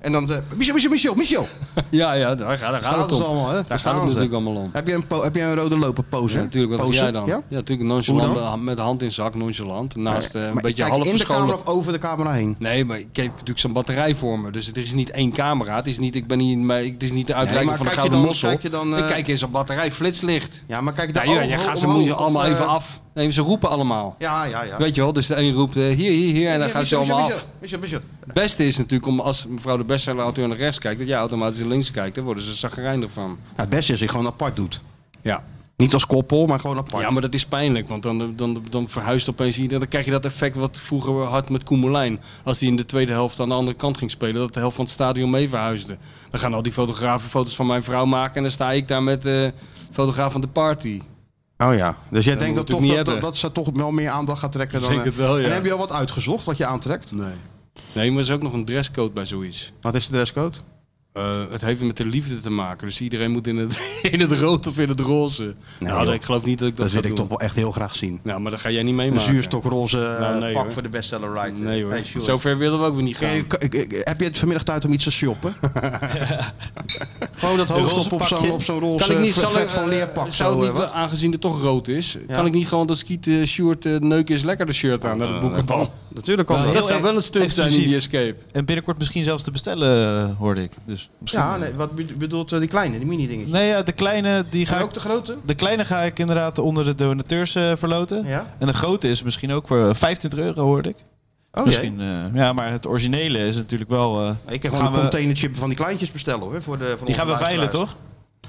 Speaker 2: en dan de, Michel, Michel, Michel, Michel.
Speaker 3: Ja, ja, daar gaat, daar
Speaker 2: Staan
Speaker 3: gaat het
Speaker 2: ze
Speaker 3: om.
Speaker 2: allemaal, hè? staan
Speaker 3: Daar gaat het
Speaker 2: ze.
Speaker 3: natuurlijk allemaal om.
Speaker 2: Heb je een, po- heb je een rode loper pose?
Speaker 3: Ja, natuurlijk, wat doe jij dan? Ja,
Speaker 2: Ja?
Speaker 3: natuurlijk nonchalant, met de hand in zak, nonchalant. Naast eh, een
Speaker 2: Maar
Speaker 3: beetje
Speaker 2: kijk,
Speaker 3: half
Speaker 2: in de camera
Speaker 3: verscholen.
Speaker 2: of over de camera heen?
Speaker 3: Nee, maar ik heb natuurlijk zo'n batterij voor me. Dus het is niet één camera. Het is niet, ik ben niet, maar ik- het is niet de uitreiking
Speaker 2: maar
Speaker 3: van de
Speaker 2: kijk je
Speaker 3: Gouden
Speaker 2: dan-
Speaker 3: Mossel.
Speaker 2: kijk je dan, eh,
Speaker 3: Ik kijk in zo'n batterij, flitst iets ligt.
Speaker 2: Ja, maar kijk,
Speaker 3: Ja,
Speaker 2: daar
Speaker 3: ja, je gaat ze moet je allemaal even af. Nee, ze roepen allemaal.
Speaker 2: eh, Ja, ja, ja.
Speaker 3: Weet je wel, dus de een roept eh, hier, hier, hier en dan gaan ze allemaal af.
Speaker 2: Michel, Michel.
Speaker 3: Het beste is natuurlijk om als mevrouw de bestseller-auteur naar rechts kijkt, dat jij automatisch naar links kijkt. Dan worden ze zagrijnig van.
Speaker 2: Ja, Nou, het beste is dat je gewoon apart doet.
Speaker 3: Ja.
Speaker 2: Niet als koppel, maar gewoon apart.
Speaker 3: Ja, maar dat is pijnlijk, want dan, dan, dan verhuist opeens iedereen. Dan krijg je dat effect wat vroeger had met Koemelijn. Als die in de tweede helft aan de andere kant ging spelen, dat de helft van het stadion mee verhuisde. Dan gaan al die fotografen foto's van mijn vrouw maken en dan sta ik daar met de fotograaf van de party.
Speaker 2: Oh ja, dus jij
Speaker 3: Dat
Speaker 2: denkt dat,
Speaker 3: moet ik
Speaker 2: toch,
Speaker 3: niet
Speaker 2: dat, dat,
Speaker 3: hebben.
Speaker 2: dat ze toch wel meer aandacht gaat trekken
Speaker 3: Ik
Speaker 2: dan...
Speaker 3: denk
Speaker 2: eh,
Speaker 3: het wel, ja.
Speaker 2: En heb je al wat uitgezocht wat je aantrekt?
Speaker 3: Nee. Nee, maar er is ook nog een dresscode bij zoiets.
Speaker 2: Wat is de dresscode?
Speaker 3: Eh, het heeft met de liefde te maken. Dus iedereen moet in het, in het rood of in het roze. nou,
Speaker 2: joh.
Speaker 3: ik geloof niet dat ik dat,
Speaker 2: Dat,
Speaker 3: ga
Speaker 2: wil ik
Speaker 3: doen.
Speaker 2: toch wel echt heel graag zien.
Speaker 3: Nou, maar dat ga jij niet
Speaker 2: Een
Speaker 3: meemaken.
Speaker 2: zuurstokroze eh,
Speaker 3: Nou, nee,
Speaker 2: pak
Speaker 3: hoor.
Speaker 2: voor de bestseller ride.
Speaker 3: Nee hoor.
Speaker 2: Hey, Sjoerd.
Speaker 3: Zover willen we ook weer niet
Speaker 2: Kun je-
Speaker 3: gaan.
Speaker 2: kun- ik- ik- heb je het vanmiddag tijd om iets te shoppen? Gewoon dat hoofd
Speaker 4: roze
Speaker 2: op zo'n
Speaker 4: pakje.
Speaker 2: op zo'n roze
Speaker 3: Kan ik niet,
Speaker 2: vet-
Speaker 3: zal
Speaker 2: vet
Speaker 3: ik,
Speaker 2: van
Speaker 3: eh,
Speaker 2: leerpak.
Speaker 3: zou
Speaker 2: Zo,
Speaker 3: het
Speaker 2: eh,
Speaker 3: niet,
Speaker 2: wat?
Speaker 3: aangezien het toch rood is,
Speaker 2: Ja.
Speaker 3: kan ik niet gewoon dat skiet eh Sjoerd eh, neuken is lekker de shirt aan naar het boekenbal.
Speaker 2: Eh, Natuurlijk kan
Speaker 4: Nou,
Speaker 2: dat.
Speaker 3: dat zou wel een stunt zijn in die
Speaker 4: exclusief.
Speaker 3: escape.
Speaker 4: En binnenkort misschien zelfs te bestellen, eh, hoorde ik. Dus misschien...
Speaker 2: Ja, nee, wat be- bedoelt eh, die kleine, die mini dingetjes?
Speaker 4: Nee, ja, de kleine die ga
Speaker 2: En
Speaker 4: ik
Speaker 2: ook de grote?
Speaker 4: De kleine ga ik inderdaad onder de donateurs eh, verloten.
Speaker 2: Ja.
Speaker 4: En de grote is misschien ook voor 25 euro, hoorde ik.
Speaker 2: Oh,
Speaker 4: misschien, eh, ja, maar het originele is natuurlijk wel... eh,
Speaker 2: Ik heb
Speaker 4: gaan
Speaker 2: gewoon een
Speaker 4: we-
Speaker 2: containerchip van die kleintjes bestellen hoor. Voor de, voor
Speaker 4: Die
Speaker 2: onze
Speaker 4: gaan we veilen,
Speaker 2: luisteraars.
Speaker 4: toch?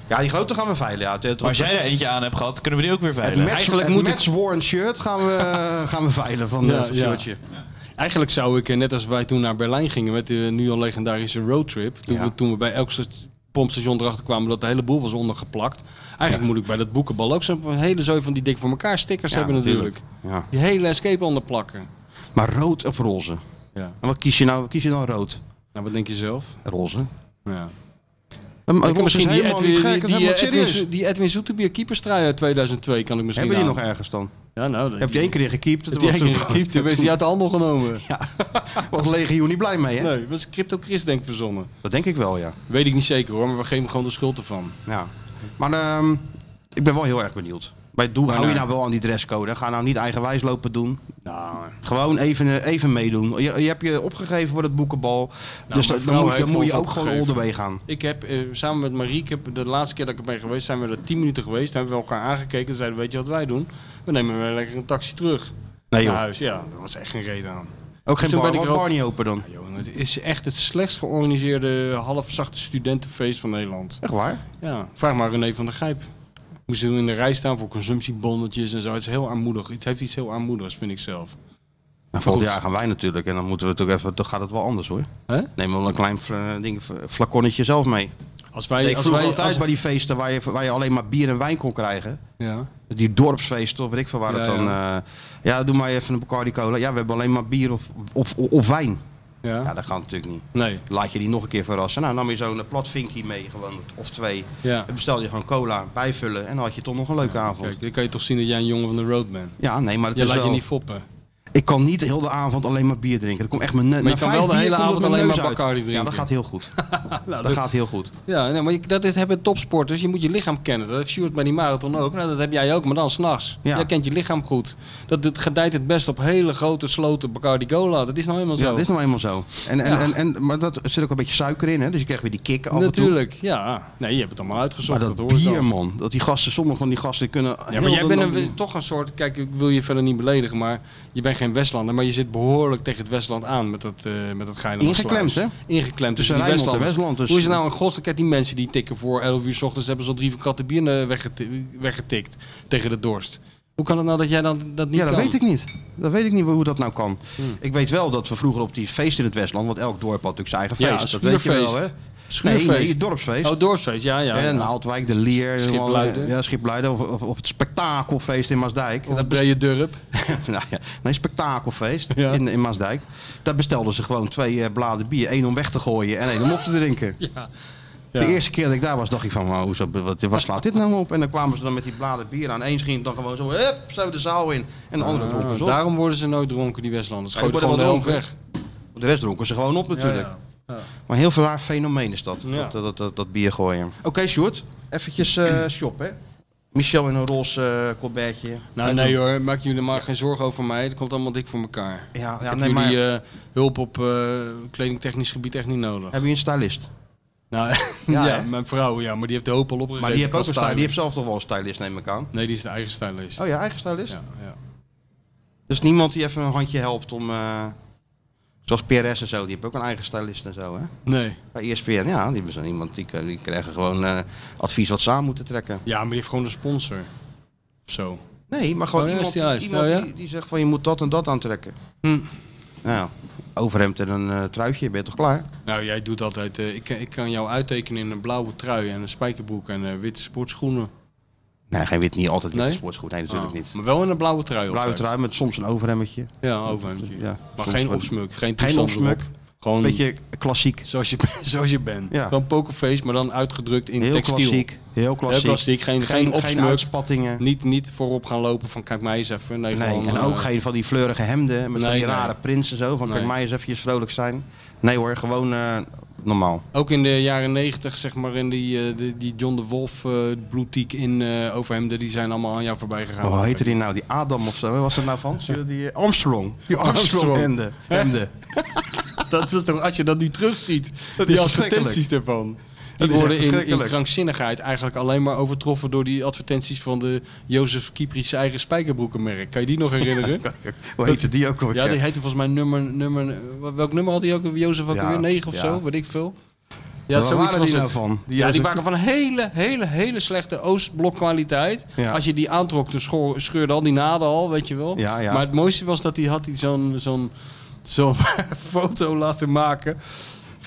Speaker 2: Ja, die grote gaan we veilen. Ja. Het, het,
Speaker 4: Maar als jij er eentje aan hebt gehad, kunnen we die ook weer
Speaker 2: het
Speaker 4: veilen.
Speaker 2: match,
Speaker 3: Eigenlijk
Speaker 2: het
Speaker 3: moet ik-
Speaker 2: match worn shirt gaan we, gaan we veilen van
Speaker 3: Ja,
Speaker 2: eh, van
Speaker 3: ja.
Speaker 2: shirtje.
Speaker 3: Eigenlijk zou ik, eh, net als wij toen naar Berlijn gingen met de nu al legendarische roadtrip, toen,
Speaker 2: Ja.
Speaker 3: we, toen we bij elk st- pompstation erachter kwamen dat de hele boel was ondergeplakt. Eigenlijk moet ik bij dat boekenbal ook zo'n hele zooi van die dik voor elkaar stickers
Speaker 2: Ja,
Speaker 3: hebben natuurlijk.
Speaker 2: Ja.
Speaker 3: Die hele escape onderplakken.
Speaker 2: Maar rood of roze?
Speaker 3: Ja.
Speaker 2: En wat kies je nou? Kies je dan rood?
Speaker 3: Nou, wat denk je zelf?
Speaker 2: Roze.
Speaker 3: Ja.
Speaker 2: Um,
Speaker 3: Ik kan
Speaker 2: roze is
Speaker 3: misschien die
Speaker 2: helemaal
Speaker 3: Edwin,
Speaker 2: niet gek.
Speaker 3: die,
Speaker 2: Die,
Speaker 3: die,
Speaker 2: helemaal
Speaker 3: Edwin,
Speaker 2: serieus.
Speaker 3: Zo- die Edwin Zoetebier keeperstrui uit 2002 kan ik misschien
Speaker 2: Hebben die
Speaker 3: aan.
Speaker 2: nog ergens dan?
Speaker 3: Ja, nou, dat-
Speaker 2: Heb je één keer gekiept?
Speaker 3: Heb
Speaker 2: Dat
Speaker 3: die
Speaker 2: was
Speaker 3: één keer
Speaker 2: toen-
Speaker 3: gekiept? Toen is die uit de handel genomen.
Speaker 2: was Legio niet blij mee, hè?
Speaker 3: Nee, was Crypto Chris denk ik verzonnen.
Speaker 2: Dat denk ik wel, ja.
Speaker 3: Weet ik niet zeker hoor, maar we geven hem gewoon de schuld ervan.
Speaker 2: ja. Maar ehm, ik ben wel heel erg benieuwd. Bij doe, hou je
Speaker 3: Waarnaar?
Speaker 2: nou wel aan die dresscode? hè? Ga nou niet eigenwijs lopen doen.
Speaker 3: Nou,
Speaker 2: Gewoon even, eh, even meedoen. Je, je hebt je opgegeven voor het boekenbal. dus
Speaker 3: Nou,
Speaker 2: dat-
Speaker 3: mijn
Speaker 2: dan
Speaker 3: vrouw
Speaker 2: moet, je-
Speaker 3: heeft
Speaker 2: dan moet je
Speaker 3: ons
Speaker 2: ook gewoon all the
Speaker 3: opgegeven.
Speaker 2: way gaan.
Speaker 3: Ik heb eh, samen met Marieke, de laatste keer dat ik er ben geweest, zijn we er 10 minuten geweest. Hebben we elkaar aangekeken en zeiden: Weet je wat wij doen? We nemen weer lekker een taxi terug
Speaker 2: Nee
Speaker 3: naar
Speaker 2: joh,
Speaker 3: huis. Ja, daar was echt geen reden aan.
Speaker 2: ook geen
Speaker 3: toen
Speaker 2: bar,
Speaker 3: ben ik
Speaker 2: was
Speaker 3: er ook-
Speaker 2: bar niet open dan.
Speaker 3: Ja, jongen, het is echt het slechtst georganiseerde halfzachte studentenfeest van Nederland.
Speaker 2: Echt waar?
Speaker 3: Ja, vraag maar René van der Gijp. Moest hij in de rij staan voor consumptiebonnetjes en zo. Het is heel armoedig. Het heeft iets heel armoedigs, vind ik zelf.
Speaker 2: Nou, volgend
Speaker 3: Goed.
Speaker 2: jaar gaan wij natuurlijk en dan moeten we toch even, dan gaat het wel anders hoor.
Speaker 3: Hè?
Speaker 2: Neem wel een klein fla- ding, flaconnetje zelf mee.
Speaker 3: Als wij,
Speaker 2: ik
Speaker 3: als
Speaker 2: vroeg
Speaker 3: wij,
Speaker 2: altijd
Speaker 3: als-
Speaker 2: bij die feesten waar je, waar je alleen maar bier en wijn kon krijgen.
Speaker 3: ja.
Speaker 2: Die dorpsfeesten of weet ik veel waar
Speaker 3: Ja,
Speaker 2: het dan... Ja. ja, doe maar even een Bacardi Cola. Ja, we hebben alleen maar bier of, of, of wijn.
Speaker 3: Ja.
Speaker 2: Ja, dat gaat natuurlijk niet.
Speaker 3: Nee.
Speaker 2: Laat je die nog een keer verrassen. Nou, nam je zo'n eh, plat vinkie mee, gewoon, of twee.
Speaker 3: Ja.
Speaker 2: En bestel je gewoon cola, bijvullen en dan had je toch nog een leuke avond.
Speaker 3: Kijk, dan kan je toch zien dat jij een jongen van de road bent.
Speaker 2: Ja, nee, maar het
Speaker 3: Je
Speaker 2: is
Speaker 3: laat
Speaker 2: wel...
Speaker 3: je niet foppen.
Speaker 2: Ik kan niet heel de avond alleen maar bier drinken. Er komt echt mijn neus.
Speaker 3: je kan wel de hele avond alleen maar Bacardi
Speaker 2: Ja, dat
Speaker 3: drinken. Nou,
Speaker 2: gaat heel goed. dat,
Speaker 3: dat-
Speaker 2: gaat heel goed.
Speaker 3: Ja, nee, maar je- dat is, hebben topsporters. Je moet je lichaam kennen. Dat heeft Stuart bij die marathon ook. Nou, dat heb jij ook, maar dan s'nachts.
Speaker 2: Ja.
Speaker 3: Jij kent je lichaam goed. Dat, dat gedijt het best op hele grote sloten Bacardi Cola. Dat is nou helemaal
Speaker 2: Ja,
Speaker 3: zo.
Speaker 2: dat is nou eenmaal zo. En, en,
Speaker 3: Ja.
Speaker 2: en, en, maar dat er zit ook een beetje suiker in, hè? dus je krijgt weer die kick af en toe.
Speaker 3: Natuurlijk, ja. Nee, je hebt het allemaal
Speaker 2: Maar
Speaker 3: uitgezocht.
Speaker 2: dat,
Speaker 3: hoor ik al.
Speaker 2: bier, man. Dat die gasten, sommige van die gasten kunnen...
Speaker 3: Ja, maar jij bent een- toch een soort... Kijk, ik wil je verder niet beledigen, maar je bent geen Westlander. Maar je zit behoorlijk tegen het Westland aan met dat, eh met dat geile
Speaker 2: Ingeklemd,
Speaker 3: besluit. Ingeklemd tussen,
Speaker 2: Tussen
Speaker 3: die
Speaker 2: Rijnmond en
Speaker 3: Westlanders.
Speaker 2: Westland. Dus,
Speaker 3: Hoe is het nou in godsnaam? Kijk, die mensen die tikken voor 11 uur s ochtends... hebben ze al drie katten bier eh, weggeti- weggetikt tegen de dorst. Hoe kan het nou dat jij dan, dat niet
Speaker 2: Ja, dat
Speaker 3: kan? Hmm.
Speaker 2: weet ik niet. Dat weet ik niet hoe dat nou kan. Ik weet wel dat we vroeger op die feesten in het Westland, want elk dorp had natuurlijk zijn eigen
Speaker 3: Ja,
Speaker 2: feest. dat weet je wel, hè?
Speaker 3: schuurfeest.
Speaker 2: Nee,
Speaker 3: Schuurfeest.
Speaker 2: nee, het dorpsfeest.
Speaker 3: Oh, dorpsfeest, ja, ja.
Speaker 2: En
Speaker 3: ja.
Speaker 2: Naaldwijk, De Lier,
Speaker 3: Schipluiden.
Speaker 2: Ja, Schipluiden. Of, of, of het spektakelfeest in Maasdijk.
Speaker 3: Of het brede dorp.
Speaker 2: nou ja, nee, spektakelfeest
Speaker 3: Ja.
Speaker 2: in, in Maasdijk. Daar bestelden ze gewoon twee eh, bladen bier. één om weg te gooien en één om op te drinken. De eerste keer dat ik daar was, dacht ik van, maar hoezo, wat, wat slaat dit nou op? En dan kwamen ze dan met die bladen bier aan. Eén ging dan gewoon zo, hup, zo de zaal in. En de andere dronken
Speaker 3: Ah,
Speaker 2: ze op.
Speaker 3: daarom worden ze nooit dronken, die Westlanders.
Speaker 2: Ja,
Speaker 3: Gooien
Speaker 2: die
Speaker 3: gewoon de
Speaker 2: worden
Speaker 3: helft
Speaker 2: wel
Speaker 3: weg.
Speaker 2: De rest dronken ze gewoon op natuurlijk.
Speaker 3: Ja,
Speaker 2: Maar heel veel raar fenomeen is dat,
Speaker 3: Ja.
Speaker 2: dat, eh, dat, dat, dat bier gooien. Oké, Sjoerd, eventjes eh shop, hè? Michel in een roze eh colbertje.
Speaker 3: Nou, nee hoor, maak jullie maar geen zorgen over mij. Dat komt allemaal dik voor elkaar.
Speaker 2: Ja,
Speaker 3: Ik
Speaker 2: ja
Speaker 3: heb
Speaker 2: nee, maar
Speaker 3: jullie eh, hulp op eh, kledingtechnisch gebied echt niet nodig.
Speaker 2: hebben jullie een stylist?
Speaker 3: Nou,
Speaker 2: Ja,
Speaker 3: ja,
Speaker 2: hè?
Speaker 3: mijn vrouw, ja, maar die heeft de hoop al opgegeven.
Speaker 2: Maar die heeft,
Speaker 3: qua
Speaker 2: ook een stylist. die
Speaker 3: styling.
Speaker 2: heeft zelf toch wel een stylist, neem ik aan.
Speaker 3: Nee, die is de eigen stylist.
Speaker 2: Oh ja, eigen stylist.
Speaker 3: Ja, ja.
Speaker 2: Dus niemand die even een handje helpt om... eh, zoals PRS en zo, die hebben ook een eigen stylist en zo, hè?
Speaker 3: Nee.
Speaker 2: Bij E ESPN, ja, die hebben zo iemand, die, kun- die krijgen gewoon eh, advies wat ze aan moeten trekken.
Speaker 3: Ja, maar die heeft gewoon een sponsor. Of zo.
Speaker 2: Nee, maar gewoon
Speaker 3: Oh, ja,
Speaker 2: iemand,
Speaker 3: is die juist.
Speaker 2: iemand
Speaker 3: Oh, ja?
Speaker 2: die, die zegt van je moet dat en dat aantrekken.
Speaker 3: Hm.
Speaker 2: Nou ja, overhemd en een eh, truitje, ben je toch klaar?
Speaker 3: Nou, jij doet altijd. eh, ik, ik kan jou uittekenen in een blauwe trui en een spijkerbroek en eh, witte sportschoenen.
Speaker 2: Nee, geen wit, niet altijd witte
Speaker 3: Nee?
Speaker 2: sportschoen. Nee, natuurlijk
Speaker 3: Oh,
Speaker 2: niet.
Speaker 3: Maar wel in een blauwe trui.
Speaker 2: Blauwe
Speaker 3: altijd.
Speaker 2: trui met soms een overhemmetje.
Speaker 3: Ja, overhemdje.
Speaker 2: Ja,
Speaker 3: Maar
Speaker 2: soms
Speaker 3: geen
Speaker 2: wat-
Speaker 3: opsmuk, geen
Speaker 2: Geen
Speaker 3: toestand
Speaker 2: opsmuk.
Speaker 3: erop. Gewoon
Speaker 2: Beetje klassiek.
Speaker 3: zoals, je, zoals je bent.
Speaker 2: Ja.
Speaker 3: Gewoon pokerface, maar dan uitgedrukt in
Speaker 2: Heel
Speaker 3: textiel.
Speaker 2: klassiek. Heel klassiek.
Speaker 3: Heel klassiek, geen, geen,
Speaker 2: Geen, geen
Speaker 3: opsmuk.
Speaker 2: uitspattingen.
Speaker 3: niet, niet voorop gaan lopen van kijk mij eens even. Nee,
Speaker 2: Nee,
Speaker 3: gewoon,
Speaker 2: en
Speaker 3: eh,
Speaker 2: ook geen van die fleurige hemden met
Speaker 3: Nee,
Speaker 2: van die
Speaker 3: nee.
Speaker 2: rare prinsen zo. Van
Speaker 3: Nee.
Speaker 2: kan mij eens eventjes vrolijk zijn. Nee hoor, gewoon eh, normaal.
Speaker 3: Ook in de jaren negentig, zeg maar, in die, eh, die, die John de Wolf eh bloetiek in eh, overhemden, die zijn allemaal aan jou voorbij gegaan.
Speaker 2: Hoe heette die nou? Die Adam of zo? Waar was het nou van? Zullen Die eh, Armstrong. Die Armstrong hemden. hemden.
Speaker 3: Dat was toch, als je dat nu terugziet,
Speaker 2: Dat
Speaker 3: die
Speaker 2: is
Speaker 3: advertenties daarvan. Die
Speaker 2: Dat is echt
Speaker 3: worden in, in
Speaker 2: verschrikkelijk.
Speaker 3: krankzinnigheid eigenlijk alleen maar overtroffen door die advertenties van de Jozef Kiepri's eigen spijkerbroekenmerk. Kan je die nog herinneren?
Speaker 2: Hoe heette die ook alweer?
Speaker 3: ja, die heette volgens mij nummer, nummer... Welk nummer had hij ook? Jozef ook
Speaker 2: Ja,
Speaker 3: weer? 9 of
Speaker 2: ja.
Speaker 3: zo? Weet ik veel. Ja,
Speaker 2: Waar
Speaker 3: zoiets
Speaker 2: waren
Speaker 3: was
Speaker 2: die
Speaker 3: het.
Speaker 2: nou van? Die
Speaker 3: ja, die
Speaker 2: Jozef-
Speaker 3: waren van hele, hele, hele slechte Oostblokkwaliteit.
Speaker 2: Ja.
Speaker 3: Als je die aantrok, dan schoor- scheurde al die naden al, weet je wel.
Speaker 2: Ja, ja.
Speaker 3: Maar het mooiste was dat hij had die zo'n zo'n zo'n foto laten maken.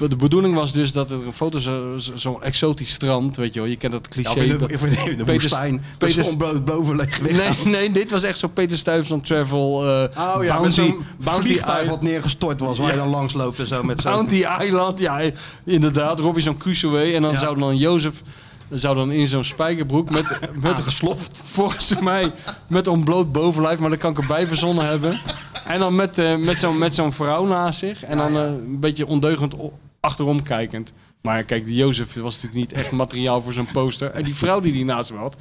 Speaker 3: De bedoeling was dus dat er een foto zo- zo- zo'n exotisch strand, weet je wel. Je kent dat cliché.
Speaker 2: Ja, of in de,
Speaker 3: dat-
Speaker 2: of in de, in de
Speaker 3: Peter-
Speaker 2: woestijn.
Speaker 3: Peter-
Speaker 2: Peter, boven liggen.
Speaker 3: Nee, nee, dit was echt zo'n Peter Stuyvesant travel. eh,
Speaker 2: Oh ja,
Speaker 3: bounty,
Speaker 2: met zo'n
Speaker 3: bounty
Speaker 2: vliegtuig
Speaker 3: Island.
Speaker 2: wat neergestort was, waar je dan langs loopt en zo. Met zo'n-
Speaker 3: Bounty Island, ja, inderdaad. Robinson Crusoe. En dan
Speaker 2: Ja.
Speaker 3: zou dan Jozef zou dan in zo'n spijkerbroek met, met gesloft. Volgens mij met ontbloot bovenlijf, maar dat kan ik erbij verzonnen hebben. En dan met, eh, met zo'n met zo'n vrouw naast zich. En dan eh, een beetje ondeugend o- achterom kijkend. Maar kijk, die Jozef was natuurlijk niet echt materiaal voor zo'n poster. En die vrouw die die naast hem had.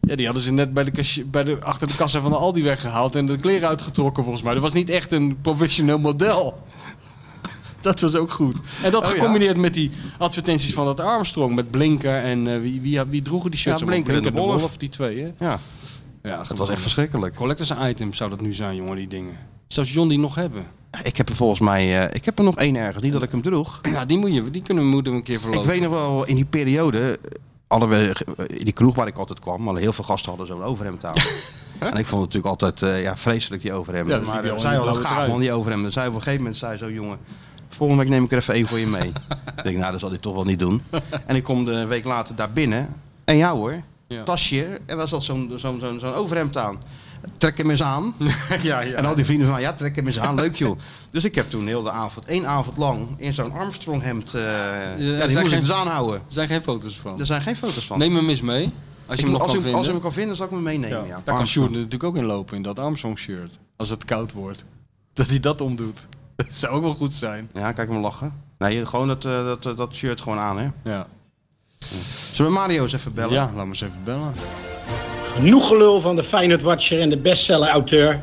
Speaker 3: Ja, die hadden ze net bij de cashier- bij de, achter de kassa van de Aldi weggehaald en de kleren uitgetrokken volgens mij. Dat was niet echt een professioneel model. Dat was ook goed. En dat
Speaker 2: Oh, ja.
Speaker 3: gecombineerd met die advertenties van dat Armstrong. Met Blinker en eh, wie, wie, wie droegen die shirts?
Speaker 2: Ja,
Speaker 3: allemaal?
Speaker 2: Blinker en de Wolf.
Speaker 3: Die twee, hè?
Speaker 2: Ja,
Speaker 3: Ja,
Speaker 2: dat was echt verschrikkelijk.
Speaker 3: Collectors item zou dat nu zijn, jongen, die dingen. Zou John die nog hebben?
Speaker 2: Ik heb er volgens mij, eh, ik heb er nog één ergens, niet dat ik hem droeg.
Speaker 3: Ja, die, moet je, die kunnen we moeten we een keer
Speaker 2: Ik
Speaker 3: verlopen.
Speaker 2: weet nog wel, in die periode, eh, hadden we, eh, in die kroeg waar ik altijd kwam, maar heel veel gasten hadden zo'n overhemd aan. en ik vond het natuurlijk altijd eh, ja, vreselijk, die
Speaker 3: Ja,
Speaker 2: overhemden.
Speaker 3: dan
Speaker 2: maar
Speaker 3: liep je
Speaker 2: eh,
Speaker 3: al in
Speaker 2: zij
Speaker 3: die
Speaker 2: hadden
Speaker 3: blauwe
Speaker 2: gaaf
Speaker 3: trui.
Speaker 2: van die overhemden. Zij op een gegeven moment zei zo, jongen, volgende week neem ik er even één voor je mee. ik denk, nou, dat zal hij toch wel niet doen. en ik kom de een week later daar binnen. En ja hoor,
Speaker 3: Ja.
Speaker 2: tasje. En daar zat zo'n zo'n zo'n zo'n overhemd aan. Trek hem eens aan.
Speaker 8: Ja, ja.
Speaker 2: En al die vrienden van, ja, trek hem eens aan, leuk joh. Dus ik heb toen heel de avond, één avond lang, in zo'n Armstrong hemd, eh, ja,
Speaker 3: zijn
Speaker 2: die moest
Speaker 3: geen-
Speaker 2: ik dus aanhouden.
Speaker 3: Er zijn geen foto's van.
Speaker 2: Er zijn geen foto's van.
Speaker 3: Neem hem eens mee. Als je hem
Speaker 2: Ik-
Speaker 3: nog
Speaker 2: als,
Speaker 3: kan
Speaker 2: ik,
Speaker 3: vinden.
Speaker 2: als ik hem kan vinden, zal ik hem meenemen. Ja.
Speaker 3: Daar kan
Speaker 2: Armstrong.
Speaker 3: Sjoerd natuurlijk ook in lopen, in dat Armstrong-shirt. Als het koud wordt. Dat hij dat omdoet. Dat zou ook wel goed zijn.
Speaker 2: Ja, kijk hem lachen. Nee, gewoon dat, eh, dat, eh, dat shirt gewoon aan, hè.
Speaker 3: Ja,
Speaker 2: Zullen we Mario eens even bellen?
Speaker 3: ja laat me eens even bellen.
Speaker 10: Genoeg gelul van de Feyenoord Watcher en de bestseller auteur.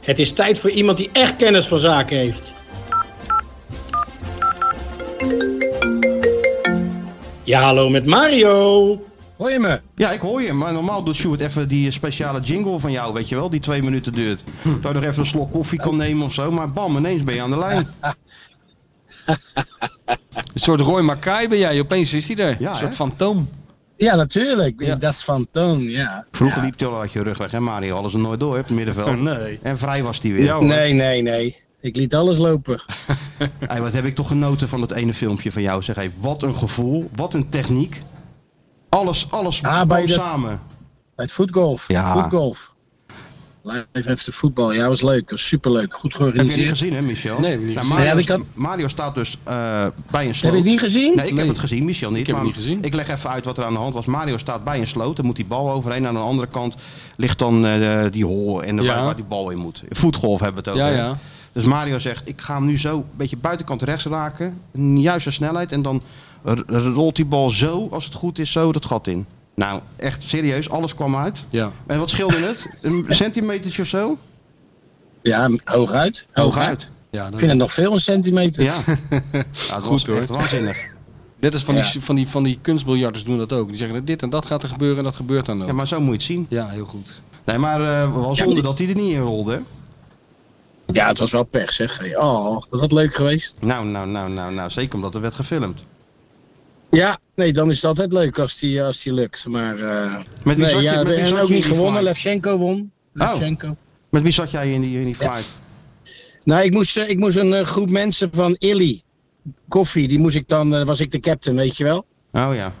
Speaker 10: Het is tijd voor iemand die echt kennis van zaken heeft. Ja, hallo met Mario.
Speaker 11: Hoor je me?
Speaker 2: Ja, ik hoor je, maar normaal doet Sjoerd even die speciale jingle van jou, weet je wel, die twee minuten duurt. Dat je nog even een slok koffie kan nemen of zo, maar bam, ineens ben je aan de lijn.
Speaker 3: Een soort Roy Mackay ben jij, opeens is hij er.
Speaker 2: Ja,
Speaker 3: een soort
Speaker 2: hè?
Speaker 3: fantoom.
Speaker 11: Ja, natuurlijk.
Speaker 3: Ja.
Speaker 11: Dat is van Toon, ja.
Speaker 2: Vroeger liep hij al uit je rug weg, hè Mario, alles er nooit door, hè, op het middenveld.
Speaker 3: Nee.
Speaker 2: En vrij was hij weer.
Speaker 3: Ja, hoor.
Speaker 11: Nee, nee, nee. Ik liet alles lopen.
Speaker 2: Hey, wat heb ik toch genoten van dat ene filmpje van jou. Zeg, hey, wat een gevoel, wat een techniek. Alles, alles
Speaker 11: Ah, bij
Speaker 2: kwam
Speaker 11: dat-
Speaker 2: samen.
Speaker 11: Bij het voetgolf.
Speaker 2: Ja.
Speaker 11: Voetgolf. Live after voetbal. Ja, was leuk. Was superleuk. Goed
Speaker 2: Heb je niet
Speaker 11: georganiseerd.
Speaker 2: gezien, hè, Michel? Nou,
Speaker 3: Nee, heb ik niet gezien.
Speaker 2: Mario,
Speaker 11: Nee, heb ik dat-
Speaker 2: Mario staat dus eh, bij een sloot.
Speaker 11: Heb je het niet gezien?
Speaker 2: Nee, ik
Speaker 3: Nee.
Speaker 2: heb het gezien, Michel niet.
Speaker 3: Ik heb het
Speaker 2: maar
Speaker 3: niet gezien.
Speaker 2: Ik leg even uit wat er aan de hand was. Mario staat bij een sloot, dan moet die bal overheen. Aan de andere kant ligt dan eh, die hol en
Speaker 3: Ja.
Speaker 2: waar, waar die bal in moet. Voetgolf hebben we het
Speaker 3: Ja,
Speaker 2: over. hè?
Speaker 3: ja.
Speaker 2: Dus Mario zegt, ik ga hem nu zo een beetje buitenkant rechts raken. Een juiste snelheid. En dan r- rolt die bal zo, als het goed is, zo dat gat in. Nou, echt serieus, alles kwam uit.
Speaker 3: Ja.
Speaker 2: En wat scheelde het? Een centimetertje of zo?
Speaker 11: Ja, hooguit. Hooguit.
Speaker 2: Hooguit.
Speaker 3: Ja,
Speaker 11: Ik
Speaker 3: dat...
Speaker 11: vind het nog veel, een centimeter.
Speaker 2: Ja. ja het was
Speaker 3: Goed, hoor.
Speaker 2: Echt waanzinnig.
Speaker 3: Net als van,
Speaker 11: Ja.
Speaker 3: die, van, die, van die kunstbiljarters doen dat ook. Die zeggen dit en dat gaat er gebeuren en dat gebeurt dan ook.
Speaker 2: Ja, maar zo moet je het zien.
Speaker 3: Ja, heel goed.
Speaker 2: Nee, maar eh wel zonde dat hij er niet in rolde. hè?
Speaker 11: Ja, het was wel pech, zeg. Hey, Oh, was dat leuk geweest?
Speaker 2: Nou, nou, nou, nou, nou. Zeker omdat er werd gefilmd.
Speaker 11: Ja, nee, dan is het altijd leuk als die, als die lukt. Maar eh
Speaker 2: Met wie
Speaker 11: nee,
Speaker 2: zat je-
Speaker 11: ja,
Speaker 2: met wie
Speaker 11: en
Speaker 2: zat
Speaker 11: ook
Speaker 2: je
Speaker 11: niet
Speaker 2: in die Oh.
Speaker 11: gewonnen.
Speaker 2: flight?
Speaker 11: Levchenko won. Levchenko.
Speaker 2: Met wie zat jij in die, in die
Speaker 11: Ja.
Speaker 2: flight?
Speaker 11: Nou, ik moest, eh, ik moest een eh, groep mensen van Illy, koffie, die moest ik dan, eh, was ik de captain, weet je wel.
Speaker 2: Oh ja.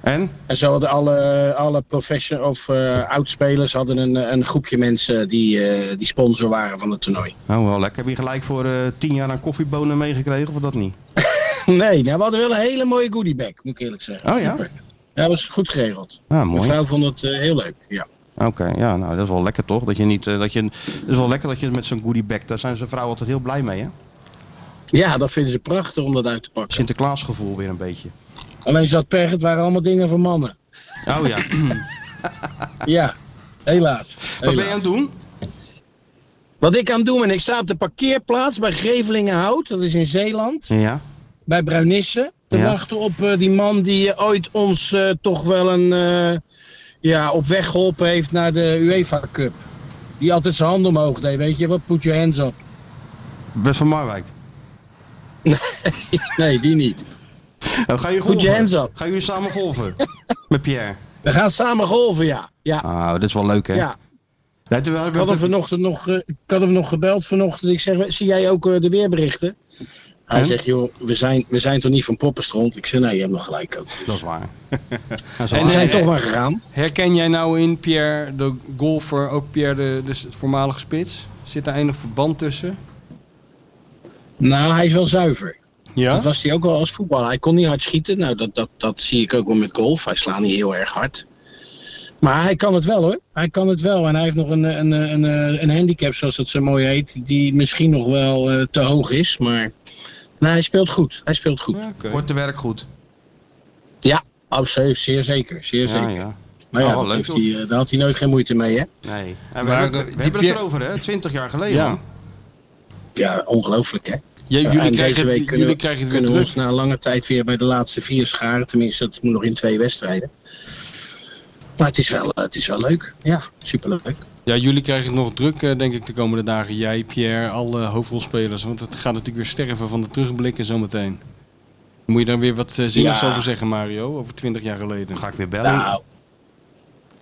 Speaker 2: En?
Speaker 11: En zo hadden alle, alle professional of eh oudspelers hadden een, een groepje mensen die, eh, die sponsor waren van het toernooi.
Speaker 2: Oh, wel lekker. Heb je gelijk voor eh, tien jaar aan koffiebonen meegekregen of dat niet?
Speaker 11: nee, nou, we hadden wel een hele mooie goodiebag, moet ik eerlijk zeggen.
Speaker 2: Oh ja?
Speaker 11: Super. Ja, dat was goed geregeld.
Speaker 2: Ah, mooi.
Speaker 11: Mijn vrouw vond het eh, heel leuk, ja.
Speaker 2: Oké, ja, nou, dat is wel lekker toch? Dat je niet, eh, dat je, dat is wel lekker dat je met zo'n goodie bag, daar zijn ze vrouwen altijd heel blij mee, hè?
Speaker 11: Ja, dat vinden ze prachtig om dat uit te pakken.
Speaker 2: Sinterklaasgevoel weer een beetje.
Speaker 11: Alleen zat per, het waren allemaal dingen voor mannen.
Speaker 2: Oh ja.
Speaker 11: Ja, helaas.
Speaker 2: Wat ben
Speaker 11: helaas.
Speaker 2: je aan het doen?
Speaker 11: Wat ik aan het doen ben, ik sta op de parkeerplaats bij Grevelingenhout, dat is in Zeeland,
Speaker 2: Ja.
Speaker 11: bij Bruinisse. Te
Speaker 2: Ja.
Speaker 11: wachten op eh, die man die eh, ooit ons eh, toch wel een, eh, ja, op weg geholpen heeft naar de UEFA Cup. Die altijd zijn hand omhoog deed, weet je, wat put your hands up.
Speaker 2: Best van Marwijk.
Speaker 11: nee, die niet.
Speaker 2: Nou, ga je
Speaker 11: Put
Speaker 2: golven?
Speaker 11: your hands up.
Speaker 2: Gaan jullie samen golven? Met Pierre.
Speaker 11: We gaan samen golven, ja. Ja,
Speaker 2: Ah, dat is wel leuk, hè?
Speaker 11: ja.
Speaker 2: Nee, terwijl-
Speaker 11: Ik had hem vanochtend nog, eh, ik had hem nog gebeld vanochtend. Ik zeg, zie jij ook eh, de weerberichten? Hij
Speaker 2: En?
Speaker 11: zegt, joh, we zijn, we zijn toch niet van poppenstront? Ik zeg, nee, je hebt nog gelijk ook.
Speaker 2: Dat is waar.
Speaker 11: En we zijn toch maar gegaan.
Speaker 3: Herken jij nou in Pierre de golfer, ook Pierre de, de s- voormalige spits? Zit daar enig verband tussen?
Speaker 11: Nou, hij is wel zuiver.
Speaker 3: Ja?
Speaker 11: Dat was hij ook wel als voetballer. Hij kon niet hard schieten. Nou, dat, dat, dat zie ik ook wel met golf. Hij slaat niet heel erg hard. Maar hij kan het wel hoor. Hij kan het wel. En hij heeft nog een, een, een, een, een handicap, zoals dat zo mooi heet. Die misschien nog wel eh, te hoog is. Maar nou, hij speelt goed. Hij speelt goed.
Speaker 2: Wordt te werk goed.
Speaker 11: Ja, absoluut. Zeer zeker. Zeer
Speaker 2: Ja,
Speaker 11: zeker.
Speaker 2: ja.
Speaker 11: Maar
Speaker 2: Oh,
Speaker 11: ja,
Speaker 2: wel
Speaker 11: dat
Speaker 2: leuk,
Speaker 11: heeft
Speaker 2: joh.
Speaker 11: hij, eh, daar had hij nooit geen moeite mee, hè?
Speaker 2: Nee. En we
Speaker 3: Maar,
Speaker 2: hebben,
Speaker 3: eh,
Speaker 2: we hebben
Speaker 3: die
Speaker 2: het
Speaker 3: Pierre-
Speaker 2: erover, hè? Twintig jaar geleden.
Speaker 3: Ja.
Speaker 2: man.
Speaker 11: Ja, ongelooflijk, hè?
Speaker 3: J-
Speaker 11: Ja,
Speaker 3: jullie
Speaker 11: en
Speaker 3: krijgen
Speaker 11: deze
Speaker 3: het-
Speaker 11: week
Speaker 3: jullie
Speaker 11: kunnen, we-
Speaker 3: krijgen het weer
Speaker 11: kunnen we
Speaker 3: druk.
Speaker 11: ons na lange tijd weer bij de laatste vier scharen. Tenminste, dat moet nog in twee wedstrijden. Maar het is wel, eh, het is wel leuk. Ja, superleuk.
Speaker 3: Ja, jullie krijgen het nog druk, eh, denk ik, de komende dagen. Jij, Pierre, alle hoofdrolspelers. Want het gaat natuurlijk weer sterven van de terugblikken zometeen. Moet je daar weer wat eh, zinnigs
Speaker 11: Ja.
Speaker 3: over zeggen, Mario? Over twintig jaar geleden.
Speaker 2: Ga ik weer bellen.
Speaker 11: Nou,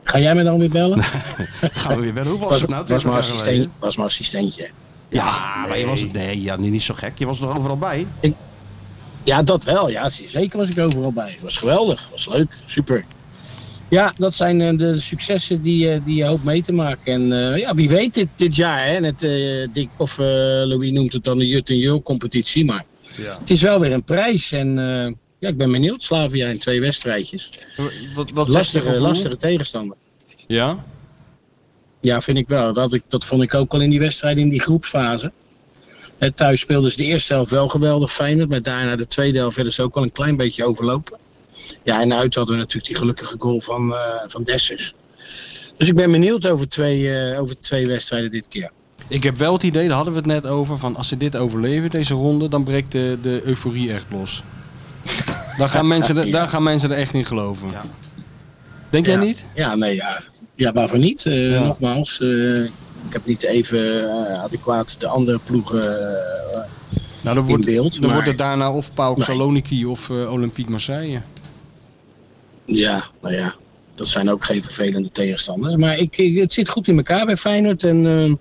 Speaker 11: ga jij me dan weer bellen?
Speaker 2: Gaan we weer bellen. Hoe was, het nou?
Speaker 11: Was
Speaker 2: 20
Speaker 11: mijn,
Speaker 2: jaar
Speaker 11: assistent,
Speaker 2: geleden?
Speaker 11: was mijn assistentje.
Speaker 2: Ja, maar je was... Nee, ja, niet, niet zo gek. Je was er overal bij.
Speaker 11: Ja, dat wel. Ja, zeker was ik overal bij. Het was geweldig. was leuk. Super. Ja, dat zijn eh, de successen die, eh, die je hoopt mee te maken. En eh, ja, wie weet dit, dit jaar. Hè, net, eh, Dick, of eh, Louis noemt het dan de Jut en Jul competitie. Maar
Speaker 3: Ja.
Speaker 11: het is wel weer een prijs. En eh, ja, ik ben benieuwd. Slavia in twee wedstrijdjes.
Speaker 3: Wat, wat zegt je
Speaker 11: Lastige,
Speaker 3: gevoel?
Speaker 11: lastige tegenstander.
Speaker 3: Ja?
Speaker 11: Ja, vind ik wel. Dat, ik, dat vond ik ook al in die wedstrijd in die groepsfase. Hè, thuis speelden ze de eerste helft wel geweldig Feyenoord. Maar daarna de tweede helft werden ze ook wel een klein beetje overlopen. Ja, en uit hadden we natuurlijk die gelukkige goal van, eh, van Dessers. Dus ik ben benieuwd over twee, eh, over twee wedstrijden dit keer.
Speaker 3: Ik heb wel het idee, daar hadden we het net over, van als ze dit overleven, deze ronde, dan breekt de, de euforie echt los. Daar gaan, mensen, er-
Speaker 11: Ja.
Speaker 3: daar gaan mensen er echt in geloven. Denk jij
Speaker 11: Ja.
Speaker 3: niet?
Speaker 11: Ja, nee, ja. Ja, waarvoor niet? Eh,
Speaker 3: Ja.
Speaker 11: Nogmaals, eh, ik heb niet even eh, adequaat de andere ploegen eh,
Speaker 3: Nou, dan wordt,
Speaker 11: in beeld.
Speaker 3: dan
Speaker 11: maar-
Speaker 3: wordt het daarna of PAOK
Speaker 11: Nee.
Speaker 3: Saloniki of eh, Olympique Marseille.
Speaker 11: Ja, nou ja, dat zijn ook geen vervelende tegenstanders. Maar ik, ik- het zit goed in elkaar bij Feyenoord. En eh,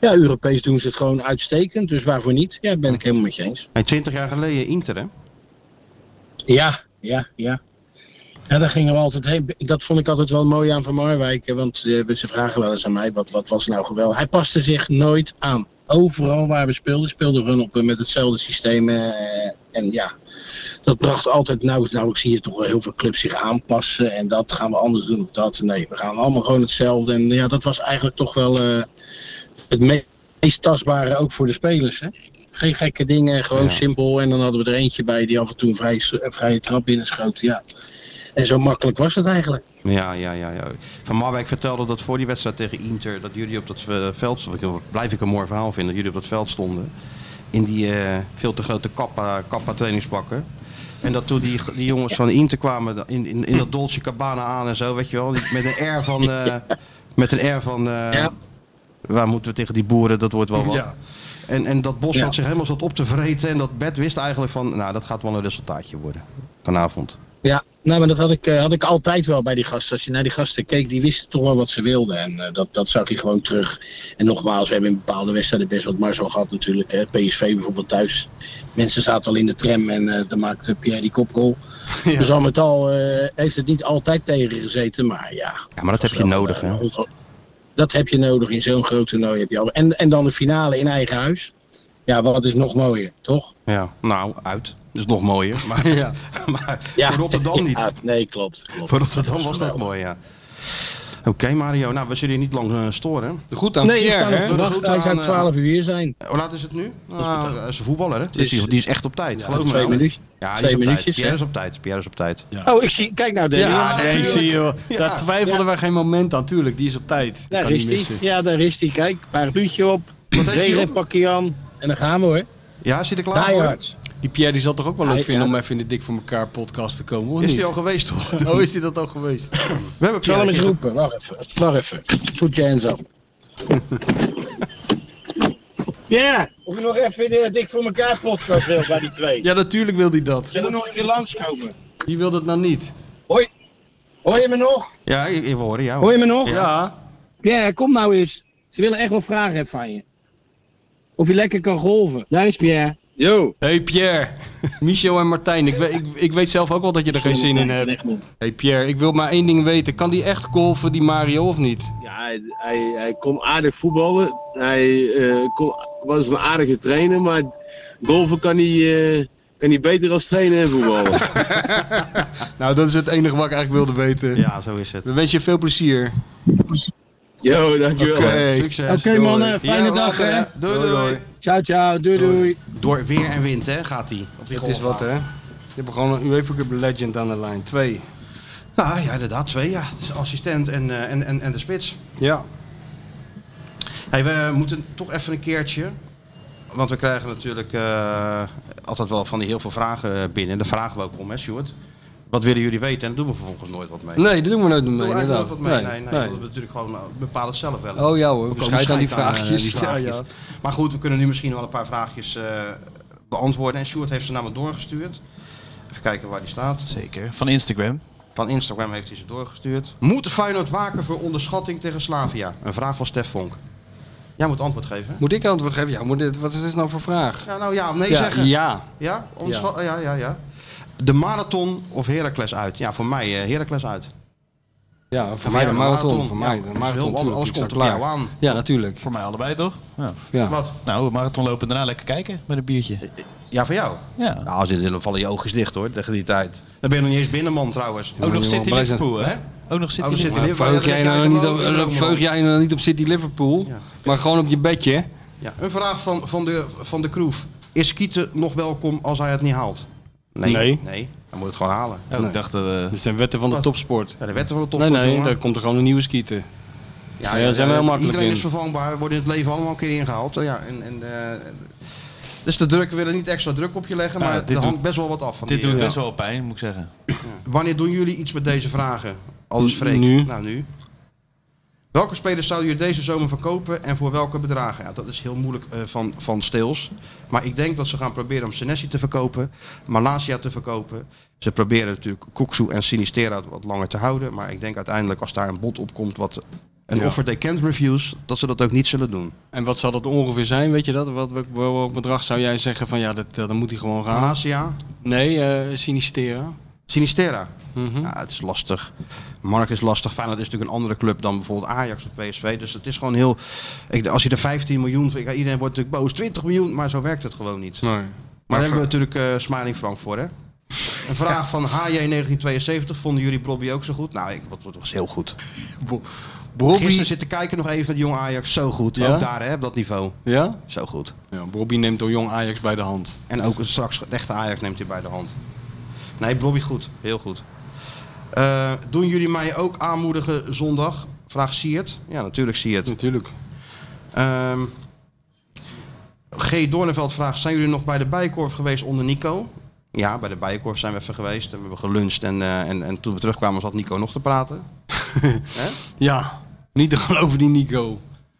Speaker 11: ja, Europees doen ze het gewoon uitstekend. Dus waarvoor niet? Ja, ben ik helemaal met je eens.
Speaker 2: En 20 jaar geleden Inter, hè?
Speaker 11: Ja, ja, ja. Ja, daar gingen we altijd heen. Dat vond ik altijd wel mooi aan Van Marwijk. hè, Want eh, ze vragen wel eens aan mij, wat, wat was nou geweldig? Hij paste zich nooit aan. Overal waar we speelden, speelden we hun op eh, met hetzelfde systeem. eh, en ja, dat bracht altijd nauw. Nou, ik zie je toch wel heel veel clubs zich aanpassen. En dat gaan we anders doen of dat. Nee, we gaan allemaal gewoon hetzelfde. En ja, dat was eigenlijk toch wel eh, het me- meest tastbare ook voor de spelers. Hè? Geen gekke dingen, gewoon
Speaker 2: Ja.
Speaker 11: simpel. En dan hadden we er eentje bij die af en toe een vrije, s- een vrije trap binnenschoot. Ja. En zo makkelijk was het eigenlijk.
Speaker 2: Ja, ja, ja, ja. Van Marwijk vertelde dat voor die wedstrijd tegen Inter, dat jullie op dat eh, veld stonden. Blijf ik een mooi verhaal vinden, dat jullie op dat veld stonden. In die eh, veel te grote kappa, kappa trainingspakken. En dat toen die, die jongens van Inter kwamen in, in, in dat Dolce Cabana aan en zo, weet je wel. die- Met een air van... eh, met een air van... eh, Waar moeten we tegen die boeren? Dat wordt wel wat.
Speaker 12: Ja.
Speaker 2: En, en dat bos
Speaker 12: Ja.
Speaker 2: had zich helemaal zat op te vreten. En dat bed wist eigenlijk van... Nou, dat gaat wel een resultaatje worden. Vanavond.
Speaker 11: Ja, nou, maar dat had ik, eh, had ik altijd wel bij die gasten. Als je naar die gasten keek, die wisten toch wel wat ze wilden. En eh, dat, dat zag je gewoon terug. En nogmaals, we hebben in bepaalde wedstrijden best wat marzo gehad natuurlijk. Hè. PSV bijvoorbeeld thuis. Mensen zaten al in de tram en eh dan maakte Pierre die kopgoal. Dus al met al eh, heeft het niet altijd tegengezeten, maar ja.
Speaker 2: Ja, maar dat heb je nodig, hè?
Speaker 11: eh, Dat heb je nodig in zo'n groot toernooi. Heb je al. En, en dan de finale in eigen huis. Ja, wat is nog mooier, toch?
Speaker 2: Ja, nou, uit. Is nog mooier. Maar, maar voor Rotterdam niet.
Speaker 11: Ja, nee, klopt. klopt.
Speaker 2: Voor Rotterdam was dat mooi, ja. Oké, Mario. Nou, we zullen je niet lang eh, storen.
Speaker 3: Goed
Speaker 11: nee, we staan op de wacht. Hij
Speaker 3: eh,
Speaker 11: zou 12 uur hier zijn.
Speaker 2: Hoe laat is het nu?
Speaker 11: is goed,
Speaker 2: Nou,
Speaker 11: hè?
Speaker 2: dat is een voetballer, hè? Dus
Speaker 11: Dus-
Speaker 2: die, die is echt op tijd.
Speaker 11: Ja,
Speaker 2: geloof me
Speaker 11: twee
Speaker 2: wel.
Speaker 11: minuutjes.
Speaker 2: Ja, die
Speaker 11: Twee
Speaker 2: is op tijd.
Speaker 11: minuutjes,
Speaker 2: Pierre
Speaker 11: hè?
Speaker 2: is op tijd. Pierre is op tijd.
Speaker 11: Oh, ik zie, kijk nou,
Speaker 3: Ja,
Speaker 11: Danny.
Speaker 3: nee,
Speaker 11: natuurlijk.
Speaker 3: Ah, zie je. wel.
Speaker 11: Ja.
Speaker 3: Daar twijfelden wij geen moment aan. Tuurlijk, die is op tijd.
Speaker 11: Daar
Speaker 3: kan niet
Speaker 11: is
Speaker 3: missen.
Speaker 11: hij. Ja, daar is hij. Kijk, parapluutje op.
Speaker 2: heeft hij op?
Speaker 11: Regenpakje aan. En dan gaan we hoor.
Speaker 2: Ja, is hij er klaar
Speaker 11: Die
Speaker 2: voor?
Speaker 11: hard.
Speaker 3: Die Pierre die zal toch ook wel leuk
Speaker 11: Hij-
Speaker 3: vinden
Speaker 11: ja.
Speaker 3: om even in de Dik voor elkaar podcast te komen, of
Speaker 2: Is
Speaker 3: niet?
Speaker 2: hij al geweest, toch?
Speaker 3: Oh, is hij dat al geweest?
Speaker 2: We hebben
Speaker 11: Ik zal hem eens
Speaker 2: Pierre.
Speaker 11: roepen. Wacht even. Wacht even. Put je hands up. Ja, of je nog even de dik voor elkaar podcast wil bij die twee.
Speaker 3: Ja, natuurlijk wil hij dat.
Speaker 11: Zullen we nog een keer langskomen?
Speaker 3: Wie wil dat nou niet?
Speaker 11: Hoi. Hoor je me nog?
Speaker 2: Ja, ik, ik wil horen jou.
Speaker 11: Hoor je me nog?
Speaker 3: Ja.
Speaker 11: Ja, kom nou eens. Ze willen echt wel vragen hebben van je. Of je lekker kan golven. Daar is Pierre. Yo.
Speaker 3: Hey Pierre, Michel en Martijn, ik, we- ik, ik weet zelf ook wel dat je er geen zin in hebt. Hey Pierre, ik wil maar één ding weten. Kan die echt golven, die Mario, of niet?
Speaker 13: Ja, hij, hij, hij kon aardig voetballen. Hij eh, kon- was een aardige trainer, maar golven kan hij, eh, kan hij beter als trainen en voetballen.
Speaker 3: Nou, dat is het enige wat ik eigenlijk wilde weten.
Speaker 2: Ja, zo is het.
Speaker 3: We wensen je veel plezier.
Speaker 13: Yo, dankjewel.
Speaker 3: Oké.
Speaker 2: Succes.
Speaker 11: Oké
Speaker 2: Doei.
Speaker 11: mannen, fijne
Speaker 2: Ja,
Speaker 11: dag
Speaker 2: later,
Speaker 11: hè.
Speaker 2: hè. Doei, doei.
Speaker 11: Ciao, ciao. Doei, doei.
Speaker 2: Door weer en wind, hè, gaat hij.
Speaker 3: Het is wat, hè? Je hebt gewoon een UEFA Cup Legend aan de lijn. Twee.
Speaker 2: Nou ja, inderdaad, twee, ja. Dus assistent en, eh, en, en, en de spits.
Speaker 3: Ja.
Speaker 2: Hey, we moeten toch even een keertje. Want we krijgen natuurlijk eh, altijd wel van die heel veel vragen eh, binnen. Daar vragen we ook om, hè, Stuart? Wat willen jullie weten? En daar doen we vervolgens nooit wat mee.
Speaker 3: Nee, daar doen we nooit mee,
Speaker 2: Doen we eigenlijk
Speaker 3: inderdaad.
Speaker 2: nooit wat mee. Nee,
Speaker 3: Nee,
Speaker 2: nee,
Speaker 3: nee.
Speaker 2: want we natuurlijk gewoon eh, bepalen het zelf wel.
Speaker 3: Oh ja hoor,
Speaker 2: We komen
Speaker 3: scheid aan die
Speaker 2: scheid eh,
Speaker 3: vraagjes.
Speaker 2: die
Speaker 3: Ja,
Speaker 2: vraagjes.
Speaker 3: ja.
Speaker 2: Maar goed, we kunnen nu misschien wel een paar vraagjes eh, beantwoorden. En Stuart heeft ze namelijk doorgestuurd. Even kijken waar die staat.
Speaker 4: Zeker. Van Instagram.
Speaker 2: Van Instagram heeft hij ze doorgestuurd. Moet Feyenoord waken voor onderschatting tegen Slavia? Een vraag van Stef Vonk. Jij moet antwoord geven.
Speaker 3: Moet ik antwoord geven? Ja, moet dit, wat is dit nou voor vraag?
Speaker 2: Ja, nou ja of nee
Speaker 3: ja,
Speaker 2: zeggen.
Speaker 3: Ja.
Speaker 2: Ja? Onderscha- ja, ja, ja. De marathon of Heracles uit? Ja, voor mij eh, Heracles uit.
Speaker 3: Ja, voor
Speaker 2: Ja,
Speaker 3: mij de
Speaker 2: de
Speaker 3: marathon.
Speaker 2: marathon.
Speaker 3: Voor mij
Speaker 2: Ja,
Speaker 3: de
Speaker 2: dat is
Speaker 3: marathon.
Speaker 2: heel-
Speaker 3: tuurlijk,
Speaker 2: alles
Speaker 3: ik sta
Speaker 2: komt op
Speaker 3: klaar.
Speaker 2: jou aan.
Speaker 3: Ja, natuurlijk.
Speaker 4: Voor mij allebei toch? Ja.
Speaker 3: Ja.
Speaker 2: Wat?
Speaker 4: Nou, marathon lopen en daarna lekker kijken met een biertje.
Speaker 2: Ja, voor jou.
Speaker 4: Ja.
Speaker 2: Nou, als dit dan vallen je oogjes dicht hoor, tegen die tijd. Dan ben je nog niet eens binnen, man, trouwens.
Speaker 4: Ook nog City
Speaker 3: blij zijn.
Speaker 4: Liverpool, hè? Ook nog
Speaker 2: Oh,
Speaker 4: City
Speaker 2: dan zit
Speaker 4: Liverpool.
Speaker 2: hij
Speaker 3: Maar
Speaker 2: weer-
Speaker 3: Veug
Speaker 2: ja,
Speaker 3: jij
Speaker 2: dan
Speaker 3: nou
Speaker 2: leg
Speaker 3: niet
Speaker 2: jij
Speaker 3: op-
Speaker 2: hem ook
Speaker 3: eh,
Speaker 2: nog
Speaker 3: veug
Speaker 2: op.
Speaker 3: jij nou niet op City Liverpool, maar gewoon op je bedje?
Speaker 2: Ja, een vraag van, van, de, van de Kroef. Is Kieten nog welkom als hij het niet haalt?
Speaker 3: Nee.
Speaker 2: Nee, hij moet het gewoon halen.
Speaker 4: Oh,
Speaker 3: Nee.
Speaker 4: Ik dacht dat... eh,
Speaker 3: Dat zijn wetten van de
Speaker 2: Wat?
Speaker 3: topsport.
Speaker 2: Ja, de wetten van de
Speaker 3: Nee,
Speaker 2: topsport,
Speaker 3: nee,
Speaker 2: jongen.
Speaker 3: daar komt er gewoon een nieuwe skieten. Ja, daar zijn we heel makkelijk
Speaker 2: Iedereen
Speaker 3: in.
Speaker 2: is vervangbaar. We worden in het leven allemaal een keer ingehaald. Ja, en, en, eh, dus de druk, we willen niet extra druk op je leggen,
Speaker 4: Ja,
Speaker 2: maar
Speaker 4: Nou, dit
Speaker 2: er hangt
Speaker 4: doet-
Speaker 2: best wel wat af van
Speaker 4: dit
Speaker 2: die,
Speaker 4: doet
Speaker 2: eh,
Speaker 4: best wel pijn, moet ik zeggen.
Speaker 2: Wanneer doen jullie iets met deze vragen? Alles vreemd.
Speaker 3: Nu.
Speaker 2: Nou, nu. Welke spelers zouden jullie deze zomer verkopen en voor welke bedragen? Ja, dat is heel moeilijk eh, van, van Stils. Maar ik denk dat ze gaan proberen om Senesi te verkopen, Malasia te verkopen. Ze proberen natuurlijk Kuksu en Sinistera wat langer te houden. Maar ik denk uiteindelijk als daar een bod op komt wat een
Speaker 3: Ja.
Speaker 2: offer they can't refuse, dat ze dat ook niet zullen doen.
Speaker 3: En wat zal dat ongeveer zijn, weet je dat? Wat, welk, welk bedrag zou jij zeggen van ja, dat, dat, dan moet hij gewoon
Speaker 2: Ah.
Speaker 3: gaan?
Speaker 2: Malasia,
Speaker 3: Nee, eh Sinistera.
Speaker 2: Sinistera.
Speaker 3: Hm?
Speaker 2: Ja, het is lastig. Mark is lastig. Feyenoord is natuurlijk een andere club dan bijvoorbeeld Ajax of PSV. Dus het is gewoon heel... Ik, als je er 15 miljoen... voor- Iedereen wordt natuurlijk boos. 20 miljoen, maar zo werkt het gewoon niet.
Speaker 3: Nee.
Speaker 2: Maar daar
Speaker 3: ver-
Speaker 2: hebben we natuurlijk eh Smiling Frank voor, hè? Een vraag van HJ1972. Vonden jullie Bobby ook zo goed? Nou, ik, dat, dat was heel goed.
Speaker 3: Bobby-
Speaker 2: Gisteren zitten kijken nog even naar de jonge Ajax. Zo goed.
Speaker 3: Ja?
Speaker 2: Ook daar, hè, op dat niveau.
Speaker 3: Ja?
Speaker 2: Zo goed.
Speaker 3: ja? Bobby neemt al jong Ajax bij de hand.
Speaker 2: En ook een straks de echte Ajax neemt hij bij de hand. Nee, Blobby goed. Heel goed. Eh, doen jullie mij ook aanmoedigen zondag? Vraag Siert. Ja, natuurlijk Siert.
Speaker 3: Natuurlijk.
Speaker 2: Ehm, G. Doorneveld vraagt, zijn jullie nog bij de Bijkorf geweest onder Nico? Ja, bij de Bijenkorf zijn we even geweest. En we hebben geluncht. En, eh, en, en toen we terugkwamen zat Nico nog te praten. Hè?
Speaker 3: Ja, niet te geloven die
Speaker 2: Nou,
Speaker 3: Nico.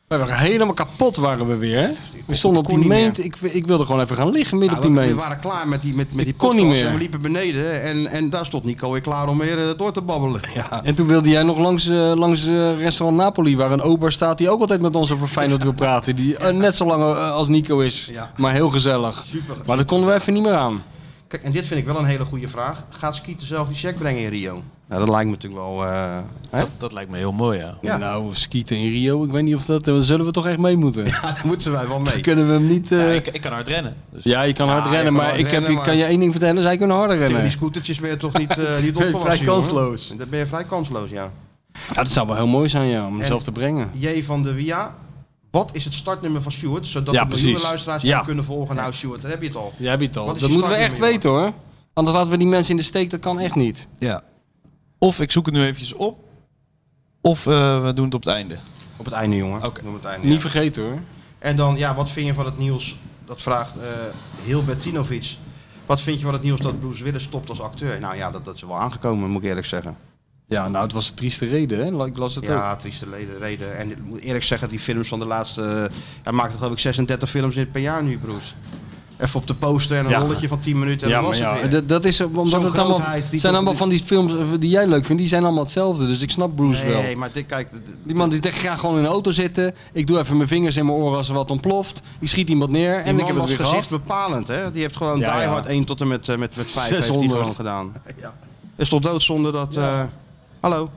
Speaker 3: We waren helemaal kapot waren we weer. hè? We stonden op
Speaker 2: kon
Speaker 3: die
Speaker 2: niet
Speaker 3: meent. Ik, ik wilde gewoon even gaan liggen midden
Speaker 2: Nou,
Speaker 3: op
Speaker 2: we,
Speaker 3: die
Speaker 2: we
Speaker 3: meent.
Speaker 2: waren klaar met die, met, met die
Speaker 3: kon
Speaker 2: podcast.
Speaker 3: niet meer.
Speaker 2: En we liepen beneden. En, en daar stond Nico weer klaar om weer eh, door te babbelen. Ja.
Speaker 3: En toen wilde jij nog langs, eh, langs eh, restaurant Napoli, waar een ober staat die ook altijd met ons over Feyenoord wil praten. Die eh, net zo lang eh, als Nico is, maar heel gezellig. Maar dat konden we even niet meer aan.
Speaker 2: Kijk, en dit vind ik wel een hele goede vraag. Gaat Skeeter zelf die check brengen in Rio? Nou, dat lijkt me natuurlijk wel... eh, hè?
Speaker 4: Dat, dat lijkt me heel mooi, ja.
Speaker 2: Ja.
Speaker 3: Nou, skieten in Rio, ik weet niet of dat... eh, Zullen we toch echt mee moeten?
Speaker 2: moeten wij wel mee.
Speaker 3: Dan kunnen we hem niet... eh,
Speaker 4: Ik, ik kan hard rennen. Dus
Speaker 3: Ja, je kan
Speaker 4: Ja,
Speaker 3: hard
Speaker 4: je
Speaker 3: rennen,
Speaker 4: kan
Speaker 3: maar
Speaker 4: hard
Speaker 3: ik heb,
Speaker 4: rennen,
Speaker 3: ik
Speaker 4: maar-
Speaker 3: kan je één ding vertellen, zij kunnen harder
Speaker 2: Tegen
Speaker 3: rennen.
Speaker 2: die scootertjes ben je toch niet, eh niet
Speaker 3: Ben je
Speaker 2: opgewassen,
Speaker 3: vrij
Speaker 2: jongen?
Speaker 3: kansloos.
Speaker 2: Dan ben je vrij kansloos, ja.
Speaker 3: Ja, dat zou wel heel mooi zijn, ja, om
Speaker 2: En-
Speaker 3: hem zelf te brengen.
Speaker 2: J van de Via. Wat is het startnummer van Stuart? Zodat
Speaker 3: Ja,
Speaker 2: de miljoenen
Speaker 3: precies.
Speaker 2: luisteraars
Speaker 3: Ja.
Speaker 2: hem kunnen volgen. Nou, Stuart, daar heb je het al.
Speaker 3: Jij hebt het al.
Speaker 2: Wat is
Speaker 3: Dat
Speaker 2: je
Speaker 3: moeten we echt
Speaker 2: startnummer,
Speaker 3: weten, hoor. Anders laten we die mensen in de steek, dat kan echt niet.
Speaker 4: Ja. Of ik zoek het nu eventjes op. Of eh, we doen het op het einde.
Speaker 2: Op het einde, jongen.
Speaker 4: Oké.
Speaker 2: Noem het einde,
Speaker 3: Niet
Speaker 2: ja.
Speaker 3: vergeten, hoor.
Speaker 2: En dan, ja, wat vind je van het nieuws? Dat vraagt eh Hilbertinovic. Wat vind je van het nieuws dat Bruce Willis stopt als acteur? Nou ja, dat, dat is wel aangekomen, moet ik eerlijk zeggen.
Speaker 3: Ja, nou, het was een trieste reden, hè? Ik las het
Speaker 2: ja,
Speaker 3: ook.
Speaker 2: trieste leden, reden. En ik moet eerlijk zeggen, die films van de laatste... eh, hij maakt er geloof ik 36 films in per jaar nu, Bruce. Even op de poster en een
Speaker 3: Ja.
Speaker 2: rolletje van 10 minuten en
Speaker 3: Ja,
Speaker 2: dan
Speaker 3: maar
Speaker 2: was het
Speaker 3: ja,
Speaker 2: weer.
Speaker 3: Eh, dat, dat is omdat
Speaker 2: Zo'n
Speaker 3: het allemaal,
Speaker 2: grootheid, die
Speaker 3: zijn
Speaker 2: toch-
Speaker 3: allemaal van die films eh, die jij leuk vindt, die zijn allemaal hetzelfde. Dus ik snap Bruce wel.
Speaker 2: Nee, maar dit, kijk, dit-
Speaker 3: Die man die denkt, ik ga gewoon in de auto zitten. Ik doe even mijn vingers in mijn oren als er wat ontploft. Ik schiet iemand neer
Speaker 2: Die
Speaker 3: en
Speaker 2: man
Speaker 3: ik heb het
Speaker 2: was
Speaker 3: weer
Speaker 2: gezicht
Speaker 3: gehad.
Speaker 2: bepalend, hè? Die heeft gewoon
Speaker 3: Ja,
Speaker 2: Die
Speaker 3: ja.
Speaker 2: Hard 1 tot en met, eh, met, met 5 heeft hij
Speaker 3: 600.
Speaker 2: gewoon gedaan.
Speaker 3: Ja.
Speaker 2: Is toch doodzonde dat... eh, hallo?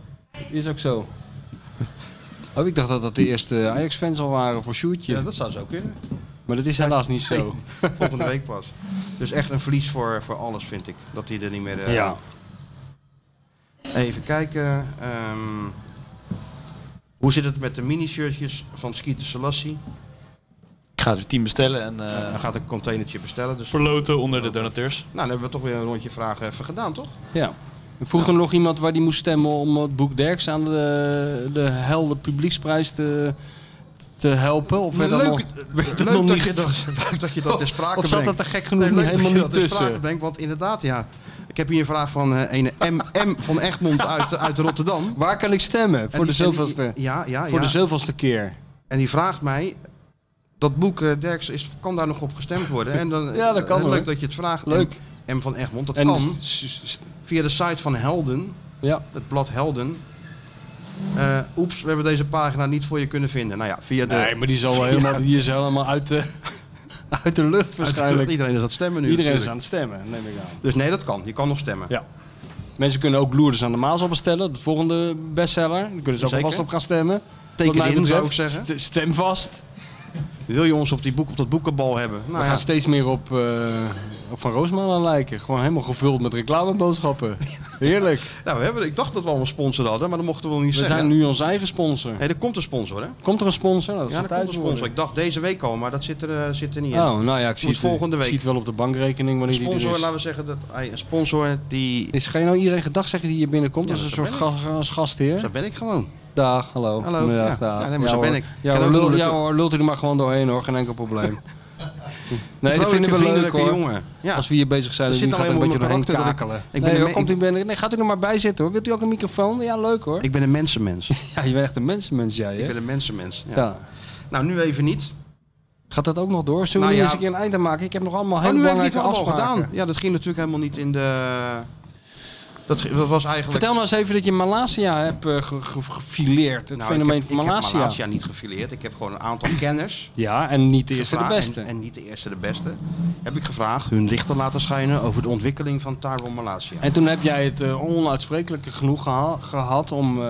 Speaker 3: Is ook zo. Oh, ik dacht dat dat de eerste eh, Ajax-fans al waren voor Sjoerdje.
Speaker 2: Ja, dat zou zo kunnen.
Speaker 3: Maar dat is helaas niet zo.
Speaker 2: Volgende week pas. Dus echt een verlies voor, voor alles, vind ik. Dat hij er niet meer... eh,
Speaker 3: Ja.
Speaker 2: Even kijken. ehm, hoe zit het met de minishirtjes van Skeeter Selassie?
Speaker 4: Ik ga er tien bestellen en
Speaker 2: Hij
Speaker 4: eh
Speaker 2: gaat een containertje bestellen. Dus...
Speaker 4: verloten onder de donateurs.
Speaker 2: Nou, dan hebben we toch weer een rondje vragen even gedaan, toch?
Speaker 3: Ja. Er vroeg er nog iemand waar die moest stemmen om het boek Derks aan de, de helden publieksprijs te, te helpen. Of werd dat
Speaker 2: leuk, eh,
Speaker 3: nog, werd dat
Speaker 2: leuk
Speaker 3: nog
Speaker 2: dat
Speaker 3: niet
Speaker 2: je dat, leuk dat je dat ter
Speaker 3: Of-
Speaker 2: sprake
Speaker 3: of
Speaker 2: brengt.
Speaker 3: zat dat er gek genoeg niet-
Speaker 2: leuk dat
Speaker 3: helemaal
Speaker 2: je
Speaker 3: niet
Speaker 2: dat ter
Speaker 3: tussen?
Speaker 2: sprake brengt, want inderdaad, ja. Ik heb hier een vraag van eh een M, M van Egmond uit, eh, uit Rotterdam. En
Speaker 3: Waar kan ik stemmen? Voor
Speaker 2: die-
Speaker 3: de
Speaker 2: en die-
Speaker 3: zoveelste,
Speaker 2: Ja, ja,
Speaker 3: voor
Speaker 2: ja.
Speaker 3: de zoveelste keer.
Speaker 2: en die vraagt mij... Dat boek eh Derks, is, kan daar nog op gestemd worden? En dan,
Speaker 3: Ja, dat kan
Speaker 2: eh, Leuk
Speaker 3: hoor.
Speaker 2: dat je het vraagt.
Speaker 3: Leuk.
Speaker 2: M, M van Egmond, dat
Speaker 3: En-
Speaker 2: kan via de site van Helden.
Speaker 3: Ja.
Speaker 2: Het blad Helden. Eh, oeps, we hebben deze pagina niet voor je kunnen vinden. Nou ja, via de...
Speaker 3: Nee, maar die, zal wel
Speaker 2: via-
Speaker 3: helemaal, die is helemaal uit de, uit de lucht waarschijnlijk.
Speaker 2: Iedereen is aan het stemmen nu.
Speaker 3: Iedereen is
Speaker 2: natuurlijk.
Speaker 3: aan het stemmen, neem ik aan.
Speaker 2: Dus nee, dat kan. Je kan nog stemmen.
Speaker 3: Ja. Mensen kunnen ook Loerders aan de Maas al bestellen, de volgende bestseller. Daar kunnen ze ook
Speaker 2: Zeker.
Speaker 3: alvast op gaan stemmen.
Speaker 2: Teken
Speaker 3: Wat mij
Speaker 2: in, zou
Speaker 3: betreft,
Speaker 2: ik zeggen.
Speaker 3: st- Stem vast.
Speaker 2: Wil je ons op, die boek, op dat boekenbal hebben? Nou
Speaker 3: We
Speaker 2: ja.
Speaker 3: gaan steeds meer op, eh, op Van Roosmalen aan lijken. Gewoon helemaal gevuld met reclameboodschappen. Heerlijk.
Speaker 2: Nou, we hebben, ik dacht dat we al een sponsor hadden, maar dat mochten we wel niet
Speaker 3: We
Speaker 2: zeggen.
Speaker 3: zijn nu onze eigen sponsor.
Speaker 2: Nee, er komt een sponsor, hè?
Speaker 3: Komt er een sponsor? Nou, Dat
Speaker 2: ja,
Speaker 3: staat
Speaker 2: er komt
Speaker 3: uit
Speaker 2: een
Speaker 3: te worden.
Speaker 2: sponsor. Ik dacht deze week al, maar dat zit er, eh, zit er niet in.
Speaker 3: Oh, nou ja, ik zie
Speaker 2: Moet
Speaker 3: het,
Speaker 2: volgende
Speaker 3: ik
Speaker 2: week.
Speaker 3: zie het wel op de bankrekening
Speaker 2: Een
Speaker 3: wanneer die
Speaker 2: sponsor,
Speaker 3: er is.
Speaker 2: laten we zeggen, dat, hij- een sponsor die...
Speaker 3: Is ga je nou iedereen gedag zeggen die hier binnenkomt?
Speaker 2: Ja,
Speaker 3: als een
Speaker 2: dat
Speaker 3: soort ga- als gastheer?
Speaker 2: Zo ben ik gewoon.
Speaker 3: Dag, hallo.
Speaker 2: Hallo,
Speaker 3: Goedemiddag,
Speaker 2: ja.
Speaker 3: dag.
Speaker 2: Ja, nee, maar zo
Speaker 3: hoor.
Speaker 2: ben ik.
Speaker 3: Ja
Speaker 2: Kan
Speaker 3: hoor,
Speaker 2: ook
Speaker 3: lul,
Speaker 2: moeilijk-
Speaker 3: ja hoor, lult u er maar gewoon doorheen hoor, geen enkel probleem. Nee, dat
Speaker 2: Vrolijke,
Speaker 3: vinden we leuk
Speaker 2: vriendelijke
Speaker 3: hoor.
Speaker 2: jongen. Ja.
Speaker 3: Als we hier bezig zijn,
Speaker 2: Er
Speaker 3: dan
Speaker 2: zit
Speaker 3: gaat er een
Speaker 2: alleen
Speaker 3: beetje
Speaker 2: maar
Speaker 3: doorheen
Speaker 2: mijn karakter dat
Speaker 3: kakelen.
Speaker 2: ik- ik ben
Speaker 3: Nee,
Speaker 2: een
Speaker 3: hoor,
Speaker 2: me-
Speaker 3: komt u binnen. Nee, gaat u er maar bij zitten hoor. Wilt u ook een microfoon? Ja, leuk hoor.
Speaker 2: Ik ben een mensenmens.
Speaker 3: Ja, je bent echt een mensenmens jij hè?
Speaker 2: ik ben een mensenmens. Ja.
Speaker 3: Ja.
Speaker 2: Nou, nu even niet.
Speaker 3: Gaat dat ook nog door? Zullen
Speaker 2: Nou ja.
Speaker 3: we hier eens een keer een eind aan maken? Ik heb nog allemaal
Speaker 2: Oh,
Speaker 3: hele
Speaker 2: nu heb ik niet
Speaker 3: belangrijke
Speaker 2: allemaal
Speaker 3: afspraken.
Speaker 2: gedaan. Ja, dat ging natuurlijk helemaal niet in de... Dat, ge- dat was eigenlijk...
Speaker 3: Vertel nou eens even dat je Malasia hebt eh, ge- ge- gefileerd. Het
Speaker 2: Nou, ik
Speaker 3: fenomeen
Speaker 2: heb-
Speaker 3: van
Speaker 2: Ik
Speaker 3: Malasia.
Speaker 2: heb Malasia niet gefileerd. Ik heb gewoon een aantal kenners.
Speaker 3: Ja, en niet de eerste de
Speaker 2: gevraagd
Speaker 3: beste.
Speaker 2: En, en niet de eerste de beste. Heb ik gevraagd hun licht te laten schijnen over de ontwikkeling van Tyrone Malasia.
Speaker 3: En toen heb jij het eh, onuitsprekelijke genoeg geha- gehad om eh,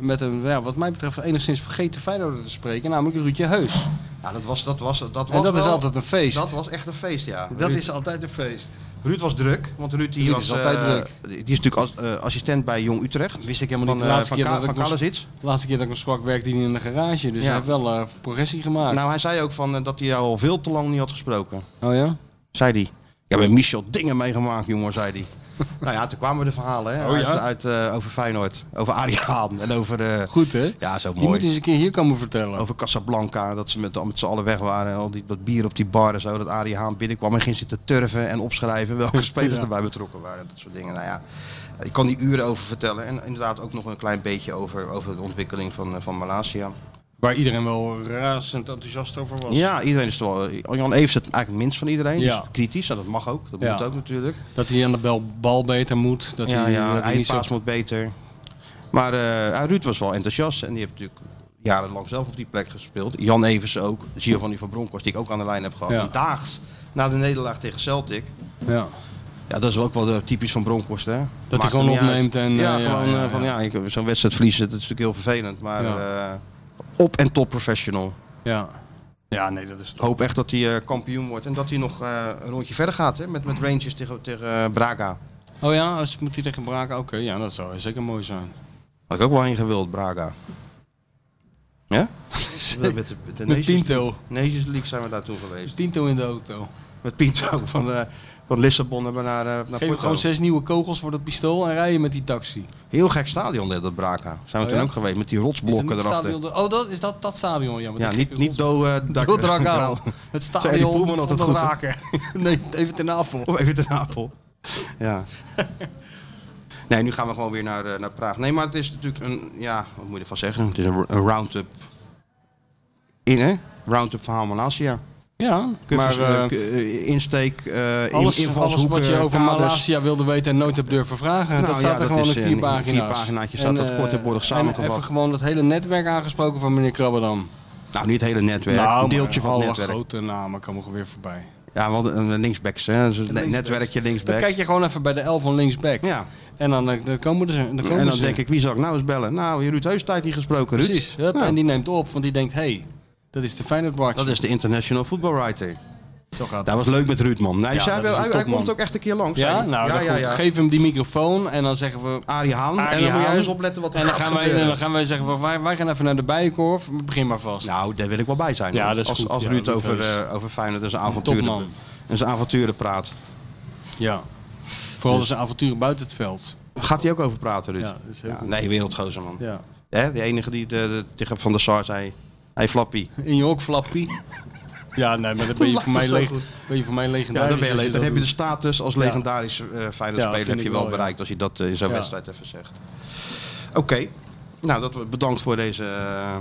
Speaker 3: met een, ja, wat mij betreft, enigszins vergeten Feyenoorder te spreken, namelijk Ruudje Heus.
Speaker 2: Ja, dat was, dat was, dat was
Speaker 3: en dat is
Speaker 2: wel-
Speaker 3: altijd een feest.
Speaker 2: Dat was echt een feest, ja.
Speaker 3: Dat
Speaker 2: Ruud,
Speaker 3: is altijd een feest.
Speaker 2: Ruud was druk, want Ruud, die
Speaker 3: Ruud
Speaker 2: was,
Speaker 3: is altijd
Speaker 2: eh,
Speaker 3: druk.
Speaker 2: Die is natuurlijk als, eh, assistent bij Jong Utrecht.
Speaker 3: Wist ik helemaal niet.
Speaker 2: Van,
Speaker 3: de
Speaker 2: eh,
Speaker 3: laatste
Speaker 2: van
Speaker 3: keer
Speaker 2: Ka-
Speaker 3: dat ik
Speaker 2: van
Speaker 3: hem-
Speaker 2: Kalezits?
Speaker 3: de laatste keer dat ik hem sprak, werkte hij in de garage. Dus
Speaker 2: Ja.
Speaker 3: hij heeft wel eh, progressie gemaakt.
Speaker 2: Nou, hij zei ook van, eh, dat hij al veel te lang niet had gesproken.
Speaker 3: oh ja?
Speaker 2: Zei hij. Ja, we hebben Michel dingen meegemaakt, jongen, zei hij. nou ja, toen kwamen de verhalen hè,
Speaker 3: Oh ja?
Speaker 2: uit, uit, eh, over Feyenoord, over Arie Haan en over... de.
Speaker 3: Goed, hè?
Speaker 2: Ja, zo mooi. Oh.
Speaker 3: Die moet eens een keer hier komen vertellen.
Speaker 2: Over Casablanca, dat ze met, met z'n allen weg waren. En al die, dat bier op die bar en zo. Dat Arie Haan binnenkwam en ging zitten turven en opschrijven welke spelers
Speaker 3: Ja.
Speaker 2: erbij betrokken waren. Dat soort dingen. Nou ja, ik kan die uren over vertellen. En inderdaad ook nog een klein beetje over, over de ontwikkeling van, eh, van Malasia.
Speaker 3: Waar iedereen wel razend enthousiast over was.
Speaker 2: Ja, iedereen is toch wel. Jan Evers het eigenlijk het minst van iedereen.
Speaker 3: Ja.
Speaker 2: Dus kritisch, en dat mag ook. Dat
Speaker 3: Ja.
Speaker 2: moet ook natuurlijk.
Speaker 3: Dat hij aan de bel, bal beter moet. Dat
Speaker 2: ja,
Speaker 3: hij,
Speaker 2: ja,
Speaker 3: dat hij niet zo...
Speaker 2: eindpaas moet beter. Maar eh, ja, Ruud was wel enthousiast en die heeft natuurlijk jarenlang zelf op die plek gespeeld. Jan Evers ook, Giovanni van Bronckhorst, die ik ook aan de lijn heb gehad.
Speaker 3: Ja.
Speaker 2: En daags na de nederlaag tegen Celtic.
Speaker 3: Ja.
Speaker 2: Ja, dat is ook wel eh, typisch van Bronkhorst, hè?
Speaker 3: hij
Speaker 2: Maakt
Speaker 3: gewoon
Speaker 2: hem niet
Speaker 3: opneemt
Speaker 2: uit.
Speaker 3: en,
Speaker 2: Ja,
Speaker 3: eh, ja,
Speaker 2: gewoon
Speaker 3: ja,
Speaker 2: eh, van
Speaker 3: ja.
Speaker 2: ja, ik- zo'n wedstrijd verliezen, dat is natuurlijk heel vervelend. Maar
Speaker 3: Ja.
Speaker 2: eh, op en top professional.
Speaker 3: Ja. ja, nee, dat is
Speaker 2: Ik hoop echt dat hij eh, kampioen wordt en dat hij nog eh, een rondje verder gaat hè, met, met Rangers tegen, tegen eh, Braga.
Speaker 3: Oh ja, als moet hij tegen Braken? Oké, ja, dat zou zeker mooi zijn.
Speaker 2: Had ik ook wel heen gewild, Braga. Ja? Met de, met de
Speaker 3: Met
Speaker 2: Nations
Speaker 3: Pinto.
Speaker 2: League- Nations League zijn we daar toen geweest.
Speaker 3: Pinto in de auto.
Speaker 2: Met Pinto van, eh, van Lissabon hebben we naar, eh, naar
Speaker 3: Geef
Speaker 2: Porto.
Speaker 3: gewoon zes nieuwe kogels voor dat pistool en rij je met die taxi.
Speaker 2: Heel gek stadion dit, dat Braga. Zijn we
Speaker 3: Oh,
Speaker 2: toen
Speaker 3: ja?
Speaker 2: ook geweest met die
Speaker 3: Is dat niet
Speaker 2: rotsblokken
Speaker 3: het
Speaker 2: erachter.
Speaker 3: stadion? Oh, dat is dat, dat stadion, ja. met
Speaker 2: Ja,
Speaker 3: die
Speaker 2: niet,
Speaker 3: gekke
Speaker 2: niet do... eh, dak-
Speaker 3: Door Dragaal.
Speaker 2: Dragaal.
Speaker 3: Het
Speaker 2: Zei Eddie
Speaker 3: stadion
Speaker 2: Poelman
Speaker 3: van
Speaker 2: altijd
Speaker 3: de
Speaker 2: goed, hè?
Speaker 3: raken. Nee, even ten Apel.
Speaker 2: Of even de Napel. Ja. Nee, nu gaan we gewoon weer naar, eh, naar Praag. Nee, maar het is natuurlijk een... Ja, wat moet je ervan zeggen? Het is een, een round-up. In, hè? Round-up verhaal Malasia.
Speaker 3: Ja,
Speaker 2: Kuffers,
Speaker 3: maar, eh,
Speaker 2: eh, k- eh, insteek, eh, in-
Speaker 3: Alles, alles
Speaker 2: invalshoeken,
Speaker 3: wat je over
Speaker 2: kaders.
Speaker 3: Malasia wilde weten en nooit hebt durven vragen,
Speaker 2: Nou
Speaker 3: dat staat
Speaker 2: ja,
Speaker 3: er
Speaker 2: dat
Speaker 3: gewoon
Speaker 2: is
Speaker 3: in
Speaker 2: in-
Speaker 3: vier
Speaker 2: in
Speaker 3: pagina's.
Speaker 2: vier paginaatjes staat
Speaker 3: En,
Speaker 2: dat
Speaker 3: eh,
Speaker 2: kort en bondig
Speaker 3: En even
Speaker 2: samengevat.
Speaker 3: gewoon dat hele netwerk aangesproken van meneer Krabberdam.
Speaker 2: Nou, niet het hele netwerk.
Speaker 3: Nou,
Speaker 2: een deeltje
Speaker 3: maar
Speaker 2: van het
Speaker 3: alle
Speaker 2: netwerk.
Speaker 3: grote namen komen gewoon weer voorbij.
Speaker 2: Ja, want een linksbacks, hè. Dus een
Speaker 3: Linksbacks.
Speaker 2: netwerkje linksback.
Speaker 3: Dan kijk je gewoon even bij de L van linksback.
Speaker 2: Ja.
Speaker 3: En dan, eh, dan komen ze. Dan komen
Speaker 2: en dan
Speaker 3: ze.
Speaker 2: denk ik, wie zal ik nou eens bellen? Nou, Ruud Heus tijd niet gesproken, Ruud.
Speaker 3: Precies. hup,
Speaker 2: Nou,
Speaker 3: En die neemt op, want die denkt, hé, hey, dat is de Feyenoord
Speaker 2: dat is de International Football Writer.
Speaker 3: Zo gaat
Speaker 2: Dat was leuk met Ruud, man. Nee,
Speaker 3: Ja,
Speaker 2: zei
Speaker 3: dat
Speaker 2: wel,
Speaker 3: is een
Speaker 2: hij, hij
Speaker 3: topman.
Speaker 2: komt ook echt een keer langs. zei
Speaker 3: Ja,
Speaker 2: hij.
Speaker 3: nou,
Speaker 2: ja,
Speaker 3: dan
Speaker 2: ja,
Speaker 3: goed.
Speaker 2: ja.
Speaker 3: geef hem die microfoon en dan zeggen we...
Speaker 2: Arie Haan.
Speaker 3: Arie
Speaker 2: en dan moet
Speaker 3: Haan.
Speaker 2: jij eens opletten wat er
Speaker 3: En dan
Speaker 2: gaat
Speaker 3: gaan, wij,
Speaker 2: gebeuren.
Speaker 3: dan gaan wij zeggen, van, wij, wij gaan even naar de Bijenkorf, begin maar vast.
Speaker 2: Nou, daar wil ik wel bij zijn.
Speaker 3: Ja,
Speaker 2: hoor.
Speaker 3: dat is
Speaker 2: als
Speaker 3: goed.
Speaker 2: als
Speaker 3: Ja,
Speaker 2: Ruud
Speaker 3: Ruud
Speaker 2: over,
Speaker 3: Heus.
Speaker 2: eh, over Feyenoord en zijn avonturen,
Speaker 3: topman.
Speaker 2: en zijn avonturen praat.
Speaker 3: Ja. Vooral zijn avonturen buiten het veld.
Speaker 2: Gaat hij ook over praten, Ruud?
Speaker 3: Ja, dat is heel goed.
Speaker 2: nee, wereldgozer, man.
Speaker 3: Ja.
Speaker 2: Hè, de enige die de, de- tegen Van der Sar zei, hey, Flappie.
Speaker 3: In je hok, Flappie. Ja, nee, maar dan ben je,
Speaker 2: Lacht
Speaker 3: voor mij,
Speaker 2: zo
Speaker 3: leg-
Speaker 2: goed.
Speaker 3: ben je voor mij
Speaker 2: Ja,
Speaker 3: legendarisch.
Speaker 2: dan, ben je,
Speaker 3: als
Speaker 2: le- dan
Speaker 3: dat
Speaker 2: heb je de
Speaker 3: doet.
Speaker 2: status als
Speaker 3: Ja.
Speaker 2: legendarisch eh Feyenoord
Speaker 3: Ja,
Speaker 2: speler
Speaker 3: vind
Speaker 2: heb je
Speaker 3: ik
Speaker 2: wel
Speaker 3: wel, ja.
Speaker 2: bereikt als je dat eh, in zo'n
Speaker 3: Ja.
Speaker 2: wedstrijd even zegt. Oké, nou dat, we- bedankt voor deze, eh,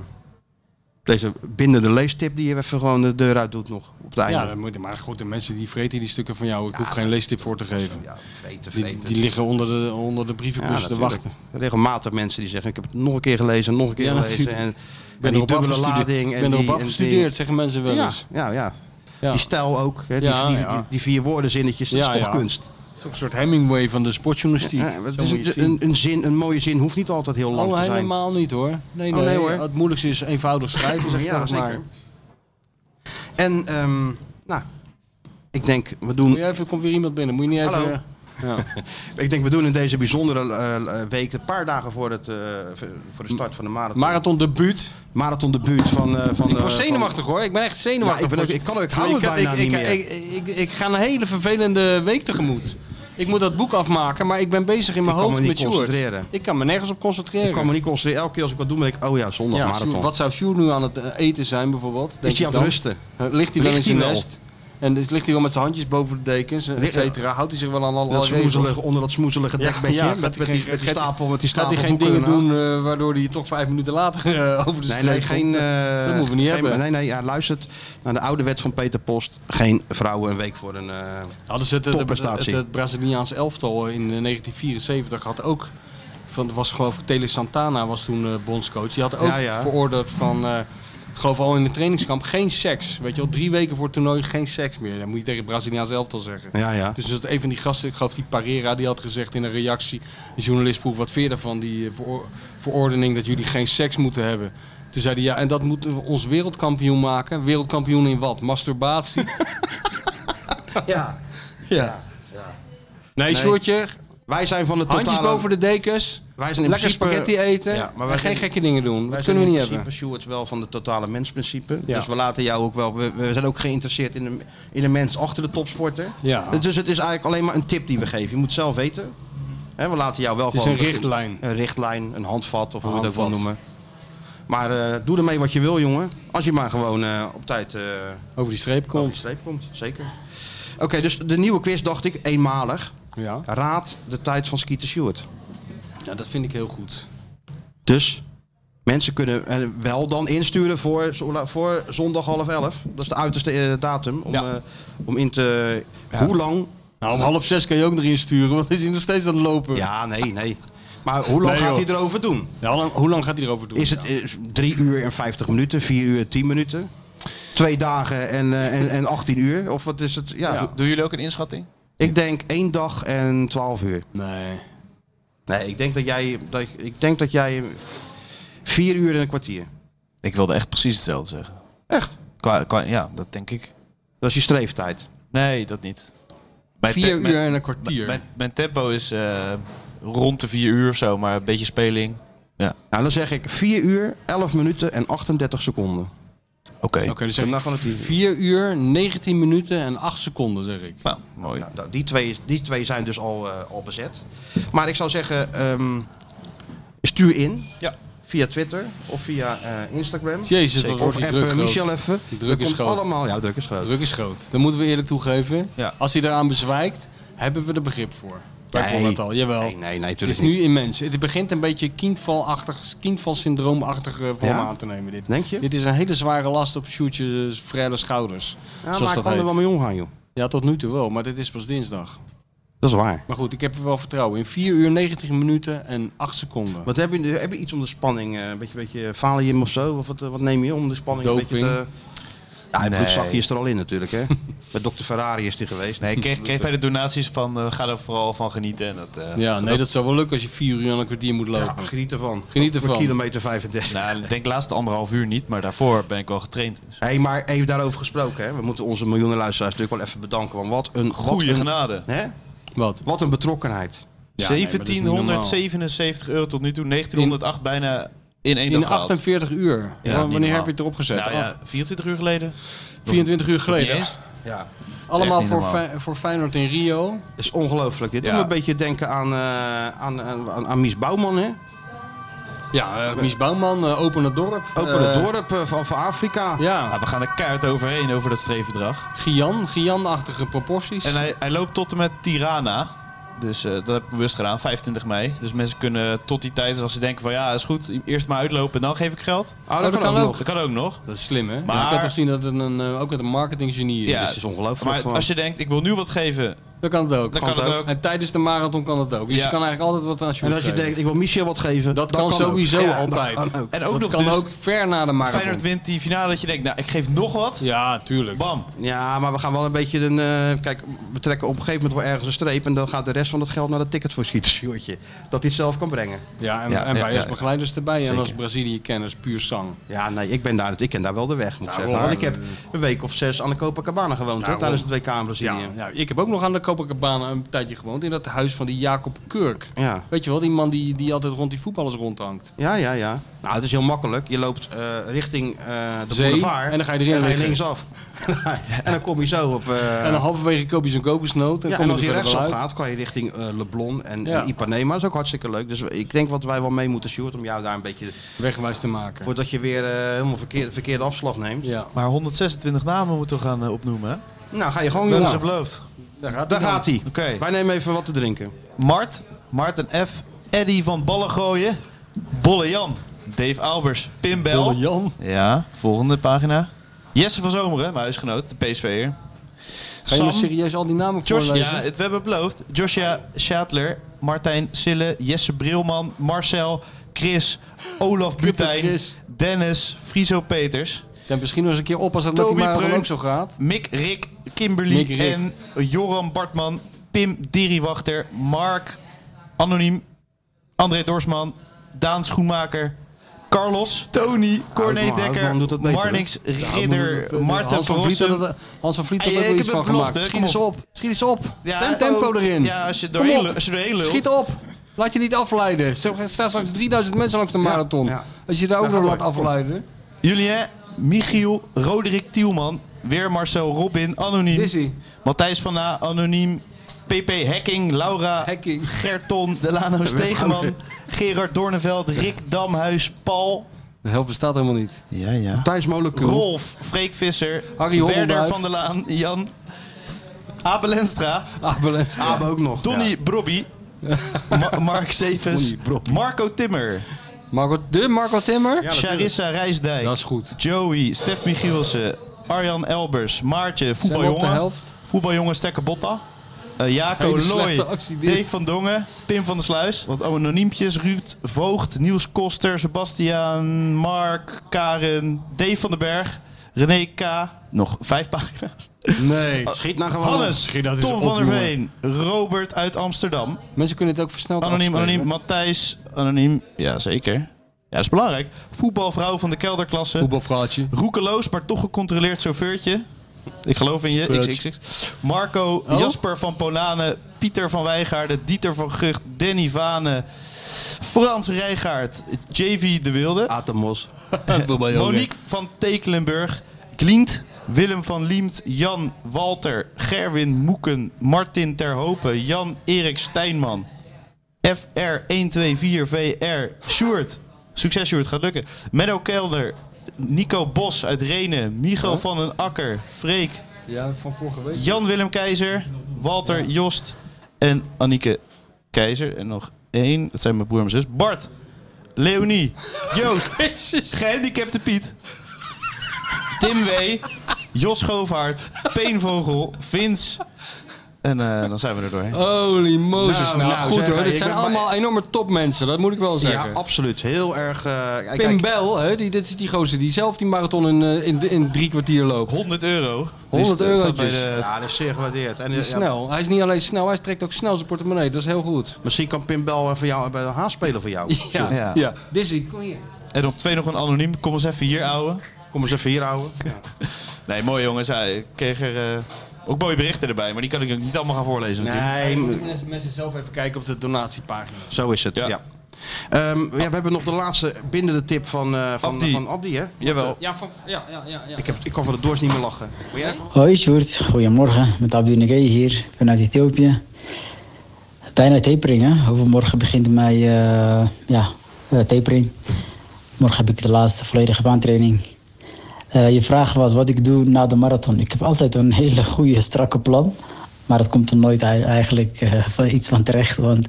Speaker 2: deze bindende leestip die je even gewoon de deur uit doet nog op het einde.
Speaker 3: Ja, dat moet, maar goed, de mensen die vreten die stukken van jou. Ik hoef geen leestip voor te geven.
Speaker 2: Ja, vreten,
Speaker 3: Die,
Speaker 2: vreten.
Speaker 3: die liggen onder de, onder de
Speaker 2: dus
Speaker 3: brievenbus te
Speaker 2: natuurlijk.
Speaker 3: wachten.
Speaker 2: Regelmatig mensen die zeggen ik heb het nog een keer gelezen, nog een keer
Speaker 3: Ja,
Speaker 2: gelezen.
Speaker 3: natuurlijk.
Speaker 2: En,
Speaker 3: Ik
Speaker 2: en
Speaker 3: ben
Speaker 2: die
Speaker 3: erop
Speaker 2: dubbele
Speaker 3: afgestudeerd,
Speaker 2: lading.
Speaker 3: Ik
Speaker 2: en
Speaker 3: ben
Speaker 2: die-
Speaker 3: erop
Speaker 2: en die-
Speaker 3: afgestudeerd, zeggen mensen wel
Speaker 2: Ja,
Speaker 3: eens.
Speaker 2: ja, ja.
Speaker 3: Ja.
Speaker 2: Die stijl ook, hè, die,
Speaker 3: Ja,
Speaker 2: die,
Speaker 3: ja.
Speaker 2: Die, die vier woorden zinnetjes, dat
Speaker 3: Ja,
Speaker 2: is toch
Speaker 3: ja.
Speaker 2: kunst.
Speaker 3: Het is ook een soort Hemingway van de sportjournalistiek.
Speaker 2: Ja, het
Speaker 3: Zo
Speaker 2: is
Speaker 3: moet je het
Speaker 2: een,
Speaker 3: zien.
Speaker 2: een, een zin, een mooie zin hoeft niet altijd heel lang
Speaker 3: Oh,
Speaker 2: te zijn.
Speaker 3: helemaal niet hoor. Nee,
Speaker 2: Oh,
Speaker 3: nee,
Speaker 2: nee, hoor.
Speaker 3: Het moeilijkste is eenvoudig schrijven, zeg
Speaker 2: Ja,
Speaker 3: maar.
Speaker 2: zeker. En, ehm, nou, ik denk, we doen...
Speaker 3: Moet je even, komt weer iemand binnen. Moet je niet even...
Speaker 2: Hallo.
Speaker 3: Ja.
Speaker 2: Ik denk, we doen in deze bijzondere eh, eh, week, een paar dagen voor, het, eh, voor de start van de marathon.
Speaker 3: Marathon debuut.
Speaker 2: marathon debuut van, eh, van
Speaker 3: Ik
Speaker 2: de-
Speaker 3: was
Speaker 2: van-
Speaker 3: zenuwachtig hoor. Ik ben echt zenuwachtig.
Speaker 2: Ja, ik ben
Speaker 3: voor-
Speaker 2: ook- ik kan ook- ik hou het
Speaker 3: heb-
Speaker 2: bijna niet meer.
Speaker 3: Ik, ik, ik- ik ga een hele vervelende week tegemoet. Ik moet dat boek afmaken, maar ik ben bezig in mijn
Speaker 2: Ik kan me
Speaker 3: hoofd
Speaker 2: niet
Speaker 3: met Sjoerd.
Speaker 2: concentreren.
Speaker 3: Ik kan me nergens op concentreren.
Speaker 2: Ik kan me niet concentreren. Elke keer als ik wat doe, denk ik, oh ja, zondag
Speaker 3: ja,
Speaker 2: marathon.
Speaker 3: Sjoerd, wat zou Sjoerd nu aan het eh, eten zijn bijvoorbeeld? denk
Speaker 2: hij
Speaker 3: ik
Speaker 2: aan het
Speaker 3: dan?
Speaker 2: rusten?
Speaker 3: Eh, Ligt hij wel in
Speaker 2: Ligt
Speaker 3: zijn
Speaker 2: hij wel?
Speaker 3: nest? En dus ligt hij wel met zijn handjes boven de dekens, eh, et
Speaker 2: Ligt-
Speaker 3: cetera. Houdt hij zich wel aan alle
Speaker 2: dat
Speaker 3: regels?
Speaker 2: smoezelige, onder dat smoezelige dekbedje,
Speaker 3: ja,
Speaker 2: met,
Speaker 3: gaat
Speaker 2: met,
Speaker 3: hij
Speaker 2: die,
Speaker 3: geen-
Speaker 2: met die
Speaker 3: gaat-
Speaker 2: stapel, met die
Speaker 3: Gaat
Speaker 2: stapel
Speaker 3: hij geen dingen
Speaker 2: boeken ernaast.
Speaker 3: doen eh, waardoor hij toch vijf minuten later eh, over de
Speaker 2: Nee,
Speaker 3: streep
Speaker 2: nee, geen,
Speaker 3: komt?
Speaker 2: eh,
Speaker 3: dat moeten we niet
Speaker 2: geen-
Speaker 3: hebben.
Speaker 2: Nee, nee, ja, luistert naar de oude wet van Peter Post. Geen vrouwen een week voor een eh
Speaker 3: Hadden ze het, het, het,
Speaker 2: topprestatie.
Speaker 3: het Braziliaans elftal in eh, 1974 had ook. Van, het was geloof ik Tele Santana was toen eh, bondscoach. Die had ook
Speaker 2: Ja, ja.
Speaker 3: veroordeeld van. eh, ik geloof al in het trainingskamp geen seks. Weet je wel, drie weken voor het toernooi geen seks meer. Dat moet je tegen het Braziliaans elftal zeggen.
Speaker 2: Ja, ja.
Speaker 3: Dus dat een van die gasten, ik geloof die Parera, die had gezegd in een reactie. Een journalist vroeg wat verder van die eh, veror- verordening dat jullie geen seks moeten hebben. Toen zei hij ja, en dat moeten we ons wereldkampioen maken. Wereldkampioen in wat? Masturbatie?
Speaker 2: Ja.
Speaker 3: ja. Nee, Sjoerdje,
Speaker 2: Wij zijn van de
Speaker 3: handjes
Speaker 2: totale...
Speaker 3: boven de dekens.
Speaker 2: Wij zijn in
Speaker 3: Lekker
Speaker 2: principe-
Speaker 3: spaghetti eten
Speaker 2: Ja, maar wij
Speaker 3: en geen
Speaker 2: zijn-
Speaker 3: gekke dingen doen.
Speaker 2: Wij
Speaker 3: Dat
Speaker 2: zijn
Speaker 3: kunnen we niet
Speaker 2: in
Speaker 3: hebben.
Speaker 2: principe, Sjoerd, wel van het totale mensprincipe.
Speaker 3: Ja.
Speaker 2: Dus we laten jou ook wel... We, we zijn ook geïnteresseerd in de, in de mens achter de topsporter.
Speaker 3: Ja.
Speaker 2: Dus het is eigenlijk alleen maar een tip die we geven. Je moet zelf weten. Hè, we laten jou wel
Speaker 3: Het is
Speaker 2: gewoon...
Speaker 3: een richtlijn.
Speaker 2: Een richtlijn, een handvat of hoe we dat wil
Speaker 3: handvat.
Speaker 2: noemen. Maar eh, doe ermee wat je wil, jongen. Als je maar gewoon eh, op tijd... eh,
Speaker 3: Over die streep
Speaker 2: over de
Speaker 3: komt.
Speaker 2: streep komt, zeker. Oké, dus de nieuwe quiz dacht ik eenmalig.
Speaker 3: Ja.
Speaker 2: Raad de tijd van Skeeter Stewart.
Speaker 3: ja, dat vind ik heel goed.
Speaker 2: Dus mensen kunnen eh, wel dan insturen voor, zo- voor zondag half elf. Dat is de uiterste eh, datum. Om, eh, om in te. Hoe lang?
Speaker 3: Nou, om half zes kan je ook nog insturen, want is hij nog steeds aan het lopen.
Speaker 2: Ja, nee, nee. Maar hoe lang
Speaker 3: Nee,
Speaker 2: gaat
Speaker 3: joh.
Speaker 2: hij erover doen?
Speaker 3: Ja, hoe lang- hoe lang gaat hij erover doen?
Speaker 2: Is het eh, drie uur en 50 minuten, vier uur en 10 minuten? Twee dagen en, eh, en, en 18 uur? Of wat is het? Ja.
Speaker 4: Do- Doen jullie ook een inschatting?
Speaker 2: Ik denk één dag en 12 uur.
Speaker 3: Nee.
Speaker 2: Nee, ik denk dat jij. Dat, ik- ik denk dat jij. Vier uur en een kwartier.
Speaker 4: Ik wilde echt precies hetzelfde zeggen.
Speaker 2: Echt?
Speaker 4: Qua, qua- ja, dat denk ik.
Speaker 2: Dat is je streeftijd?
Speaker 4: Nee, dat niet.
Speaker 3: Vier
Speaker 4: te-
Speaker 3: uur en een kwartier.
Speaker 4: Mijn, mijn tempo is eh, rond de vier uur of zo, maar een beetje speling. Ja.
Speaker 2: Nou, dan zeg ik 4 uur, 11 minuten en 38 seconden.
Speaker 4: Oké.
Speaker 3: Oké, dus zeg
Speaker 2: Vandaag
Speaker 3: ik
Speaker 2: van het uur.
Speaker 3: 4 uur, 19 minuten en 8 seconden, zeg ik.
Speaker 4: Nou, mooi.
Speaker 2: Nou, die, twee, die twee zijn dus al, eh, al bezet. Maar ik zou zeggen, ehm, stuur in.
Speaker 4: Ja.
Speaker 2: Via Twitter of via eh, Instagram.
Speaker 3: Jezus, wat
Speaker 2: of
Speaker 3: wordt die
Speaker 2: appen
Speaker 3: druk groot.
Speaker 2: Michel even.
Speaker 3: Die druk
Speaker 2: Dat
Speaker 3: is
Speaker 2: komt
Speaker 3: groot.
Speaker 2: Allemaal, ja, de druk is groot.
Speaker 3: Druk is groot. Dat moeten we eerlijk toegeven.
Speaker 4: Ja.
Speaker 3: Als hij daaraan bezwijkt, hebben we er begrip voor. Wij
Speaker 2: Nee.
Speaker 3: vonden het al, jawel.
Speaker 2: Nee, nee, nee,
Speaker 3: het is
Speaker 2: natuurlijk
Speaker 3: nu
Speaker 2: niet.
Speaker 3: immens. Het begint een beetje kindvalachtig, kindvalsyndroomachtige vorm
Speaker 2: Ja?
Speaker 3: aan te nemen. Dit.
Speaker 2: Denk je?
Speaker 3: dit is een hele zware last op Sjoerdjes vrije schouders.
Speaker 2: Ja,
Speaker 3: zoals
Speaker 2: maar ik
Speaker 3: dat
Speaker 2: kan er
Speaker 3: heet.
Speaker 2: wel mee omgaan, joh.
Speaker 3: Ja, tot nu toe wel, maar dit is pas dinsdag.
Speaker 2: Dat is waar.
Speaker 3: Maar goed, ik heb er wel vertrouwen in. 4 uur, 90 minuten en 8 seconden.
Speaker 2: Wat heb je, heb je iets om de spanning? eh, Een beetje, beetje valium of zo? Of wat, eh, wat neem je om de spanning? Een beetje
Speaker 3: Doping.
Speaker 2: te... Ja, het
Speaker 4: Nee.
Speaker 2: bloedzakje is er al in natuurlijk, hè? Bij dokter Ferrari is die geweest.
Speaker 4: Nee, ik kreeg, kreeg bij de donaties van eh, ga er vooral van genieten. En dat, eh,
Speaker 3: Ja, nee, dat zou wel lukken als je 4 uur en een kwartier moet lopen.
Speaker 2: Ja, geniet ervan.
Speaker 3: Geniet
Speaker 2: Op
Speaker 3: ervan.
Speaker 2: kilometer 35.
Speaker 4: Nou, ik denk laatste anderhalf uur niet, maar daarvoor ben ik wel getraind. Dus.
Speaker 2: Hé, maar even daarover gesproken. Hè. We moeten onze miljoenen luisteraars natuurlijk wel even bedanken. Want wat een... wat
Speaker 4: Goeie
Speaker 2: een,
Speaker 4: genade.
Speaker 2: hè?
Speaker 3: Wat?
Speaker 2: Wat een betrokkenheid.
Speaker 3: Ja, nee, maar dat is niet normaal.
Speaker 4: 1777 euro tot nu toe, 1908 bijna in één
Speaker 3: In
Speaker 4: dag gehaald.
Speaker 3: 48 uur.
Speaker 4: Ja,
Speaker 3: Wa-
Speaker 4: niet
Speaker 3: Wanneer
Speaker 4: normaal.
Speaker 3: heb je het erop gezet?
Speaker 4: Nou ja, 24 uur geleden.
Speaker 3: 24 uur geleden.
Speaker 4: Niet eens.
Speaker 2: Ja.
Speaker 3: Allemaal
Speaker 4: niet
Speaker 3: voor,
Speaker 4: normaal.
Speaker 3: Fey- voor Feyenoord in Rio.
Speaker 2: Het is ongelooflijk. Dit
Speaker 4: Ja.
Speaker 2: doet me een beetje denken aan, eh, aan, aan, aan, aan Mies Bouwman. Hè?
Speaker 3: Ja, eh, Mies Bouwman, eh, open het dorp.
Speaker 2: Open het
Speaker 3: Eh,
Speaker 2: dorp eh, van, van Afrika.
Speaker 3: Ja,
Speaker 4: Nou, we gaan er keihard overheen over dat streefbedrag.
Speaker 3: Gian, Gian-achtige proporties.
Speaker 4: En hij, hij loopt tot en met Tirana. Dus eh, dat heb ik bewust gedaan, 25 mei. Dus mensen kunnen tot die tijd, als ze denken van ja, is goed, eerst maar uitlopen en dan geef ik geld.
Speaker 2: Oh,
Speaker 3: dat kan ook.
Speaker 4: Dat kan ook nog.
Speaker 3: Dat is slim, hè?
Speaker 4: Maar-
Speaker 3: Je kan toch zien dat het een, eh, ook het een marketinggenie is.
Speaker 4: Ja,
Speaker 2: Dit dus is ongelooflijk.
Speaker 4: Maar
Speaker 2: gewoon.
Speaker 4: als je denkt, ik wil nu wat geven,
Speaker 3: Dat kan het ook.
Speaker 4: dan kan,
Speaker 2: het
Speaker 4: het
Speaker 2: ook.
Speaker 4: ook.
Speaker 3: En tijdens de marathon kan het ook. Dus
Speaker 4: Ja.
Speaker 3: je kan eigenlijk altijd wat aan
Speaker 2: En als je
Speaker 3: geven.
Speaker 2: denkt, ik wil Michel wat geven.
Speaker 3: Dat
Speaker 2: dan
Speaker 3: kan
Speaker 2: ook.
Speaker 3: sowieso
Speaker 2: Ja, dat
Speaker 3: altijd.
Speaker 2: kan ook.
Speaker 4: En ook
Speaker 3: dat
Speaker 4: nog
Speaker 3: kan
Speaker 4: dus,
Speaker 3: ook ver na de marathon.
Speaker 4: Feyenoord wint die finale dat je denkt, nou, ik geef nog wat.
Speaker 3: Ja, tuurlijk.
Speaker 4: Bam.
Speaker 2: Ja, maar we gaan wel een beetje een. eh, kijk, we trekken op een gegeven moment wel ergens een streep. En dan gaat de rest van het geld naar de ticket voor Sjoertje. Dat hij het zelf kan brengen.
Speaker 3: Ja, en,
Speaker 4: Ja,
Speaker 3: en
Speaker 4: ja,
Speaker 3: wij
Speaker 4: ja,
Speaker 3: als
Speaker 4: ja.
Speaker 3: begeleiders erbij. En
Speaker 2: Zeker.
Speaker 3: als Brazilië-kenners, puur zang.
Speaker 2: Ja, nee, ik, ben daar, ik ken daar wel de weg, moet ik
Speaker 3: Nou,
Speaker 2: zeggen.
Speaker 3: waar.
Speaker 2: Want ik heb een week of zes aan de Copacabana gewoond hoor, tijdens het WK in Brazilië.
Speaker 3: Nou, Ja,
Speaker 2: Ja,
Speaker 3: ja, ik heb ook nog aan de Copacabana een tijdje gewoond. In dat huis van die Jacob Kurk.
Speaker 2: ja.
Speaker 3: Weet je wel, die man die, die altijd rond die voetballers rondhangt.
Speaker 2: ja, ja, Nou, het is heel makkelijk. Je loopt eh, richting eh, de
Speaker 3: Zee,
Speaker 2: boulevard.
Speaker 3: en dan ga je dus erin
Speaker 2: en ga je
Speaker 3: liggen.
Speaker 2: linksaf. en dan kom je zo op... eh,
Speaker 3: En dan halverwege koop je zo'n kokosnoot. En
Speaker 2: ja,
Speaker 3: kom
Speaker 2: en
Speaker 3: je
Speaker 2: als je
Speaker 3: er verder wel
Speaker 2: rechtsaf
Speaker 3: uit.
Speaker 2: gaat, kan je richting eh, Leblon en,
Speaker 3: Ja.
Speaker 2: en Ipanema. Dat is ook hartstikke leuk. Dus ik denk wat wij wel mee moeten, Sjoerd, om jou daar een beetje...
Speaker 3: Wegwijs te maken.
Speaker 2: Voordat je weer eh, helemaal verkeerde, verkeerde afslag neemt.
Speaker 3: Ja,
Speaker 4: Maar 126 namen moeten we gaan eh, opnoemen, hè?
Speaker 2: Nou, ga je gewoon,
Speaker 4: Dat is
Speaker 2: jongen.
Speaker 4: het beloofd.
Speaker 3: daar gaat
Speaker 2: Daar gaat hij.
Speaker 4: Oké.
Speaker 2: Wij nemen even wat te drinken.
Speaker 4: Mart, Mart en F, Eddy van Ballengooien, Bolle Jan, Dave Albers, Pim Bel.
Speaker 3: Jan.
Speaker 4: Ja, volgende pagina. Jesse van Zomeren, mijn huisgenoot, de PSV'er.
Speaker 3: Ga je
Speaker 4: Sam,
Speaker 3: nou serieus al die namen
Speaker 4: Josh,
Speaker 3: voorlezen?
Speaker 4: ja, het, we hebben het beloofd. Joshua Schaatler, Martijn Sille, Jesse Brilman, Marcel, Chris, Olaf Butijn,
Speaker 3: Chris.
Speaker 4: Dennis, Friso Peters,
Speaker 3: Dan misschien nog eens een keer oppassen dat die
Speaker 4: Toby
Speaker 3: marathon
Speaker 4: Preun.
Speaker 3: ook zo gaat.
Speaker 4: Mick Rick, Kimberly
Speaker 3: Mick Rick.
Speaker 4: en Joram Bartman, Pim Diriwachter, Mark Anoniem, André Dorsman, Daan Schoenmaker, Carlos, Tony, Corné
Speaker 2: Houtman,
Speaker 4: Dekker,
Speaker 2: Houtman doet dat beter,
Speaker 4: Marnix, Ridder,
Speaker 3: Eh,
Speaker 4: Marten
Speaker 3: Hans van Vliet had
Speaker 4: Verrossen.
Speaker 3: er- Hans van Vliet had
Speaker 4: Hey,
Speaker 3: er ook
Speaker 4: ik
Speaker 3: iets
Speaker 4: heb
Speaker 3: van
Speaker 4: het beloft,
Speaker 3: gemaakt.
Speaker 4: hè,
Speaker 3: Schiet
Speaker 4: kom
Speaker 3: eens
Speaker 4: op.
Speaker 3: op. Schiet eens op.
Speaker 4: Ja,
Speaker 3: Tem- tempo
Speaker 4: ook-
Speaker 3: erin.
Speaker 4: Ja, als je
Speaker 3: Kom
Speaker 4: doorheen,
Speaker 3: op.
Speaker 4: lu- als je doorheen lult.
Speaker 3: Schiet op. Laat je niet afleiden. Er staan straks 3000 mensen langs de marathon. Als je daar ook
Speaker 4: Nou,
Speaker 3: door
Speaker 4: ga
Speaker 3: laat
Speaker 4: door. Kom.
Speaker 3: afleiden.
Speaker 4: Julien, Michiel, Roderick Tielman, weer Marcel Robin, anoniem. Matthijs van Na, anoniem. PP Hekking, Laura, Gerton, Delano
Speaker 3: bent
Speaker 4: Stegeman,
Speaker 3: anoniem.
Speaker 4: Gerard Doorneveld, Rick Damhuis, Paul.
Speaker 3: De helft bestaat helemaal niet.
Speaker 2: Ja, ja. Thijs Molecuul.
Speaker 4: Rolf, Freek Visser,
Speaker 3: Harry
Speaker 4: Werder
Speaker 3: Hondenduif.
Speaker 4: van der Laan, Jan, Abe Lenstra,
Speaker 3: Abe Lenstra.
Speaker 4: Ah.
Speaker 2: Abe ook nog,
Speaker 4: Donny
Speaker 2: ja.
Speaker 4: Brobby, Ma- Mark Sevens, Marco Timmer,
Speaker 3: Marco, de Marco Timmer,
Speaker 4: Charissa Rijsdijk, dat is
Speaker 3: goed.
Speaker 4: Joey, Stef Michielsen, Arjan Elbers, Maartje,
Speaker 3: op de
Speaker 4: voetbaljongen,
Speaker 3: helft?
Speaker 4: voetbaljongen Stekker Botta, eh, Jaco
Speaker 3: Hele slechte
Speaker 4: Looy,
Speaker 3: actie, dit.
Speaker 4: Dave van Dongen, Pim van der Sluis, wat anoniempjes, Ruud Voogd, Niels Koster, Sebastian, Mark, Karen, Dave van den Berg, René K. Nog vijf pagina's.
Speaker 3: Nee.
Speaker 2: Schiet nou
Speaker 3: Oh,
Speaker 2: gewoon.
Speaker 4: Hannes, Tom van der Veen, Robert uit Amsterdam.
Speaker 3: Mensen kunnen het ook versneld
Speaker 4: Anoniem,
Speaker 3: afspelen.
Speaker 4: anoniem, Matthijs, anoniem. Ja, zeker. Ja, dat is belangrijk. Voetbalvrouw van de kelderklasse.
Speaker 3: Voetbalvrouwtje.
Speaker 4: Roekeloos, maar toch gecontroleerd chauffeurtje. Ik geloof in je.
Speaker 3: Spurt.
Speaker 4: XXX. Marco,
Speaker 3: Oh?
Speaker 4: Jasper van Polanen, Pieter van Wijgaarden, Dieter van Gucht, Danny Vane, Frans Rijgaard, JV de Wilde.
Speaker 2: nou- Atemos.
Speaker 4: Monique van Tekelenburg, Glient, Willem van Liemt, Jan Walter, Gerwin Moeken, Martin Terhopen, Jan-Erik Stijnman, FR124VR, Sjoerd. Succes Sjoerd, gaat lukken. Menno Kelder, Nico Bos uit Renen, Michal
Speaker 3: Huh?
Speaker 4: van den Akker, Freek,
Speaker 3: Ja, van vorige week.
Speaker 4: Jan-Willem Keizer, Walter Jost en Annieke Keizer. En nog één, dat zijn mijn broer en mijn zus. Bart, Leonie, Joost, gehandicapte Piet, Tim W, Jos Govaert, Peenvogel, Vince. En eh, dan zijn we er doorheen.
Speaker 3: Holy Mozes. Nou,
Speaker 4: nou,
Speaker 3: goed
Speaker 4: zeg,
Speaker 3: hoor.
Speaker 4: ik
Speaker 3: Dit zijn
Speaker 4: ben
Speaker 3: allemaal enorme topmensen, dat moet ik wel zeggen.
Speaker 2: Ja, absoluut. Heel erg. eh, kijk,
Speaker 3: Pim
Speaker 2: kijk,
Speaker 3: Bel, hè, die, dit is die gozer die zelf die marathon in, eh, in, in drie kwartier loopt.
Speaker 4: 100 euro.
Speaker 3: 100
Speaker 4: Die staat
Speaker 3: eurotjes.
Speaker 4: bij de-
Speaker 2: eh, Ja, dat is zeer gewaardeerd. En,
Speaker 3: Die
Speaker 2: eh,
Speaker 3: is
Speaker 2: ja,
Speaker 3: snel. Hij is niet alleen snel, hij trekt ook snel zijn portemonnee. Dat is heel goed.
Speaker 2: misschien kan Pim Bel even jou, bij de haas spelen voor jou.
Speaker 3: Ja, ja. ja. Dizzy, kom hier.
Speaker 4: En op twee nog een anoniem. Kom eens even hier, ouwe.
Speaker 2: Kom eens even hier houden.
Speaker 4: Nee, mooi jongens. Ja, Ik kreeg er eh, ook mooie berichten erbij, maar die kan ik ook niet allemaal gaan voorlezen natuurlijk.
Speaker 2: Nee,
Speaker 3: Moeten mensen- mensen zelf even kijken op de donatiepagina.
Speaker 2: Zo is het, ja. Ehm, ja, we hebben nog de laatste bindende tip van, eh, van,
Speaker 4: Abdi.
Speaker 2: van Abdi, hè?
Speaker 4: Jawel.
Speaker 3: Ja, van, ja, ja, ja, ja.
Speaker 2: Ik, heb, ik kan van de doors niet meer lachen. Wil jij even-
Speaker 12: Hoi Sjoerd, goedemorgen. Met Abdi Nege hier vanuit Ethiopië. Bijna taperingen. Overmorgen begint mijn eh, ja, eh, tapering. Morgen heb ik de laatste volledige baantraining. Eh, je vraag was wat ik doe na de marathon. Ik heb altijd een hele goede, strakke plan. Maar het komt er nooit ei- eigenlijk eh, van iets van terecht. Want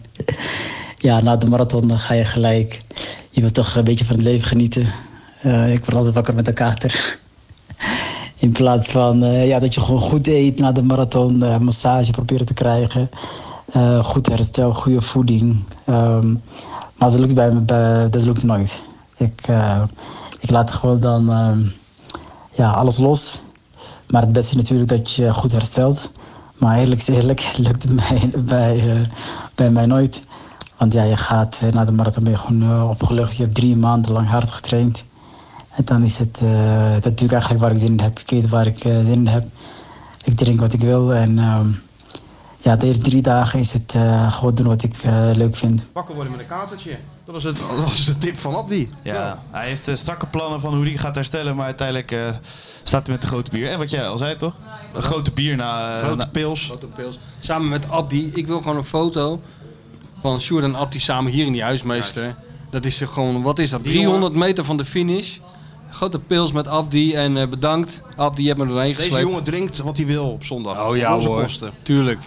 Speaker 12: ja, na de marathon dan ga je gelijk. Je wilt toch een beetje van het leven genieten. Eh, ik word altijd wakker met een kater. In plaats van eh, ja, dat je gewoon goed eet na de marathon, eh, massage proberen te krijgen. eh, goed herstel, goede voeding. Ehm, maar dat lukt, bij me, bij- dat lukt nooit. Ik, eh, ik laat gewoon dan ehm, ja, alles los. Maar het beste is natuurlijk dat je goed herstelt. Maar eerlijk is eerlijk, het lukt mij, bij, eh, bij mij nooit. Want ja, je gaat eh, na de marathon ben je gewoon eh, opgelucht. Je hebt drie maanden lang hard getraind. En dan is het eh, dat natuurlijk eigenlijk waar ik zin in heb. Ik eet waar ik eh, zin in heb. Ik drink wat ik wil. En ehm, ja, de eerste drie dagen is het eh, gewoon doen wat ik eh, leuk vind.
Speaker 2: Wakker worden met een katertje. Dat is, het, dat is de tip van Abdi.
Speaker 4: Ja, hij heeft eh, strakke plannen van hoe hij gaat herstellen, maar uiteindelijk eh, staat hij met de grote bier. En wat jij al zei, toch? Een grote bier na... eh,
Speaker 3: Grote
Speaker 4: na-
Speaker 2: pils.
Speaker 3: Grote pils. Samen met Abdi. Ik wil gewoon een foto van Sjoerd en Abdi samen hier in die huismeester. Dat is gewoon, wat is dat? 300 meter van de finish. Grote pils met Abdi en eh, bedankt. Abdi, je hebt me erheen
Speaker 2: Deze
Speaker 3: gesleept.
Speaker 2: jongen drinkt wat hij wil op zondag.
Speaker 3: Oh ja
Speaker 2: Op onze
Speaker 3: hoor,
Speaker 2: kosten.
Speaker 3: tuurlijk.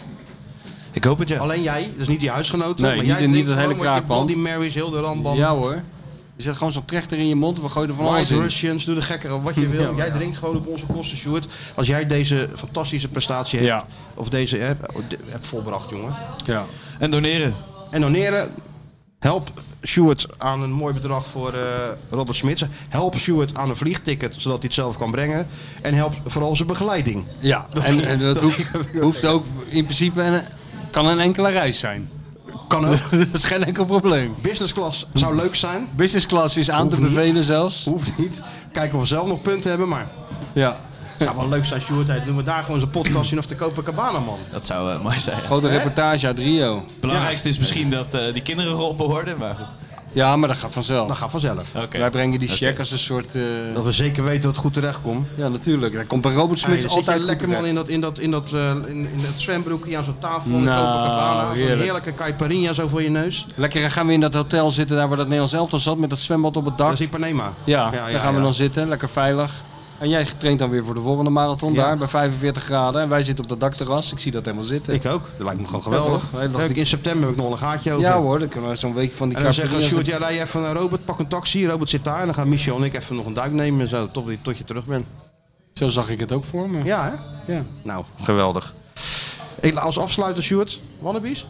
Speaker 4: Ik hoop het ja.
Speaker 2: Alleen jij, dus niet die huisgenoten.
Speaker 3: Nee,
Speaker 2: maar
Speaker 3: niet-
Speaker 2: jij
Speaker 3: niet
Speaker 2: drinkt
Speaker 3: het hele
Speaker 2: gewoon wat je
Speaker 3: kraakpand.
Speaker 2: Bloody Marys, heel de rambam.
Speaker 3: Ja hoor. Je zet gewoon zo'n trechter in je mond en we gooien er van alles
Speaker 2: White
Speaker 3: in.
Speaker 2: Russians, doe de gekker wat je wil. jij drinkt gewoon op onze kosten, Sjoerd. Als jij deze fantastische prestatie hebt, of deze hè, hebt volbracht, jongen.
Speaker 3: Ja.
Speaker 4: En doneren.
Speaker 2: En doneren. Help Sjoerd aan een mooi bedrag voor eh, Robert Smits. Help Sjoerd aan een vliegticket, zodat hij het zelf kan brengen. En help vooral zijn begeleiding.
Speaker 3: Ja, en, en dat hoeft, hoeft ook in principe, en, kan een enkele reis zijn.
Speaker 2: Kan ook.
Speaker 3: dat is geen enkel probleem.
Speaker 2: Business class zou leuk zijn.
Speaker 3: Business class is aan
Speaker 2: Hoeft
Speaker 3: te
Speaker 2: niet.
Speaker 3: bevelen zelfs.
Speaker 2: Hoeft niet. Kijken of we zelf nog punten hebben, maar...
Speaker 3: Ja.
Speaker 2: zou wel leuk zijn, Sjoerd. Hey, Doen we daar gewoon zo'n podcast in of de Copacabana, man.
Speaker 4: Dat zou eh, mooi zijn.
Speaker 3: Grote
Speaker 4: Hè?
Speaker 3: reportage uit Rio.
Speaker 4: Het belangrijkste is misschien dat eh, die kinderen geholpen worden, maar goed.
Speaker 3: Ja, maar dat gaat vanzelf.
Speaker 4: Dat
Speaker 2: gaat vanzelf.
Speaker 3: Wij brengen die check als een soort... eh,
Speaker 2: Dat we zeker weten dat het goed terecht komt.
Speaker 3: Ja, natuurlijk. Daar komt bij Robert Smits
Speaker 2: Hey, zit
Speaker 3: altijd
Speaker 2: je
Speaker 3: goed
Speaker 2: lekker man in
Speaker 3: terecht.
Speaker 2: dat, in dat, in dat, eh, in, in dat zwembroekje aan zo'n tafel. in
Speaker 3: Nou,
Speaker 2: Copacabana. Zo'n
Speaker 3: heerlijk.
Speaker 2: heerlijke caipirinha zo voor je neus.
Speaker 3: Lekker, dan gaan we in dat hotel zitten, daar waar dat Nederlands elftal zat, met dat zwembad op het dak.
Speaker 2: Dat is Ipanema.
Speaker 3: Ja,
Speaker 2: Ja, ja,
Speaker 3: daar gaan we
Speaker 2: ja.
Speaker 3: dan zitten, lekker veilig. En jij traint dan weer voor de volgende marathon
Speaker 2: Ja.
Speaker 3: daar, bij 45 graden. En wij zitten op dat dakterras, ik zie dat helemaal zitten.
Speaker 2: Ik ook, dat lijkt me gewoon geweldig. Leuk, in september heb ik nog een gaatje over.
Speaker 3: Ja hoor, dan kunnen we zo'n week van die
Speaker 2: En dan zeggen
Speaker 3: Carpinia's-
Speaker 2: Sjoerd, ja, rij even naar Robert, pak een taxi. Robert zit daar en dan gaan Michel en ik even nog een duik nemen. Zo, tot, tot je terug bent.
Speaker 3: Zo zag ik het ook voor me.
Speaker 2: Ja,
Speaker 3: hè? Ja.
Speaker 2: Nou, geweldig. Ik- Als afsluiter, Sjoerd, wannabies?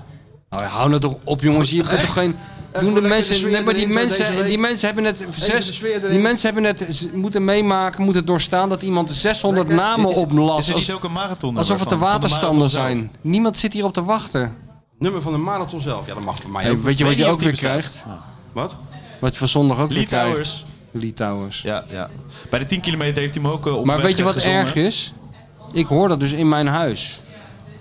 Speaker 3: Nou, hou nou toch op, jongens. Je hebt toch geen. Doen de
Speaker 2: lekker de
Speaker 3: mensen,
Speaker 2: sfeer
Speaker 3: nee, maar die
Speaker 2: erin, zo deze
Speaker 3: mensen,
Speaker 2: week.
Speaker 3: die mensen hebben net
Speaker 2: de
Speaker 3: zes,
Speaker 2: sfeer erin.
Speaker 3: die mensen hebben net z- moeten meemaken, moeten doorstaan dat iemand 600
Speaker 4: Lekker.
Speaker 3: namen
Speaker 4: Is-
Speaker 3: oplast.
Speaker 4: is er niet
Speaker 3: Als-
Speaker 4: ook een marathon
Speaker 3: Alsof het de
Speaker 4: nummer van- van de
Speaker 3: waterstanden
Speaker 4: marathon
Speaker 3: zijn. Niemand zit hierop te wachten.
Speaker 2: Nummer van de marathon zelf. Ja, dat mag voor mij
Speaker 3: Hey,
Speaker 2: ook.
Speaker 3: weet je wat
Speaker 2: Ik
Speaker 3: je
Speaker 2: weet
Speaker 3: ook
Speaker 2: niet
Speaker 3: weer
Speaker 2: of die
Speaker 3: krijgt?
Speaker 2: bestaat. Wat?
Speaker 3: Wat je van zondag ook weer
Speaker 4: Lee
Speaker 3: krijgt.
Speaker 4: Towers.
Speaker 3: Lee Towers.
Speaker 4: Ja, ja. Bij de 10 kilometer heeft hij hem ook eh, op
Speaker 3: Maar
Speaker 4: weg,
Speaker 3: weet je
Speaker 4: eh,
Speaker 3: wat
Speaker 4: gezongen.
Speaker 3: erg is? Ik hoor dat dus in mijn huis.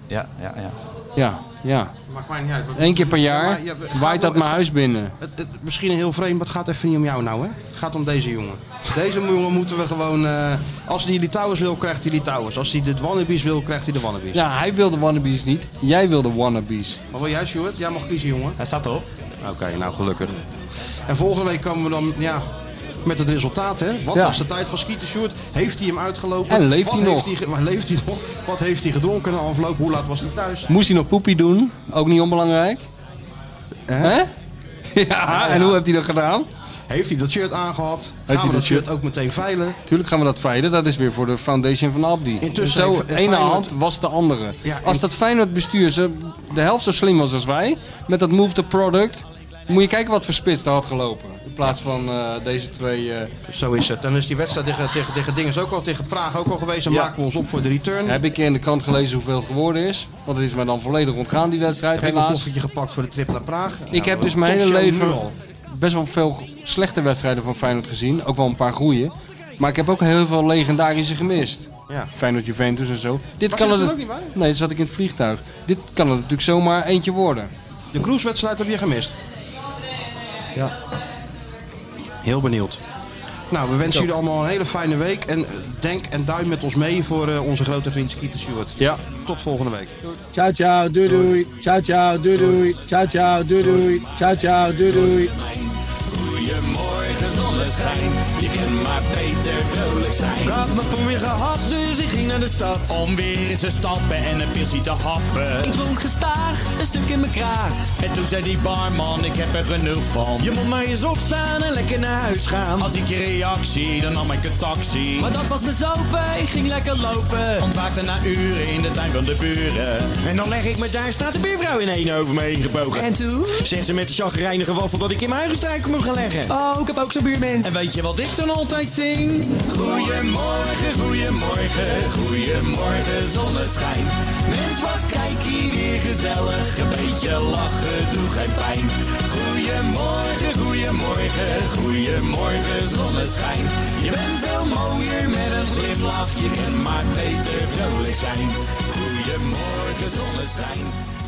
Speaker 4: Ja, ja, ja.
Speaker 3: Ja, ja.
Speaker 2: Maakt mij niet uit.
Speaker 3: Eén keer per
Speaker 2: Ja,
Speaker 3: jaar
Speaker 2: maar, ja, we-
Speaker 3: waait dat
Speaker 2: het-
Speaker 3: mijn huis binnen.
Speaker 2: Het, het- misschien heel vreemd, maar het gaat even niet om jou nou, hè? Het gaat om deze jongen. Deze jongen moeten we gewoon... eh, als hij die Litouwers wil, krijgt hij Litouwers. Als hij de wannabies wil, krijgt hij de wannabies.
Speaker 3: Ja, hij wil de wannabes niet. Jij wil de wannabes.
Speaker 2: Wat wil jij, Stuart? Jij mag kiezen, jongen.
Speaker 4: Hij staat erop.
Speaker 2: Oké, nou gelukkig. En volgende week komen we dan ja, met het resultaat. Hè? Wat
Speaker 3: Ja.
Speaker 2: was de tijd van Skeeter Sjoerd? Heeft hij hem uitgelopen?
Speaker 3: En leeft
Speaker 2: Wat
Speaker 3: hij
Speaker 2: heeft
Speaker 3: nog?
Speaker 2: ge- maar leeft hij nog? Wat heeft hij gedronken na afloop? Hoe laat was hij thuis?
Speaker 3: Moest hij nog poepie doen? Ook niet onbelangrijk. Hè? Ja, en hoe heeft hij dat gedaan?
Speaker 2: Heeft hij dat shirt aangehad?
Speaker 3: hij
Speaker 2: Gaan we
Speaker 3: dat
Speaker 2: dat shirt
Speaker 3: shirt?
Speaker 2: ook meteen veilen?
Speaker 3: Tuurlijk gaan we dat veilen. Dat is weer voor de foundation van Abdi.
Speaker 2: Intussen
Speaker 3: zo,
Speaker 2: heeft-
Speaker 3: de
Speaker 2: eh,
Speaker 3: ene
Speaker 2: Feyenoord-
Speaker 3: hand was de andere.
Speaker 2: Ja,
Speaker 3: als
Speaker 2: en-
Speaker 3: dat Feyenoord bestuur zo- de helft zo slim was als wij, met dat move the product, moet je kijken wat voor spits daar had gelopen. In plaats van eh, deze twee...
Speaker 2: Zo is het. Dan is die wedstrijd tegen, tegen, tegen Dinges ook al, tegen Praag ook al geweest. En
Speaker 3: Ja.
Speaker 2: maken we ons op voor de return.
Speaker 3: Heb ik in de krant gelezen hoeveel het geworden is. Want het is mij dan volledig ontgaan, die wedstrijd,
Speaker 2: Heb ik een
Speaker 3: helaas.
Speaker 2: koffertje gepakt voor de trip naar Praag?
Speaker 3: Ik
Speaker 2: Nou,
Speaker 3: heb dus mijn
Speaker 2: tot
Speaker 3: hele
Speaker 2: show nu
Speaker 3: leven
Speaker 2: al.
Speaker 3: best wel veel slechte wedstrijden van Feyenoord gezien. Ook wel een paar goeie. Maar ik heb ook heel veel legendarische gemist.
Speaker 2: Ja.
Speaker 3: Feyenoord Juventus en zo. Dit
Speaker 2: Was
Speaker 3: kan
Speaker 2: je er
Speaker 3: er,
Speaker 2: toen ook niet bij?
Speaker 3: Nee, dat zat ik in het vliegtuig. Dit kan er natuurlijk zomaar eentje worden.
Speaker 2: De cruisewedstrijd heb je gemist.
Speaker 3: Ja.
Speaker 2: Heel benieuwd. Nou, we wensen jullie allemaal een hele fijne week. En eh, denk en duim met ons mee voor eh, onze grote vriend Skeeter Stewart.
Speaker 3: Ja.
Speaker 2: Tot volgende week.
Speaker 11: Ciao, ciao, doei, doei. Ciao, ciao, doei, doei. Ciao, ciao, doei, doei. Ciao, ciao, doei, doei.
Speaker 7: Goeiemorgen zonneschijn, je kunt maar beter vrolijk zijn.
Speaker 14: Ik had mijn poen weer gehad, dus ik ging naar de stad.
Speaker 7: Om weer eens te stappen en een pilsie te happen.
Speaker 14: Ik dronk gestaag, een stuk in mijn kraag.
Speaker 7: En toen zei die barman, ik heb er genoeg van.
Speaker 14: Je moet maar eens opstaan en lekker naar huis gaan.
Speaker 7: Als ik je reactie, dan nam ik een taxi.
Speaker 14: Maar dat was bezopen, ik ging lekker lopen.
Speaker 7: Ontwaakte na uren in de tuin van de buren.
Speaker 14: En dan leg ik me daar, staat de buurvrouw in één over me heen gebogen.
Speaker 7: En
Speaker 14: toen?
Speaker 7: Zegt ze met de chagrijnige waffel dat ik in mijn huigenstruik moet gaan leggen.
Speaker 14: Oh, ik heb ook zo'n buurmens.
Speaker 7: En weet je wat ik dan altijd zing?
Speaker 14: Goedemorgen,
Speaker 7: goedemorgen,
Speaker 14: goedemorgen
Speaker 7: zonneschijn.
Speaker 14: Mens, wat kijk hier weer gezellig.
Speaker 7: Een beetje lachen, doe geen pijn. Goeiemorgen, goeiemorgen, goeiemorgen zonneschijn. Je bent veel mooier met een glimlach, je kunt maar beter vrolijk zijn. Goeiemorgen zonneschijn,